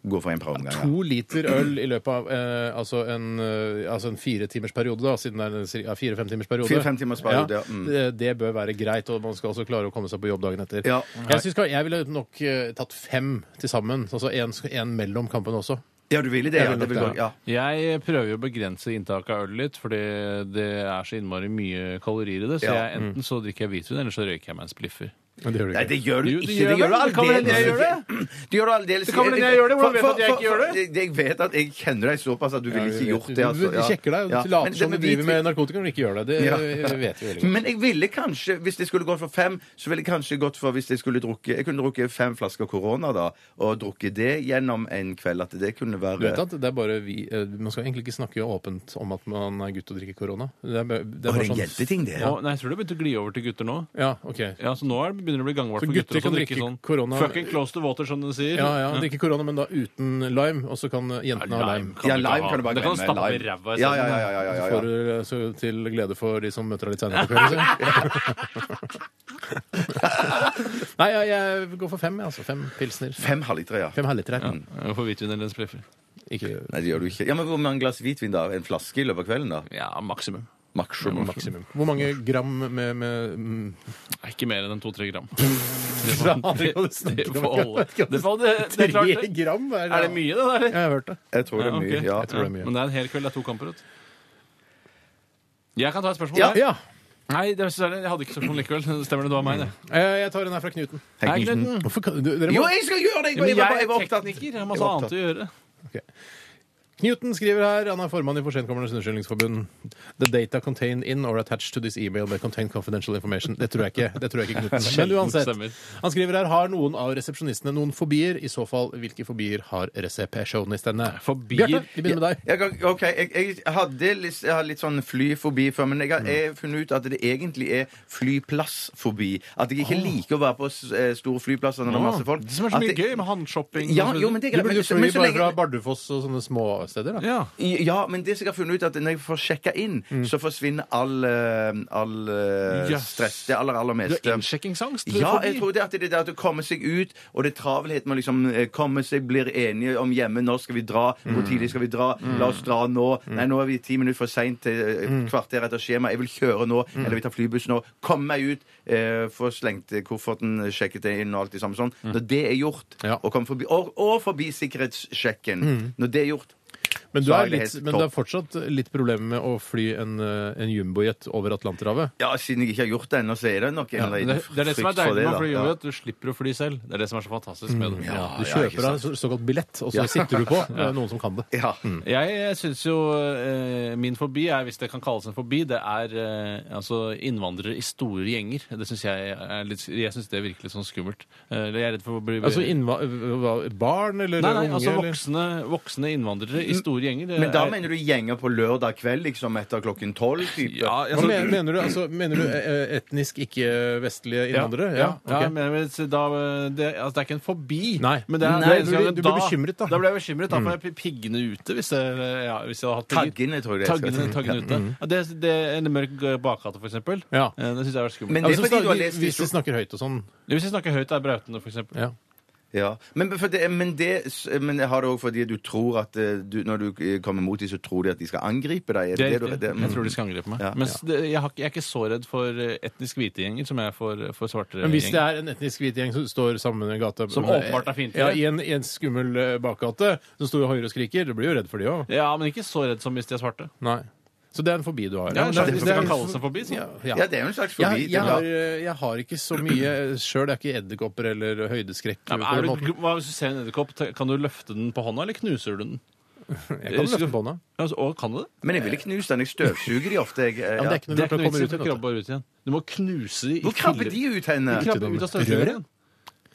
Speaker 3: gå for én per omgang. Ja.
Speaker 2: To liter øl i løpet av eh, altså en, eh, altså en fire timers periode, da, siden det er en cir- ja, fire-fem timers periode.
Speaker 3: Fire-fem timers periode, ja, mm.
Speaker 2: det, det bør være greit, og man skal også klare å komme seg på jobb dagen etter.
Speaker 3: Ja.
Speaker 2: Jeg, synes, ka- jeg ville nok eh, tatt fem til sammen, altså en, en mellom kampene også.
Speaker 3: ja, du ville det?
Speaker 2: Jeg
Speaker 3: Ja,
Speaker 2: vil
Speaker 3: det
Speaker 2: nok
Speaker 3: vil
Speaker 2: det,
Speaker 3: gå, ja.
Speaker 1: Jeg prøver jo å begrense inntaket av øl litt, fordi det er så innmari mye kalorier i det. Så
Speaker 3: Ja.
Speaker 1: jeg, enten så drikker jeg hvitvin, eller så røyker jeg meg en spliffer.
Speaker 2: Men det gjør du
Speaker 3: Nei,
Speaker 2: ikke.
Speaker 3: det gjør du
Speaker 1: Jo, det
Speaker 3: ikke. Det
Speaker 1: gjør
Speaker 3: gjør du
Speaker 1: vel. Det kan vel hende jeg gjør
Speaker 3: aldeles Det gjør du aldeles
Speaker 1: Det kan vel hende jeg gjør det. Hvordan vet du at jeg ikke gjør det?
Speaker 3: det? Jeg vet at jeg kjenner deg såpass at du ville
Speaker 2: Ja,
Speaker 3: ikke
Speaker 2: vi
Speaker 3: gjort
Speaker 2: vet-
Speaker 3: det. altså,
Speaker 2: Du sjekker deg,
Speaker 3: Ja.
Speaker 2: du later
Speaker 3: Men det
Speaker 2: som du
Speaker 3: med
Speaker 2: driver med
Speaker 3: hvitvin-
Speaker 2: narkotika når du ikke gjør det. Det
Speaker 3: Ja.
Speaker 2: eh, vet vi veldig godt.
Speaker 3: men jeg ville kanskje, hvis jeg skulle gått for fem, så ville jeg kanskje gått for hvis jeg skulle drukke Jeg kunne drukke fem flasker korona, da, og drukke det gjennom en kveld. At det kunne være
Speaker 2: Du vet at det er bare vi, eh, Man skal egentlig ikke snakke åpent om at man er gutt og drikker korona. Det er, bare-
Speaker 3: Å,
Speaker 2: det
Speaker 3: det er
Speaker 2: er bare
Speaker 3: en
Speaker 2: sånn
Speaker 3: hjelpeting, det.
Speaker 1: Og, nei, jeg tror det begynte å gli over til gutter nå.
Speaker 2: Ja, OK.
Speaker 1: Ja, så nå er det begynner det å bli gangbart
Speaker 2: Så
Speaker 1: for
Speaker 2: gutter
Speaker 1: gutter å så
Speaker 2: kan
Speaker 1: drikke
Speaker 2: drikke
Speaker 1: sånn
Speaker 2: korona-
Speaker 1: fucking close to water, som de sier.
Speaker 2: Ja, ja, Drikke korona, men da uten lime, og så kan jentene ha lime.
Speaker 3: Ja, lime kan du bare
Speaker 1: Det kan du
Speaker 3: glemme,
Speaker 1: stappe i
Speaker 3: lime.
Speaker 1: ræva i
Speaker 3: Ja,
Speaker 1: stedet.
Speaker 3: ja, ja, ja, ja, ja,
Speaker 2: For, eh, så til glede for de som møter deg litt senere på kvelden. Nei, jeg, jeg går for fem, jeg, altså. Fem pilsner.
Speaker 3: Fem halvlitere, ja.
Speaker 2: Fem halvliter her.
Speaker 1: Hvorfor hvitvin eller en spreffer?
Speaker 2: Ikke
Speaker 3: Nei, det gjør du ikke. Ja, men Hvor mange glass hvitvin da? En flaske i løpet av kvelden? da?
Speaker 1: Ja, maksimum.
Speaker 3: Maksimum.
Speaker 2: maksimum. Hvor mange gram med, med mm,
Speaker 1: Nei, Ikke mer enn to-tre gram. sånn-
Speaker 2: Fra andre kan du snakke
Speaker 1: Det
Speaker 2: om.
Speaker 1: får holde. Det får, det, det
Speaker 2: Tre
Speaker 1: er, klart, det.
Speaker 2: gram? Er det,
Speaker 1: er det mye, det der? eller?
Speaker 2: Jeg har hørt det.
Speaker 3: Jeg tror det er mye.
Speaker 1: ok.
Speaker 3: ja.
Speaker 2: Jeg tror det er mye.
Speaker 1: Men det er en hel kveld. Det er to kamper. Vet. du. Jeg kan ta et spørsmål.
Speaker 3: Ja.
Speaker 1: jeg.
Speaker 2: Ja.
Speaker 1: Nei, det, jeg hadde ikke spørsmål likevel. Det Stemmer det, det var meg, det.
Speaker 2: Eh, Jeg tar en her fra Knuten.
Speaker 1: Hei, Knuten.
Speaker 2: Hvorfor kan du, dere
Speaker 3: Jo,
Speaker 2: må,
Speaker 3: jeg skal gjøre det! Jeg,
Speaker 1: Men
Speaker 3: jeg, var-
Speaker 1: jeg
Speaker 3: jeg var
Speaker 1: er
Speaker 3: opptatt.
Speaker 1: tekniker. Jeg har masse annet å gjøre.
Speaker 2: Knuten skriver her, han er formann i For Sentkommernes Underskyldningsforbund. The data contained in or attached to this email may contain confidential information. Det tror jeg ikke. det tror jeg ikke Knuten. Men uansett.
Speaker 1: Stemmer.
Speaker 2: Han skriver her har noen av resepsjonistene noen fobier. I så fall, hvilke fobier har resepsjonistene?
Speaker 1: Fobier
Speaker 2: Bjarte, vi begynner med deg.
Speaker 3: Jeg, kan- ok, jeg, jeg, hadde litt, jeg hadde litt sånn flyfobi før, men jeg
Speaker 1: Mm.
Speaker 3: har jeg har funnet ut at det egentlig er flyplassfobi. At jeg ikke liker å være på s- eh, store flyplasser når det er masse folk.
Speaker 1: Det som er så
Speaker 3: At
Speaker 1: mye
Speaker 3: det-
Speaker 1: gøy med handshopping
Speaker 3: Ja,
Speaker 1: og så
Speaker 3: jo, men det
Speaker 2: Du
Speaker 3: er greit.
Speaker 2: burde
Speaker 3: men-
Speaker 2: jo fly
Speaker 3: men så
Speaker 2: bare
Speaker 3: lenge-
Speaker 2: fra Bardufoss og sånne småsteder, da.
Speaker 1: Ja.
Speaker 3: Ja, men det som jeg har funnet ut er at når jeg får sjekka inn, så forsvinner all, eh, all eh,
Speaker 1: Mm. Yes.
Speaker 3: stress. Det aller, aller
Speaker 1: Du
Speaker 3: meste.
Speaker 1: har innsjekkingsangst?
Speaker 3: Ja,
Speaker 1: fobi.
Speaker 3: jeg tror det at det er det at å komme seg ut, og det er travelhet med å liksom eh, komme seg, blir enige om hjemme, når skal vi dra,
Speaker 1: Mm.
Speaker 3: hvor tidlig skal vi dra, la oss dra nå. Nei, nå er vi ti minutter for seint,
Speaker 1: Mm.
Speaker 3: kvarter etter skjema, jeg vil kjøre nå, eller vi tar flybuss nå. Kom meg ut, eh, få slengt kofferten, sjekket det inn og alt det samme sånn.
Speaker 1: Mm.
Speaker 3: Når det er gjort,
Speaker 2: Ja.
Speaker 3: og, komme forbi, og, og forbi sikkerhetssjekken,
Speaker 1: Mm.
Speaker 3: når det er gjort
Speaker 2: Men du
Speaker 3: Så er
Speaker 2: er
Speaker 3: det
Speaker 2: litt,
Speaker 3: helt
Speaker 2: men
Speaker 3: topp.
Speaker 2: det er fortsatt litt problemer med å fly en, eh, en jumbojet over Atlanterhavet.
Speaker 3: Ja, siden jeg ikke har gjort det ennå, så er det nok en
Speaker 1: Ja,
Speaker 3: eller
Speaker 1: det,
Speaker 3: annen
Speaker 1: det er det som er
Speaker 3: frykt for
Speaker 1: deilig med å fly
Speaker 3: da. Mm,
Speaker 1: jordbær, at du slipper å fly selv. Det er det som er så fantastisk med det. Mm.
Speaker 3: Ja,
Speaker 2: Du
Speaker 3: Ah, ja, ikke
Speaker 2: kjøper deg
Speaker 3: sant.
Speaker 2: en så- såkalt billett, og så sitter du på. Det er noen som kan det.
Speaker 3: Ja.
Speaker 1: Jeg, jeg syns jo eh, min fobi er, hvis det kan kalles en fobi, det er eh, altså innvandrere i store gjenger. Det syns jeg er litt Jeg synes det er virkelig sånn skummelt. Eh, Eller jeg er redd for å bli
Speaker 2: Altså innva hva- barn eller
Speaker 1: Nei, nei,
Speaker 2: unge?
Speaker 1: altså
Speaker 2: eller?
Speaker 1: voksne, voksne innvandrere i store gjenger. det
Speaker 3: Men da
Speaker 1: er-
Speaker 3: mener du gjenger på lørdag kveld, liksom etter klokken tolv? type?
Speaker 1: ja,
Speaker 2: Hva
Speaker 1: altså,
Speaker 2: men, mener du altså, mener du eh, etnisk ikke-vestlige innvandrere?
Speaker 1: Ja, ja,
Speaker 2: ok.
Speaker 1: ja, men jeg vil si da, eh, det, altså, det er ikke en fobi.
Speaker 2: Nei.
Speaker 1: men det er,
Speaker 2: Nei,
Speaker 1: det er-
Speaker 2: du blir- du blir
Speaker 1: da-
Speaker 2: bekymret, da. Mm.
Speaker 1: Da ble jeg bekymret, da får jeg piggene ute hvis jeg, ja, hvis jeg hadde hatt pigger.
Speaker 3: Taggene, tror jeg. det
Speaker 1: Taggene,
Speaker 3: skal
Speaker 1: taggene ute. Ja, det, det er En mørk eh, bakgate, for eksempel.
Speaker 2: Mm. Ja.
Speaker 1: Eh, Det syns jeg har vært skummelt.
Speaker 3: Men
Speaker 2: Ja,
Speaker 3: det
Speaker 2: hvis
Speaker 3: er
Speaker 2: vi
Speaker 3: fordi du har
Speaker 2: snakker-
Speaker 3: lest
Speaker 2: Hvis de snakker høyt og sånn.
Speaker 1: Hvis vi snakker høyt, er brautende, for eksempel.
Speaker 2: Ja.
Speaker 3: Ja. Men, for det, men, det, men har det òg fordi du tror at eh, du, når du eh, kommer mot dem, så tror de at de skal angripe deg? Er
Speaker 1: Det
Speaker 3: det
Speaker 1: er
Speaker 3: det du,
Speaker 1: riktig. Mm.
Speaker 3: det, mm.
Speaker 1: Jeg tror de skal angripe meg.
Speaker 3: Ja.
Speaker 1: Mens det, jeg, har, ikke- jeg er ikke så redd for eh, etnisk hvite gjenger som jeg er for, eh, for svarte
Speaker 2: Men hvis det
Speaker 1: gjenger.
Speaker 2: er en etnisk hvit gjeng som står sammen i gata
Speaker 1: Som åpenbart er fiendtlig.
Speaker 2: ja, i, en, I en skummel eh, bakgate, som står og høyre og skriker, du blir jo redd for de òg.
Speaker 1: Ja, men ikke så redd som hvis de er svarte.
Speaker 2: Nei. Så det er en fobi du har.
Speaker 1: Ja,
Speaker 2: men
Speaker 1: det,
Speaker 3: det-
Speaker 1: hvis
Speaker 3: det
Speaker 1: det
Speaker 3: er-
Speaker 1: kan kalles en fobi, så.
Speaker 2: ja,
Speaker 3: ja.
Speaker 2: ja.
Speaker 3: det er jo en slags
Speaker 2: Jeg,
Speaker 3: forbi.
Speaker 2: jeg,
Speaker 3: ja.
Speaker 2: har, eh, jeg har ikke så mye sjøl. Det er ikke edderkopper eller høydeskrekk.
Speaker 1: Ja, men
Speaker 2: på den
Speaker 1: er
Speaker 2: måten.
Speaker 1: du, hva, hvis du ser en edderkopp, ta- kan du løfte den på hånda, eller knuser du den?
Speaker 2: Jeg kan løfte bånda.
Speaker 1: Ja, altså, å, kan du det?
Speaker 3: Men jeg ville knust den. Jeg støvsuger de ofte. Jeg, eh,
Speaker 2: Ja, men det er ikke noe
Speaker 1: Det er
Speaker 2: lurt å
Speaker 1: ikke noe
Speaker 2: komme
Speaker 1: vits i
Speaker 2: ut
Speaker 1: at
Speaker 2: igjen.
Speaker 1: du krabber bare ut igjen. Du må knuse de i
Speaker 3: Hvor krabber
Speaker 1: filler.
Speaker 3: de ut henne?
Speaker 1: De krabber ut av
Speaker 2: Røret?
Speaker 1: støvsugeren igjen.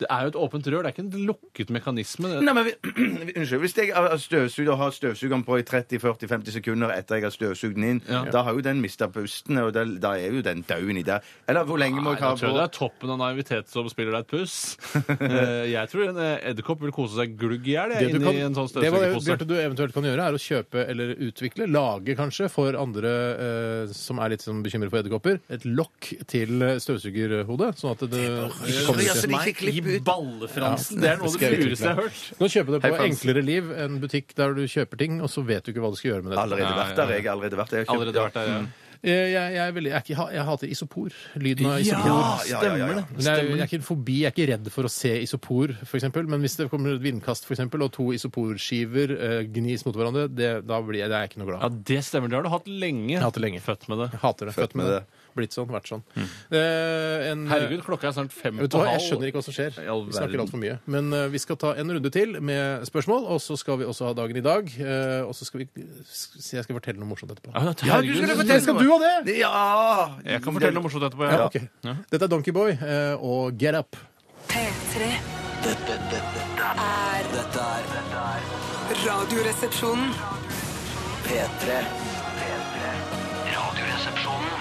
Speaker 1: Det er jo et åpent rør. Det er ikke en lukket mekanisme.
Speaker 3: Nei, men vi, Unnskyld. Hvis jeg har støvsuger har støvsugeren på i 30-40-50 sekunder etter jeg har støvsugd den inn,
Speaker 1: Ja.
Speaker 3: da har jo den mista pusten, og da, da er jo den daud i der. Eller hvor lenge må
Speaker 1: Nei,
Speaker 3: jeg ha
Speaker 1: jeg tror
Speaker 3: på?
Speaker 1: det er toppen av naivitet som spiller deg et puss. Eh, jeg tror en eh, edderkopp vil kose seg glugg i hjel jeg,
Speaker 2: Det, du
Speaker 1: inni
Speaker 2: kan,
Speaker 1: en sånn
Speaker 2: det var det
Speaker 1: støvsugerpose.
Speaker 2: Bjarte, du eventuelt kan gjøre, er å kjøpe eller utvikle, lage kanskje, for andre eh, som er litt sånn bekymret for edderkopper, et lokk til eh, støvsugerhodet. Sånn at det ikke kommer
Speaker 3: Ja, så
Speaker 2: ut.
Speaker 3: de ikke klipper
Speaker 1: I
Speaker 3: ut.
Speaker 1: ballefransen! det er noe av
Speaker 2: skal
Speaker 1: det
Speaker 2: jeg
Speaker 1: lureste jeg har hørt.
Speaker 2: Du kan kjøpe det
Speaker 3: Hei,
Speaker 2: på
Speaker 3: Frans.
Speaker 2: Enklere Liv, en butikk der du kjøper ting, og så vet du ikke hva du skal gjøre med det.
Speaker 3: Allerede
Speaker 1: Ja,
Speaker 3: vært
Speaker 1: ja,
Speaker 3: der,
Speaker 1: ja.
Speaker 3: jeg. Allerede vært der. Jeg har kjøpt-
Speaker 1: Allerede vært der, ja.
Speaker 2: Jeg, jeg, er veldig- jeg, er ikke- jeg hater isopor. Lyden av isopor.
Speaker 3: ja, ja, ja, ja.
Speaker 2: Men jeg, er- jeg er ikke en fobi, jeg er ikke redd for å se isopor, for eksempel. Men hvis det kommer et vindkast, for eksempel, og to isoporskiver eh, gnis mot hverandre, det, da blir jeg, det er jeg ikke noe glad.
Speaker 1: Ja, det stemmer. Det har du hatt lenge.
Speaker 2: har hatt det lenge.
Speaker 1: Født med det.
Speaker 2: Jeg hater det. Født med det. Blitt sånn, vært sånn. Eh, en,
Speaker 1: Mm. Herregud, klokka er snart fem
Speaker 2: Vet du
Speaker 1: på
Speaker 2: hva, Jeg
Speaker 1: halv.
Speaker 2: skjønner ikke hva som skjer.
Speaker 1: I all
Speaker 2: Vi snakker
Speaker 1: verden.
Speaker 2: altfor mye. Men eh, vi skal ta en runde til med spørsmål, og så skal vi også ha dagen i dag. eh, og så skal vi se, Jeg skal fortelle noe morsomt etterpå.
Speaker 1: Ja,
Speaker 3: Ja, du skulle
Speaker 1: herregud.
Speaker 3: fortelle
Speaker 2: skal du ha
Speaker 3: det? Ja!
Speaker 1: Jeg kan fortelle noe morsomt etterpå.
Speaker 2: Ja,
Speaker 1: Ja.
Speaker 2: ok. Dette er Donkeyboy og Get Up.
Speaker 4: P3
Speaker 5: Dette, dette, dette er-
Speaker 4: er
Speaker 5: dette er dette er
Speaker 4: Radioresepsjonen.
Speaker 5: P3. P3. Radioresepsjonen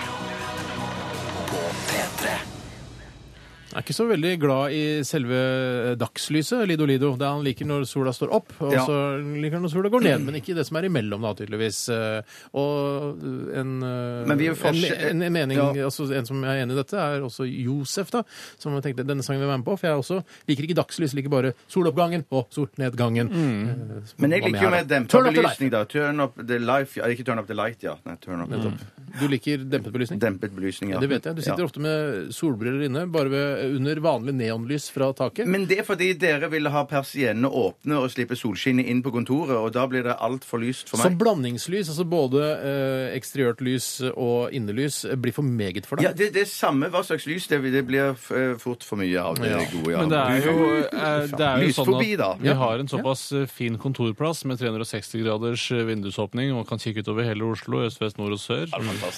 Speaker 5: på P3.
Speaker 2: er ikke så veldig glad i selve eh, dagslyset, Lido Lido. Det han liker når sola står opp, og
Speaker 3: Ja.
Speaker 2: så liker han når sola går ned. Men ikke det som er imellom, da, tydeligvis. Eh, Og en, eh,
Speaker 3: Men vi er jo
Speaker 2: en,
Speaker 3: forskjell-
Speaker 2: en, en mening,
Speaker 3: Ja.
Speaker 2: altså en som er enig i dette, er også Josef, da. Som jeg tenkte denne sangen vil jeg være med på, for jeg også liker ikke dagslys, liker bare soloppgangen og solnedgangen. Eh, som
Speaker 3: Mm. Men jeg liker
Speaker 2: var med
Speaker 3: jo
Speaker 2: her,
Speaker 3: mer
Speaker 2: da.
Speaker 3: dempet
Speaker 2: Turn up the light.
Speaker 3: belysning, da. Turn up the life ja, Ikke turn up the light, ja. Nei, turn
Speaker 1: Mm.
Speaker 3: up the top.
Speaker 2: Du liker dempet belysning?
Speaker 3: Dempet belysning, ja.
Speaker 2: Det vet jeg. Du sitter
Speaker 3: Ja.
Speaker 2: ofte med solbriller inne, bare ved, under vanlig neonlys fra taket.
Speaker 3: Men det er fordi dere vil ha persiennene åpne og slippe solskinnet inn på kontoret, og da blir det altfor lyst for
Speaker 2: Så
Speaker 3: meg.
Speaker 2: blandingslys, altså både eh, eksteriørt lys og innelys, eh, blir for meget for
Speaker 3: Ja,
Speaker 2: deg?
Speaker 3: det, det er samme hva slags lys det, det blir f- eh, fort for mye av. Det
Speaker 2: Ja.
Speaker 3: gode, ja.
Speaker 1: Men det er jo, eh, det er jo sånn
Speaker 3: Lysfobi, da.
Speaker 1: at vi har en såpass eh, fin kontorplass med 360 graders eh, vindusåpning og kan kikke utover hele Oslo, øst, vest, nord og sør.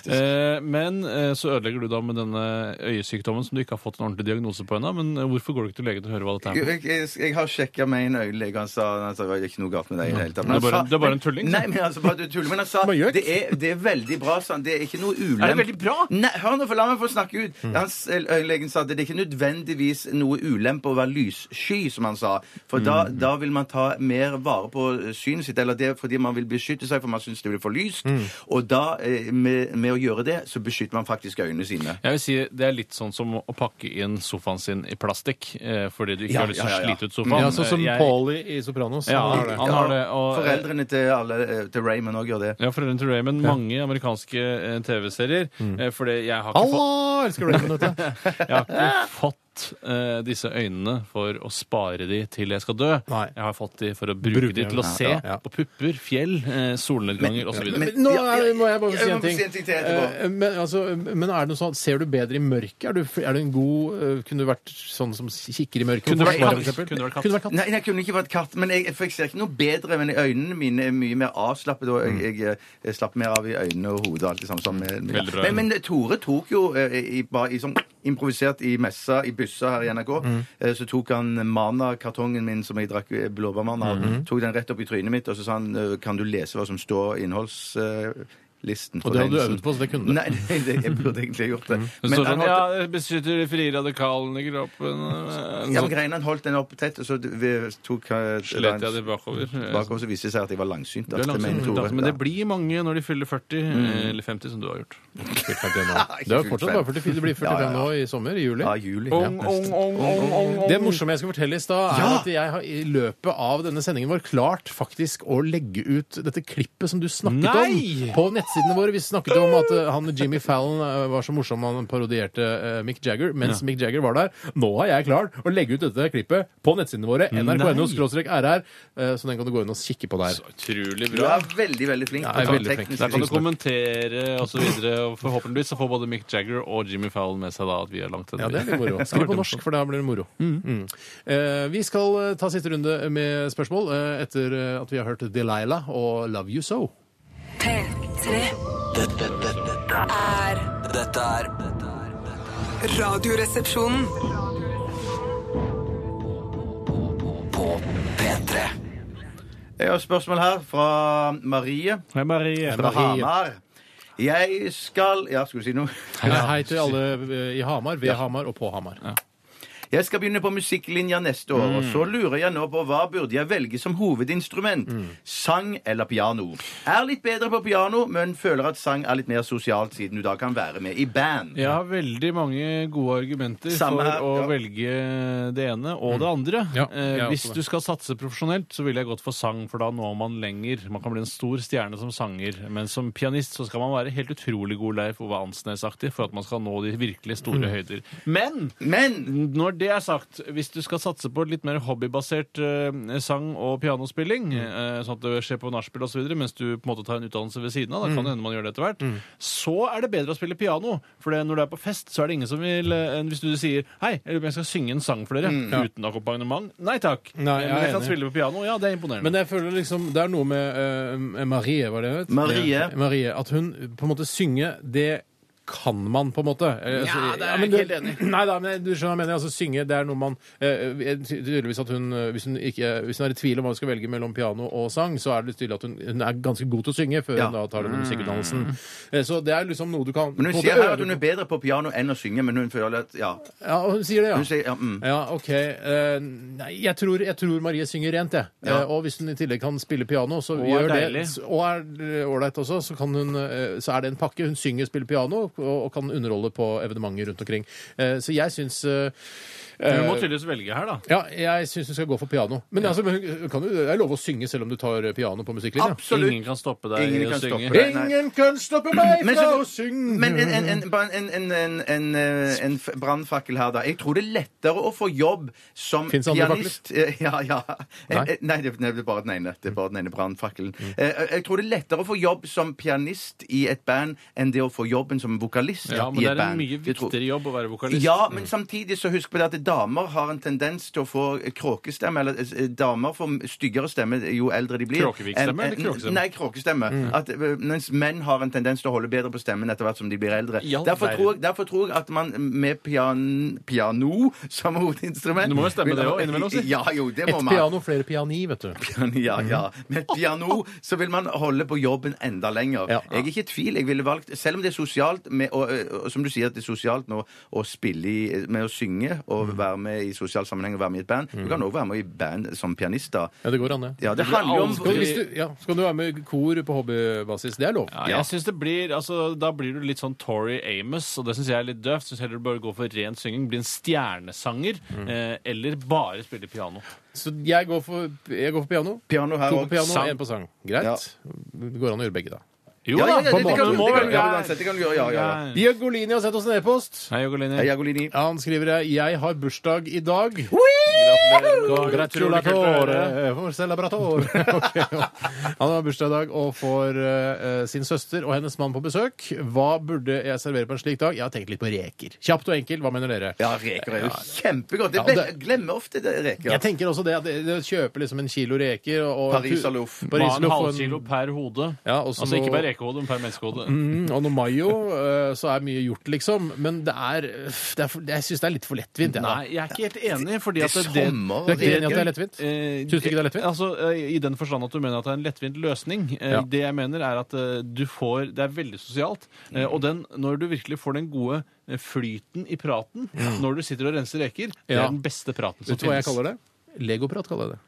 Speaker 1: Eh, Men eh, så ødelegger du da med denne øyesykdommen som du ikke har fått en ordentlig diagnose på ennå. Men eh, hvorfor går du ikke til legen til å høre hva dette er?
Speaker 3: Jeg, jeg, jeg har sjekka med en øyelege. Han sa han sa, det er ikke noe galt med deg. i Det hele tatt.
Speaker 1: Det er
Speaker 3: Men han
Speaker 1: bare-
Speaker 3: sa-
Speaker 1: det er bare en tulling,
Speaker 3: Nei, men altså, bare du tuller. Men han sa
Speaker 2: Bare gjøk.
Speaker 3: det er, det er veldig bra. Sa han. Det er ikke noe ulempe.
Speaker 1: Er det veldig bra?
Speaker 3: Nei, hør nå, for la meg få snakke ut.
Speaker 2: Mm.
Speaker 3: Han s- øyelegen sa at det er ikke nødvendigvis noe ulempe å være lyssky, som han sa. For da,
Speaker 2: Mm.
Speaker 3: da vil man ta mer vare på eh, synet sitt. Eller det er fordi man vil beskytte seg, for man syns det blir for lyst.
Speaker 2: Mm.
Speaker 3: Og da, eh, med, med å gjøre det, så beskytter man faktisk øynene sine.
Speaker 1: Jeg vil si Det er litt sånn som å pakke inn sofaen sin i plastikk eh, fordi du ikke
Speaker 3: Ja,
Speaker 1: har lyst til
Speaker 3: ja,
Speaker 1: å
Speaker 3: ja, ja.
Speaker 1: slite ut sofaen.
Speaker 2: Ja, sånn som
Speaker 1: Eh, jeg-
Speaker 2: Paulie i Sopranos.
Speaker 1: Ja,
Speaker 2: han har det.
Speaker 1: han har det. Og, eh,
Speaker 3: Foreldrene til, alle, eh, til Raymond òg gjør det.
Speaker 1: Ja, foreldrene til Raymond. Mange amerikanske eh, TV-serier.
Speaker 3: Mm.
Speaker 1: eh, Fordi jeg har ikke fått,
Speaker 2: Allah! Elsker Raymond, vet du.
Speaker 1: jeg har ikke fått eh, disse øynene for å spare de til jeg skal dø.
Speaker 2: Nei.
Speaker 1: Jeg har fått de for å bruke,
Speaker 2: Bruke
Speaker 1: de til å
Speaker 2: dem,
Speaker 1: se
Speaker 2: ja, ja.
Speaker 1: på pupper, fjell, eh, solnedganger osv.
Speaker 3: men-
Speaker 2: Men Nå
Speaker 3: Ja, ja,
Speaker 2: er, må jeg bare
Speaker 3: ja,
Speaker 2: si
Speaker 3: jeg må
Speaker 2: en ting.
Speaker 3: si en ting til etterpå.
Speaker 2: Eh, Men, altså, men er det noe sånn, ser du bedre i mørket? Er du, er du en god eh, Kunne du vært sånn som kikker i mørket?
Speaker 1: Kunne du
Speaker 2: Forsvaret,
Speaker 1: vært katt?
Speaker 2: for eksempel?
Speaker 1: Kunne du vært katt?
Speaker 2: Kunne du vært katt?
Speaker 3: Nei, jeg kunne ikke vært katt, men jeg, for jeg ser ikke noe bedre. Men øynene mine er mye mer avslappet, og jeg, jeg, jeg slapper mer av i øynene og hodet. og alt det samme. sammen
Speaker 2: Mm.
Speaker 3: med-
Speaker 1: Veldig bra.
Speaker 3: men, men Tore tok jo eh, i, bare i sånn improvisert i messa i byssa her i NRK,
Speaker 2: Mm.
Speaker 3: eh, så tok han Mana-kartongen min som jeg drakk eh, blåbærmann av,
Speaker 2: Mm-hmm.
Speaker 3: tok den rett opp i trynet mitt, og så sa han eh, kan du lese hva som står i innholdslisten?
Speaker 2: Og det hadde du øvd på, så det kunne du. Mm.
Speaker 3: Nei, det, det, jeg burde egentlig gjort det.
Speaker 1: Men,
Speaker 3: Men
Speaker 1: sånn,
Speaker 3: han holdt-
Speaker 1: ja, beskytter de frie radikalene i kroppen eh,
Speaker 3: Ja, men greiene han holdt den opp tett, og så vi tok eh,
Speaker 1: Slet jeg de bakover? eh,
Speaker 3: Bakover så viste det seg at jeg var langsynt.
Speaker 1: Du
Speaker 3: at
Speaker 1: er
Speaker 3: det
Speaker 1: langsomt,
Speaker 3: mener Tore.
Speaker 1: men det blir mange når de fyller 40 eh, eller 50, som du har gjort.
Speaker 2: Du er jo fortsatt bare 44. Du blir 45 nå i sommer, i juli.
Speaker 3: Ja, juli.
Speaker 1: Ong,
Speaker 3: Ja.
Speaker 1: ong, ong, ong, ong, ong.
Speaker 2: Det morsomme jeg skal fortelle i stad, er
Speaker 3: Ja!
Speaker 2: at jeg har i løpet av denne sendingen vår klart faktisk å legge ut dette klippet som du snakket
Speaker 1: Nei!
Speaker 2: om på nettsidene våre. Vi snakket om at eh, han Jimmy Fallon eh, var så morsom han parodierte eh, Mick Jagger mens Mick Jagger var der. Nå har jeg klart å legge ut dette klippet på nettsidene våre. nrk.no rr. eh, Så den kan du gå inn og kikke på der.
Speaker 1: Utrolig
Speaker 3: Du
Speaker 1: bra.
Speaker 3: er veldig, veldig flink.
Speaker 2: Ja, jeg er
Speaker 3: på
Speaker 2: veldig flink.
Speaker 3: teknisk
Speaker 1: Der kan du
Speaker 3: sett.
Speaker 1: kommentere og så videre, og forhåpentligvis så får både Mick Jagger og Jimmy Fallon med seg da at vi er langt etter.
Speaker 2: Ja, det er litt moro. Skriv på norsk, for da blir det moro. Mm. Eh, vi skal eh, ta siste runde med spørsmål eh, etter eh, at vi har hørt Delilah og Love You So.
Speaker 4: P3
Speaker 5: Dette, dette, dette er
Speaker 4: er
Speaker 5: Dette er dette er- dette er
Speaker 4: Radioresepsjonen.
Speaker 5: På P3
Speaker 3: Jeg har et spørsmål her fra Marie
Speaker 1: Hei, Marie.
Speaker 3: fra
Speaker 2: Marie.
Speaker 3: Hamar. Jeg skal Ja, skulle du si noe?
Speaker 2: Hei, hei til alle eh, i Hamar, ved Hamar og på Hamar.
Speaker 3: Jeg skal begynne på musikklinja neste år,
Speaker 2: Mm.
Speaker 3: og så lurer jeg nå på hva burde jeg velge som hovedinstrument?
Speaker 2: Mm.
Speaker 3: Sang eller piano? Er litt bedre på piano, men føler at sang er litt mer sosialt, siden du da kan være med i band.
Speaker 1: Jeg har veldig mange gode argumenter
Speaker 3: Samme
Speaker 1: for
Speaker 3: her,
Speaker 1: å
Speaker 3: ja.
Speaker 1: velge det ene og det andre.
Speaker 2: Mm. Ja,
Speaker 1: Eh,
Speaker 2: jeg er
Speaker 1: hvis
Speaker 2: også
Speaker 1: du
Speaker 2: det.
Speaker 1: skal satse profesjonelt, så ville jeg gått for sang, for da når man lenger. Man kan bli en stor stjerne som sanger, men som pianist så skal man være helt utrolig god Leif Ove Ansnes-aktig for at man skal nå de virkelig store
Speaker 2: Mm.
Speaker 1: høyder. Men
Speaker 3: Men
Speaker 1: Når det er sagt, hvis du skal satse på litt mer hobbybasert eh, sang- og pianospilling,
Speaker 3: Mm.
Speaker 1: eh, sånn at det skjer på nachspiel osv., mens du på en måte tar en utdannelse ved siden av, da
Speaker 3: Mm.
Speaker 1: kan det hende man gjør det etter hvert, så er det bedre å spille piano. For det, når du er på fest, så er det ingen som vil eh, enn Hvis du sier 'hei, jeg lurer på om jeg skal synge en sang for dere',
Speaker 3: Mm,
Speaker 1: uten akkompagnement, nei takk.
Speaker 2: Nei, jeg
Speaker 1: Men
Speaker 2: er
Speaker 1: jeg kan
Speaker 2: enig.
Speaker 1: spille på piano, ja, det er imponerende.
Speaker 2: Men jeg føler liksom, det er noe med eh, Marie, var det hun het?
Speaker 3: Marie.
Speaker 2: Marie. At hun på en måte synger det kan man, på en måte. Eh, altså,
Speaker 1: Ja, det er jeg
Speaker 2: men
Speaker 1: ikke
Speaker 2: du-
Speaker 1: helt enig i.
Speaker 2: Nei da, men du skjønner hva jeg mener. Altså, synge, det er noe man eh, jeg- Tydeligvis at hun eh, hvis hun, ikke, hvis hun er i tvil om hva hun skal velge mellom piano og sang, så er det tydelig at hun, hun er ganske god til å synge før
Speaker 3: Ja.
Speaker 2: hun da tar
Speaker 1: Mm.
Speaker 2: den musikkutdannelsen. Eh, Så det er liksom noe du kan
Speaker 3: Men hun
Speaker 2: på en
Speaker 3: sier
Speaker 2: måte
Speaker 3: her at
Speaker 2: øve
Speaker 3: hun er
Speaker 2: på.
Speaker 3: bedre på piano enn å synge, men hun føler at Ja.
Speaker 2: Ja, hun sier det, ja.
Speaker 3: Hun sier, ja, mm.
Speaker 2: Ja, OK. Eh, nei, jeg tror, jeg tror Marie synger rent, jeg.
Speaker 3: Ja.
Speaker 2: Eh, og hvis hun i tillegg kan spille piano, så
Speaker 1: Og er
Speaker 2: gjør det
Speaker 1: deilig.
Speaker 2: s- Og er eh, ålreit også, så, kan hun, eh, så er det en pakke. Hun synger, spiller piano og, og kan underholde på evenementer rundt omkring. Eh, så jeg syns eh,
Speaker 1: Hun må
Speaker 2: eh,
Speaker 1: tydeligvis velge her, da.
Speaker 2: ja, jeg syns hun skal gå for piano. Men altså, men hun- kan jo, det er lov å synge selv om du tar eh, piano på musikklinja.
Speaker 3: Absolutt.
Speaker 1: Ingen kan stoppe deg
Speaker 3: Ingen
Speaker 1: i å
Speaker 3: kan stoppe
Speaker 1: synge.
Speaker 3: deg. Nei.
Speaker 2: Ingen kan stoppe meg
Speaker 3: Men
Speaker 2: fra
Speaker 3: så-
Speaker 2: å synge!
Speaker 3: Men en, en, en, bare en, en, en, en, eh, en f- brannfakkel her, da. Jeg tror det er lettere å få jobb som
Speaker 2: Finnes andre
Speaker 3: pianist Eh, Ja, ja.
Speaker 2: Nei.
Speaker 3: Nei, Nei det, det er bare den ene. Det er bare den ene brannfakkelen. Eh, Jeg tror det er lettere å få jobb som pianist i et band enn det å få jobben som vokalist
Speaker 1: Ja, men
Speaker 3: i
Speaker 1: det
Speaker 3: et
Speaker 1: er en
Speaker 3: band.
Speaker 1: mye
Speaker 3: Det tror-
Speaker 1: viktigere jobb å være vokalist.
Speaker 3: Ja, men samtidig så husk på det at damer har en tendens til å få kråkestemme. Eller eh, damer får styggere stemme jo eldre de blir. enn-
Speaker 1: Kråkevikstemme eller
Speaker 3: enn-
Speaker 1: kråkestemme?
Speaker 3: Nei, kråkestemme. At, eh, mens menn har en tendens til å holde bedre på stemmen etter hvert som de blir eldre.
Speaker 1: I all
Speaker 3: Derfor
Speaker 1: verden.
Speaker 3: tror, jeg, derfor tror jeg at man med pian, piano som hovedinstrument
Speaker 1: Det må jo stemme
Speaker 3: vil-
Speaker 1: det også, innimellom, si.
Speaker 3: Ja, jo, det må
Speaker 2: Et
Speaker 3: man.
Speaker 2: piano, flere piani, vet du.
Speaker 3: Ja,
Speaker 2: Mm.
Speaker 3: ja. Med et piano så vil man holde på jobben enda lenger.
Speaker 2: Ja.
Speaker 3: Jeg er ikke i tvil. Jeg ville valgt, selv om det er sosialt, med, og, og som du sier at det er sosialt nå, å spille i, med å synge
Speaker 2: Mm.
Speaker 3: og være med i sosial sammenheng og være med i et band Du kan også være med i band som pianist, da.
Speaker 2: Ja, det går an, det.
Speaker 3: Ja, det
Speaker 1: blir
Speaker 3: handler jo om
Speaker 1: aldri-
Speaker 2: Skal, hvis du, ja, så kan du være med i kor på hobbybasis. Det er lov.
Speaker 1: Ja, jeg synes det blir, altså, Da blir du litt sånn Tori Amos, og det syns jeg er litt døvt. Syns heller du bør gå for ren synging, bli en stjernesanger, eh, eller bare spille piano.
Speaker 2: Så jeg går for, jeg går for piano.
Speaker 3: Piano her
Speaker 2: To på
Speaker 3: også.
Speaker 2: piano,
Speaker 1: Sang.
Speaker 2: én på sang. Greit.
Speaker 3: Ja.
Speaker 2: Det går an å gjøre begge, da.
Speaker 1: Jo
Speaker 3: Ja, ja, ja,
Speaker 1: da, på
Speaker 3: det
Speaker 1: en måte.
Speaker 3: kan
Speaker 1: Du
Speaker 3: du-
Speaker 1: må
Speaker 3: det kan
Speaker 1: velge.
Speaker 3: du- ja, uansett, det kan du gjøre, ja, ja, ja.
Speaker 2: Bjørgolini har sett oss en e-post.
Speaker 1: Hei, Jogolini.
Speaker 3: Hei, Jagolini.
Speaker 2: Han skriver her Jeg har bursdag i dag. Gratulatore for celebratore. Ok, ja. Han har bursdag i dag og får eh, sin søster og hennes mann på besøk. Hva burde jeg servere på en slik dag? Jeg har tenkt litt på reker. Kjapt og enkelt, hva mener dere?
Speaker 3: Ja, reker er jo kjempegodt. Jeg
Speaker 2: Ja,
Speaker 3: vet-
Speaker 2: det-
Speaker 3: jeg glemmer ofte det, reker.
Speaker 2: Jeg tenker også det at det- det å kjøpe liksom en kilo reker og
Speaker 3: Pariserloff.
Speaker 1: Bare en
Speaker 2: Pariserloff og en-
Speaker 1: halvkilo per hode.
Speaker 2: Ja, og så
Speaker 1: altså ikke
Speaker 2: noe-
Speaker 1: per rekehode, men per menneskehode.
Speaker 2: Mm, og noe mayo, eh, så er mye gjort, liksom. Men det er, øff, det er for, Jeg syns det er litt for lettvint. jeg, da.
Speaker 1: Nei, jeg er ikke helt enig, fordi
Speaker 3: Det
Speaker 1: at
Speaker 3: er
Speaker 1: det
Speaker 3: sommer.
Speaker 2: Du er ikke
Speaker 3: reker.
Speaker 2: enig i at det er lettvint?
Speaker 1: Eh,
Speaker 2: Synes du ikke det er lettvint?
Speaker 1: Altså, eh, I den forstand at du mener at det er en lettvint løsning. Eh,
Speaker 2: Ja.
Speaker 1: Det jeg mener er at eh, du får Det er veldig sosialt. Eh,
Speaker 2: Mm.
Speaker 1: Og den, når du virkelig får den gode eh, flyten i praten når du sitter og renser reker, det
Speaker 2: Ja.
Speaker 1: er den beste praten som
Speaker 2: Vet du hva jeg
Speaker 1: finnes.
Speaker 2: kaller det? Legoprat kaller jeg det.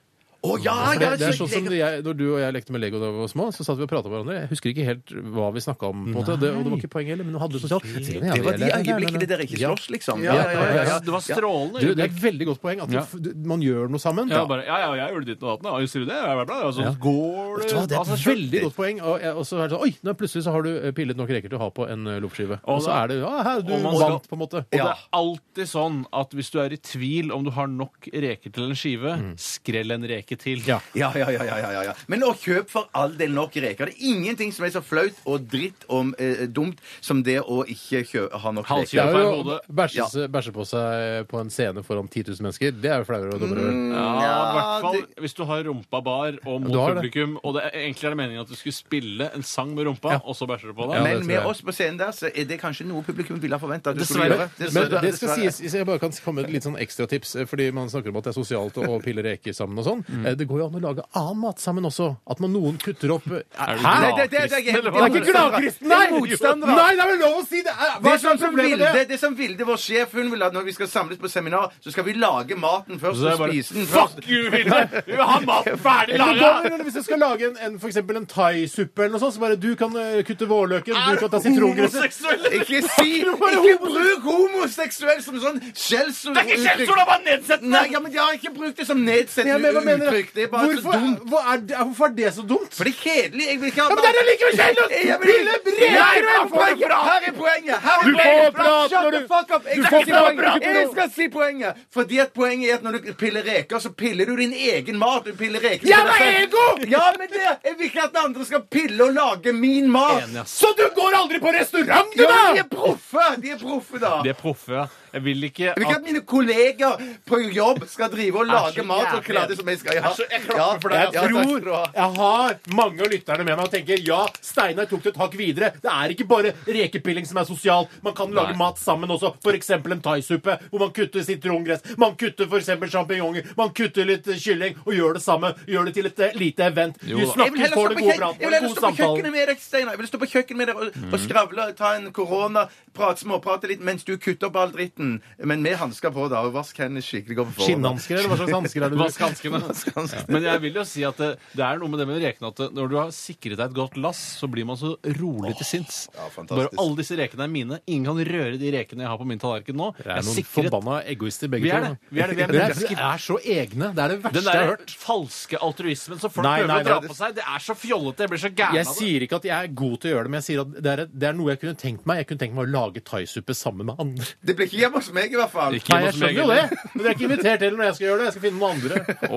Speaker 3: Å ja, ja!
Speaker 2: For det, det er sånn som
Speaker 3: reker-
Speaker 2: det jeg, Når du og jeg lekte med Lego da vi var små, så satt vi og prata med hverandre. Jeg husker ikke helt hva vi snakka om, på en måte. Det, og det var ikke poenget heller, men hun hadde det sosialt.
Speaker 3: Det var de øyeblikkene der ikke
Speaker 2: Ja.
Speaker 3: slåss, liksom.
Speaker 2: Ja, ja, ja, ja.
Speaker 1: Ja, Det var strålende.
Speaker 2: Du, det er et veldig godt poeng at
Speaker 1: Ja.
Speaker 2: du, du- man gjør noe sammen.
Speaker 1: ja, bare, ja, ja, jeg gjorde ditt og datt. Ja, Sier du det? Ja, Altså, bla, bla, bla. Og så
Speaker 2: Ja.
Speaker 1: går
Speaker 2: Vet
Speaker 1: det
Speaker 2: du hva, Det er
Speaker 3: altså,
Speaker 1: av seg
Speaker 2: et
Speaker 1: selv.
Speaker 2: veldig godt poeng. Og, jeg- og så er det sånn, oi, nå plutselig så har du eh, pillet nok reker til å ha på en eh, loffskive. Og så
Speaker 1: da-
Speaker 2: er det ja, her, du
Speaker 1: og man skal-
Speaker 2: vant, på en måte.
Speaker 1: Og det er alltid sånn at hvis du er i tvil om du har nok reker til en skive,
Speaker 2: Mm.
Speaker 1: skrell en reke til.
Speaker 2: Ja.
Speaker 3: Ja, ja, ja, ja, ja, ja. Men å kjøpe for all del nok reker. Det er ingenting som er så flaut og dritt om eh, dumt som det å ikke kjø ha nok
Speaker 2: Det
Speaker 3: reker.
Speaker 1: Halskjøp.
Speaker 2: er
Speaker 1: per
Speaker 2: jo å
Speaker 1: hode.
Speaker 2: bæsje, bæsje på seg på en scene foran 10 000 mennesker. Det er jo flauere og dummere.
Speaker 1: Ja, i hvert fall
Speaker 3: det-
Speaker 1: hvis du har rumpa bar og mot
Speaker 2: Du har det.
Speaker 1: publikum. Og det er, egentlig er det meningen at du skulle spille en sang med rumpa, og så bæsjer du på
Speaker 2: Ja,
Speaker 1: deg.
Speaker 2: det
Speaker 3: Men
Speaker 2: tror
Speaker 3: med
Speaker 2: jeg.
Speaker 3: oss på scenen der, så er det kanskje noe publikum ville ha forventa.
Speaker 1: Dessverre.
Speaker 2: Men det skal sies, hvis jeg bare kan komme med et litt sånn ekstratips, fordi man snakker om at det er sosialt å pille reker sammen og sånn. Eh, Det går jo an å lage annen mat sammen også. At man noen kutter opp Hæ?
Speaker 3: Nei,
Speaker 1: glad?
Speaker 3: det, det, det, det,
Speaker 2: Det er ikke gladkristen, nei! Nei, det er vel lov å si det! Er,
Speaker 3: Det
Speaker 2: hva
Speaker 3: er sånn
Speaker 2: slags
Speaker 3: som
Speaker 2: problem
Speaker 3: Vilde,
Speaker 2: er det?
Speaker 3: det er som Vilde, vår sjef, hun vil at når vi skal samles på seminar, så skal vi lage maten først
Speaker 1: Så
Speaker 3: og
Speaker 1: jeg bare,
Speaker 3: spise den først.
Speaker 1: Fuck you, Vilde! Vi vil ha maten ferdig
Speaker 2: Eller
Speaker 1: laga!
Speaker 2: går det, eller hvis jeg skal lage en, en, for eksempel en thaisuppe eller noe sånt, så bare du kan eh, kutte vårløken, du kan ta sitrongresset
Speaker 1: Homoseksuelle!
Speaker 3: Ikke si Ikke bruk homoseksuell som sånn skjellsord!
Speaker 1: Det er ikke skjellsord, det er bare nedsettende!
Speaker 3: Nei, ja, men jeg har ikke brukt det som
Speaker 2: Men jeg
Speaker 3: nedsettende
Speaker 2: mener, hva mener
Speaker 3: uttrykk. Det er bare så
Speaker 2: Hvorfor,
Speaker 3: dumt.
Speaker 2: hva er, det- hvorfor er det så dumt?
Speaker 3: For det er kjedelig. Jeg vil ikke ha
Speaker 2: Ja, men det er da likevel kjedelig å
Speaker 3: Jeg vil-
Speaker 2: spille brev!
Speaker 3: Nei, men her er poenget! Her er poenget! Her er
Speaker 2: Du får
Speaker 3: poenget!
Speaker 2: prate
Speaker 3: Shut
Speaker 2: når
Speaker 3: the
Speaker 2: du-
Speaker 3: fuck up! Jeg
Speaker 2: du
Speaker 3: skal
Speaker 2: får
Speaker 3: si
Speaker 2: prate,
Speaker 3: poenget.
Speaker 2: ikke
Speaker 3: Jeg
Speaker 2: noe.
Speaker 3: skal si poenget! Fordi at poenget er at når du piller reker, så piller du din egen mat. Du piller reker
Speaker 2: Ja,
Speaker 3: til deg
Speaker 2: men
Speaker 3: selv.
Speaker 2: ego!
Speaker 3: Ja, men det Jeg vil ikke at andre skal pille og lage min mat.
Speaker 1: Enig, ass.
Speaker 2: Så du går aldri på restaurant, du,
Speaker 3: Ja, men de
Speaker 2: da!
Speaker 3: er proffe! De er proffe, da.
Speaker 1: De er proffe. ja. Jeg vil ikke
Speaker 3: Jeg vil ikke
Speaker 1: at
Speaker 3: at mine kolleger på jobb skal drive og
Speaker 1: så
Speaker 3: lage mat og
Speaker 1: jævlig.
Speaker 3: klare det som jeg skal ja.
Speaker 2: Jeg klapper for
Speaker 3: Ja,
Speaker 2: deg.
Speaker 3: ja,
Speaker 2: Jeg
Speaker 3: altså. takk
Speaker 2: tror
Speaker 3: skal du ha.
Speaker 2: jeg har mange av lytterne med meg og tenker ja, Steinar tok det et hakk videre. Det er ikke bare rekepilling som er sosial. Man kan lage
Speaker 1: Nei.
Speaker 2: mat sammen også. F.eks. en thaisuppe hvor man kutter sitrongress. Man kutter f.eks. sjampinjonger. Man kutter litt eh, kylling og gjør det samme. Gjør det til et eh, lite event.
Speaker 1: Jo
Speaker 3: Jeg
Speaker 2: Du
Speaker 1: da.
Speaker 3: vil
Speaker 2: snakker,
Speaker 3: heller stå
Speaker 2: får
Speaker 3: på,
Speaker 2: det
Speaker 3: kjøk
Speaker 2: gode prat,
Speaker 3: jeg vil
Speaker 2: får
Speaker 3: heller
Speaker 2: god
Speaker 3: stå på
Speaker 2: samtalen.
Speaker 3: kjøkkenet med deg, Steinar. Jeg vil stå på kjøkkenet med deg og, og
Speaker 1: Mm.
Speaker 3: skravle, ta en korona, prate, småprate litt mens du kutter opp all dritten. Men med hansker på, da. Og vask hendene skikkelig godt på forhånd.
Speaker 2: Skinnhansker, eller hva slags hansker er det
Speaker 1: Vask hanskene.
Speaker 3: hanskene.
Speaker 1: Men jeg vil jo si at det, det er noe med det med rekene at det- når du har sikret deg et godt lass, så blir man så rolig til sinns.
Speaker 3: ja,
Speaker 1: Bare
Speaker 3: fantastisk.
Speaker 1: alle disse rekene er mine. Ingen kan røre de rekene jeg har på min tallerken nå. Jeg
Speaker 2: Det
Speaker 1: er
Speaker 2: er noen
Speaker 1: sikret
Speaker 2: forbanna egoister, begge
Speaker 1: Vi er
Speaker 2: to.
Speaker 1: det. Vi er det. Vi er
Speaker 2: Dere
Speaker 1: mennesker.
Speaker 2: dere er så egne. Det er det verste
Speaker 1: Den
Speaker 2: jeg har
Speaker 1: der
Speaker 2: hørt.
Speaker 1: falske altruismen som folk
Speaker 2: Nei,
Speaker 1: prøver
Speaker 2: nei,
Speaker 1: å dra
Speaker 2: nei.
Speaker 1: på seg, det er så fjollete. Jeg blir så gæren
Speaker 2: Jeg
Speaker 1: av det.
Speaker 2: sier ikke at jeg er god til å gjøre det, men jeg sier at det er, det er noe jeg kunne tenkt meg. Jeg kunne tenkt meg å lage thaisuppe sammen med andre.
Speaker 3: Det blir ikke hjemme hos meg, i hvert fall.
Speaker 1: Ikke-
Speaker 2: Nei, jeg skjønner jo det, men jeg er ikke invitert heller når jeg skal gjøre det. Jeg skal finne noen andre.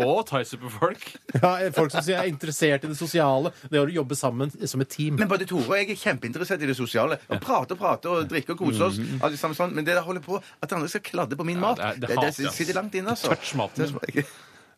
Speaker 1: Å, thaisuperfolk.
Speaker 2: Ja, folk som sier jeg er interessert i det sosiale. Det er å jobbe sammen som et team.
Speaker 3: Men både Tore og jeg er kjempeinteressert i det sosiale. Og prater og prater og drikker og koser oss. Alle sammen sånn. Men det der holder på at andre skal kladde på min mat,
Speaker 1: Mhm. det er- det
Speaker 3: det, det,
Speaker 1: hater jeg, ass.
Speaker 3: sitter langt inne, altså.
Speaker 1: Touch maten min.
Speaker 3: Det er-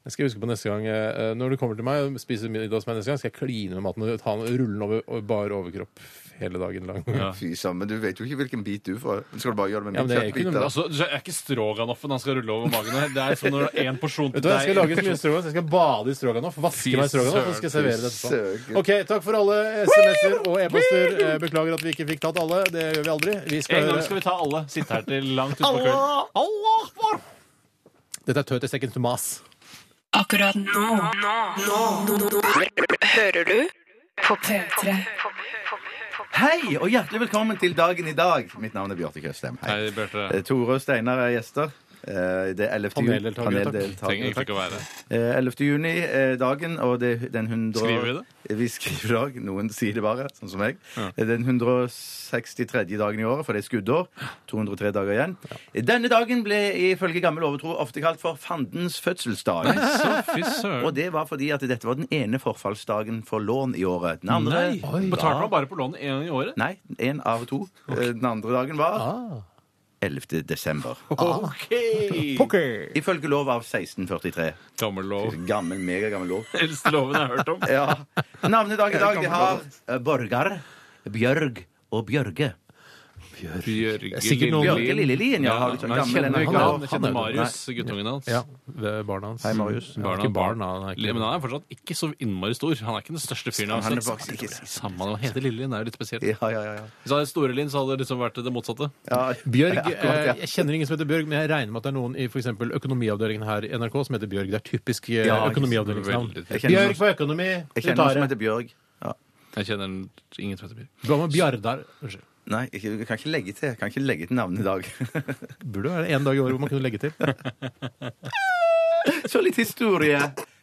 Speaker 2: Jeg skal huske på neste gang, eh, Når du kommer til meg og spiser middag hos meg neste gang, skal jeg kline med maten og ta den rullen over over bar overkropp hele dagen lang. Ja.
Speaker 3: Fy søren, men du vet jo ikke hvilken bit du får. Skal du bare gjøre det med min
Speaker 2: Ja, men det er ikke noe-
Speaker 3: kjøttbiter?
Speaker 1: Altså, det er ikke stroganoffen han skal rulle over magen her. Det er sånn når det er en porsjon til
Speaker 2: Vet du hva, Jeg skal
Speaker 1: deg.
Speaker 2: lage så mye stroganoff. Jeg skal bade i stroganoff, vaske
Speaker 1: Fy
Speaker 2: meg i stroganoff og så skal jeg servere det etterpå. OK, takk for alle SMS-er og e-poster. Eh, Beklager at vi ikke fikk tatt alle. Det gjør vi aldri. Vi skal
Speaker 1: En gang
Speaker 2: høre-
Speaker 1: skal vi ta alle. Sitte her til langt utpå kvelden. Allah akbar!
Speaker 2: Dette er 30 Seconds to Mas.
Speaker 6: Akkurat nå. Nå. Nå. Hører du på P3?
Speaker 3: Hei, og hjertelig velkommen til dagen i dag. Mitt navn er Bjarte Tjøstheim. Hei.
Speaker 1: Hei, Bjarte.
Speaker 3: Eh, Tore og Steinar er gjester. Eh, Det er 11. juni.
Speaker 2: Paneldeltaker, takk.
Speaker 1: Trenger
Speaker 3: Paneldeltaker,
Speaker 1: egentlig ikke å være
Speaker 3: Eh, 11. juni er dagen, og det er den 100...
Speaker 1: Skriver vi det?
Speaker 3: Vi skriver dag. Noen sier det bare, sånn som jeg. Det er Den 163. dagen i året, for det er skuddår. 203 dager igjen. Denne dagen ble ifølge gammel overtro ofte kalt for fandens fødselsdag.
Speaker 1: Fy
Speaker 3: Og
Speaker 1: søren.
Speaker 3: det var fordi at dette var den ene forfallsdagen for lån i året. Den andre
Speaker 1: Nei. Betalte man bare på lånet én gang i året?
Speaker 3: Nei, én av to. Eh, Den andre dagen var 11. desember.
Speaker 1: OK!
Speaker 3: Ifølge lov av 1643.
Speaker 1: Gammel lov.
Speaker 3: Gammel, megagammel lov.
Speaker 1: Eldste loven jeg har hørt om.
Speaker 3: Ja. Navnedag i dag de har eh, Borgar, Bjørg og Bjørge.
Speaker 1: Bjørge
Speaker 2: Sikkert noen-
Speaker 3: Bjørge Lillelien, ja. Har du sånn
Speaker 1: Nei,
Speaker 3: gammel
Speaker 1: kjenner
Speaker 3: NRK?
Speaker 2: Han
Speaker 1: ikke han.
Speaker 2: er-
Speaker 1: Jeg kjenner
Speaker 2: han er-
Speaker 1: Marius, guttungen hans.
Speaker 2: Ja, ved barna hans.
Speaker 3: Hei, Marius.
Speaker 2: Ja, ikke barn, da. Han er ikke-
Speaker 1: Men han er fortsatt ikke så innmari stor. Han er ikke den største fyren. jeg har
Speaker 3: Han er
Speaker 1: sett.
Speaker 3: faktisk ikke-
Speaker 1: Samme det, Hele Lillelien er jo litt spesielt.
Speaker 3: Ja, ja, ja. ja.
Speaker 1: Hvis han hadde Storelien, så hadde det liksom vært det motsatte.
Speaker 3: ja.
Speaker 2: Bjørg,
Speaker 3: Akkurat, ja.
Speaker 2: eh, Jeg kjenner ingen som heter Bjørg, men jeg regner med at det er noen i for eksempel økonomiavdelingen her i NRK som heter Bjørg. Det er typisk eh,
Speaker 3: Ja, ikke sant.
Speaker 2: økonomiavdelingensnavn.
Speaker 3: Jeg kjenner
Speaker 2: Bjørg for økonomi.
Speaker 3: Jeg
Speaker 2: Du
Speaker 3: kjenner noen
Speaker 2: tar
Speaker 3: som
Speaker 2: det.
Speaker 3: heter Bjørg. Ja.
Speaker 1: Jeg kjenner ingen som heter Bjørg.
Speaker 2: Du har med Bjardar. Unnskyld.
Speaker 3: Nei, ikke, jeg kan ikke legge til, jeg kan ikke legge til navnet i dag.
Speaker 2: Burde være en dag i året hvor man kunne legge til.
Speaker 3: Så litt historie.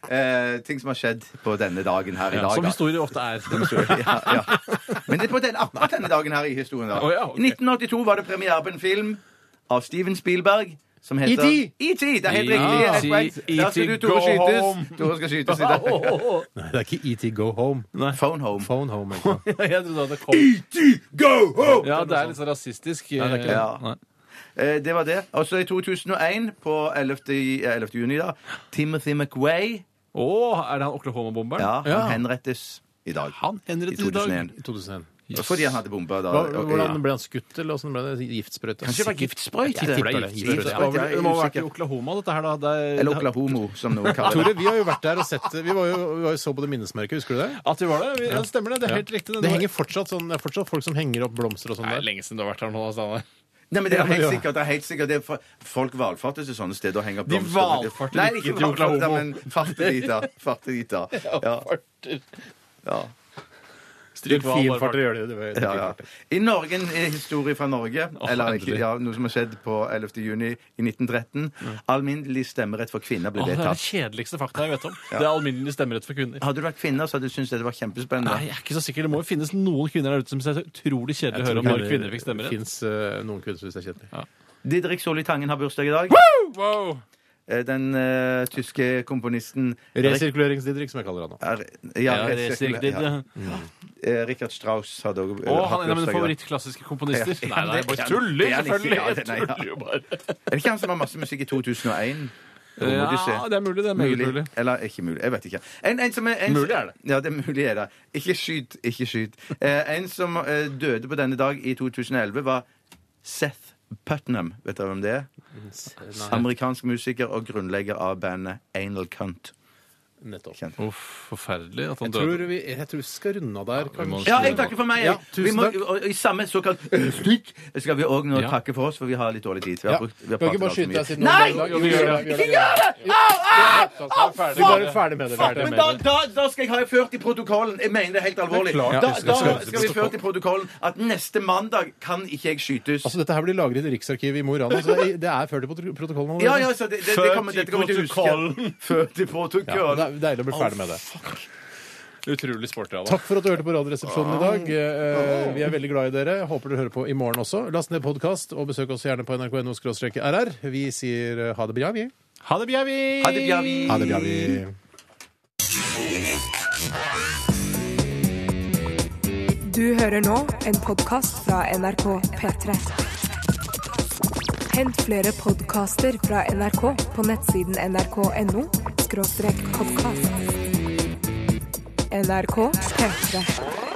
Speaker 3: Eh, ting som har skjedd på denne dagen her i dag.
Speaker 1: som
Speaker 3: da.
Speaker 1: historier ofte er.
Speaker 3: ja, ja. Men det er på den, akkurat denne dagen her i historien. da.
Speaker 1: Å, ja, ok.
Speaker 3: I 1982 var det premiere på en film av Steven Spielberg som heter
Speaker 2: E.T..
Speaker 3: E.T. Det er helt
Speaker 1: Ja.
Speaker 3: riktig. Helt poeng. Der skal
Speaker 1: E.T.,
Speaker 3: du, Tore,
Speaker 1: go home.
Speaker 3: skytes. Tore skal skytes i dag.
Speaker 2: Nei, det er ikke ET Go Home.
Speaker 3: Phone home.
Speaker 2: Phone Home. ikke sant?
Speaker 1: Jeg trodde det kom.
Speaker 3: Go home!
Speaker 1: Ja, det er litt sånn rasistisk. Nei,
Speaker 2: det er ikke
Speaker 3: det. Eh, det var det. Og så i 2001, på 11. i- eh, 11. juni, da, Timothy McWay
Speaker 1: Å, er det han Oklahoma-bomberen?
Speaker 3: ja,
Speaker 2: Ja.
Speaker 3: han henrettes i dag.
Speaker 2: sånn.
Speaker 1: Han henrettes i dag.
Speaker 3: 2001.
Speaker 2: 2001.
Speaker 3: Fordi han hadde bomba da.
Speaker 2: Hva- Hvordan ble han skutt, eller hvordan ble det giftsprøyte?
Speaker 3: Kanskje det var giftsprøyt?
Speaker 2: Jeg tipper det er
Speaker 3: Giftsprøyt,
Speaker 2: giftsprøyte.
Speaker 3: ja.
Speaker 1: Det, var vel, det må ha vært i
Speaker 3: Usikker.
Speaker 1: Oklahoma, dette her, da. Det er,
Speaker 3: Eller Oklahomo, som noen kaller det.
Speaker 2: Tore, vi har jo vært der og sett det. Vi var jo, vi var jo så på det minnesmerket, husker du det?
Speaker 1: At vi var det? Vi, ja, det stemmer det. Det er helt riktig.
Speaker 2: Det, henger fortsatt sånn, det er fortsatt folk som henger opp blomster og sånn
Speaker 1: Nei,
Speaker 2: der.
Speaker 1: lenge siden du har vært her nå, Steinar.
Speaker 3: Nei, men det er
Speaker 2: Ja, ja.
Speaker 3: helt sikkert. Det er helt sikkert. Det er for, folk valfarter til sånne steder og henger opp
Speaker 1: De
Speaker 3: blomster.
Speaker 1: valfarter
Speaker 3: Nei, ikke
Speaker 1: ikke til
Speaker 3: valfarter,
Speaker 1: Oklahoma.
Speaker 3: men farter dit, da. Farter dit, da. Ja, ja,
Speaker 1: Stryk hva han
Speaker 2: Filfarter
Speaker 1: bare fart.
Speaker 2: gjør det, det var-
Speaker 3: ja, ja. I Norge, en eh, historie fra Norge, eller ikke,
Speaker 1: endelig.
Speaker 3: ja, noe som har skjedd på 11. juni i 1913. Alminnelig stemmerett for kvinner ble
Speaker 1: Å, det er det
Speaker 3: vedtatt.
Speaker 1: kjedeligste fakta jeg vet om. Det er alminnelig stemmerett for kvinner.
Speaker 3: Hadde du vært kvinne, så hadde du syntes det var
Speaker 1: Nei,
Speaker 3: kjempespennende.
Speaker 1: jeg er ikke så sikker. Det må jo finnes noen kvinner der ute som synes det er utrolig kjedelig å høre om når kvinner
Speaker 2: Det
Speaker 1: fikk stemmerett.
Speaker 2: fins eh, noen kvinner som syns det er kjedelig.
Speaker 3: Didrik Solli Tangen har bursdag i dag.
Speaker 1: Wow!
Speaker 3: Eh, Den eh, tyske komponisten
Speaker 2: Resirkuleringsdidrik, som jeg kaller han nå.
Speaker 3: Er- ja,
Speaker 1: Ja, det er sikkert det.
Speaker 3: ja. Eh, Richard Strauss hadde eh, òg
Speaker 1: Å, han er en av mine favorittklassiske komponister.
Speaker 3: Ja, ja,
Speaker 1: Nei, nei,
Speaker 3: det-
Speaker 1: bare
Speaker 3: ja,
Speaker 1: tuller,
Speaker 3: det er han ikke.
Speaker 1: selvfølgelig.
Speaker 3: Ja,
Speaker 1: Jeg
Speaker 3: nei, ja.
Speaker 1: tuller jo bare.
Speaker 3: Er det ikke han som har masse musikk i 2001? Må du se.
Speaker 1: Ja, det er mulig. Det er meget mulig.
Speaker 3: Eller ikke mulig. Jeg vet ikke. En, en som er, en,
Speaker 1: Mulig er det.
Speaker 3: Ja, det er mulig er det. Ikke skyt. Ikke skyt. Eh, en som eh, døde på denne dag i 2011, var Seth Putnam. Vet dere hvem det er?
Speaker 1: Mm,
Speaker 3: Amerikansk musiker og grunnlegger av bandet Anal Cunt.
Speaker 2: Nettopp.
Speaker 3: Kjent.
Speaker 1: Uff, forferdelig at han
Speaker 2: Jeg tror,
Speaker 1: døde.
Speaker 2: vi, jeg tror vi skal runde av der.
Speaker 1: vi må-
Speaker 2: kanskje.
Speaker 3: Ja, jeg takker for meg.
Speaker 2: Ja,
Speaker 3: vi
Speaker 2: tusen
Speaker 3: må,
Speaker 2: takk.
Speaker 3: og I samme såkalt øh, stikk skal vi òg nå
Speaker 1: Ja.
Speaker 3: takke for oss, for vi har litt dårlig tid. Vi
Speaker 2: Ja.
Speaker 3: har brukt, vi
Speaker 2: Vi
Speaker 3: har
Speaker 2: kan ikke
Speaker 3: pratet
Speaker 2: bare
Speaker 3: alt for
Speaker 2: skyte
Speaker 3: mye.
Speaker 2: deg siden Nei!
Speaker 1: Jo, vi gjør det.
Speaker 2: Ikke gjør det! Au, au, au! Vi går ferdig med det. ferdig
Speaker 3: Men
Speaker 2: med
Speaker 3: da,
Speaker 2: det.
Speaker 3: da, da skal jeg ha ført i protokollen Jeg mener det helt alvorlig.
Speaker 1: Det er klart
Speaker 3: Da,
Speaker 1: det skal
Speaker 3: da
Speaker 1: skrives i
Speaker 3: skal vi ført i protokollen at neste mandag kan ikke jeg skytes.
Speaker 2: Altså, Dette her blir lagret i Riksarkivet i Mo i Rana, så det er- det er ført i prot- protokollen
Speaker 3: Ja,
Speaker 2: allerede.
Speaker 3: ja, så det, det, det
Speaker 1: Ført
Speaker 3: kommer,
Speaker 1: i
Speaker 3: dette kommer til å huske.
Speaker 1: protokollen.
Speaker 3: Ført i
Speaker 2: Ja,
Speaker 3: protokollen.
Speaker 2: det er deilig å bli ferdig med det.
Speaker 1: Utrolig sporty av ham.
Speaker 2: Takk for at du hørte på Radioresepsjonen i dag. Eh, Vi er veldig glad i dere. Håper dere hører på i morgen også. Last ned podkast, og besøk oss gjerne på nrk.no-rr. Vi sier eh, ha det bra, vi.
Speaker 1: Ha det, Bjavi!
Speaker 3: Ha det, Bjavi.
Speaker 2: Ha det bra, vi.
Speaker 4: Du hører nå en podkast fra NRK P3. Hent flere podkaster fra NRK på nettsiden nrk.no podkast. NRK P3.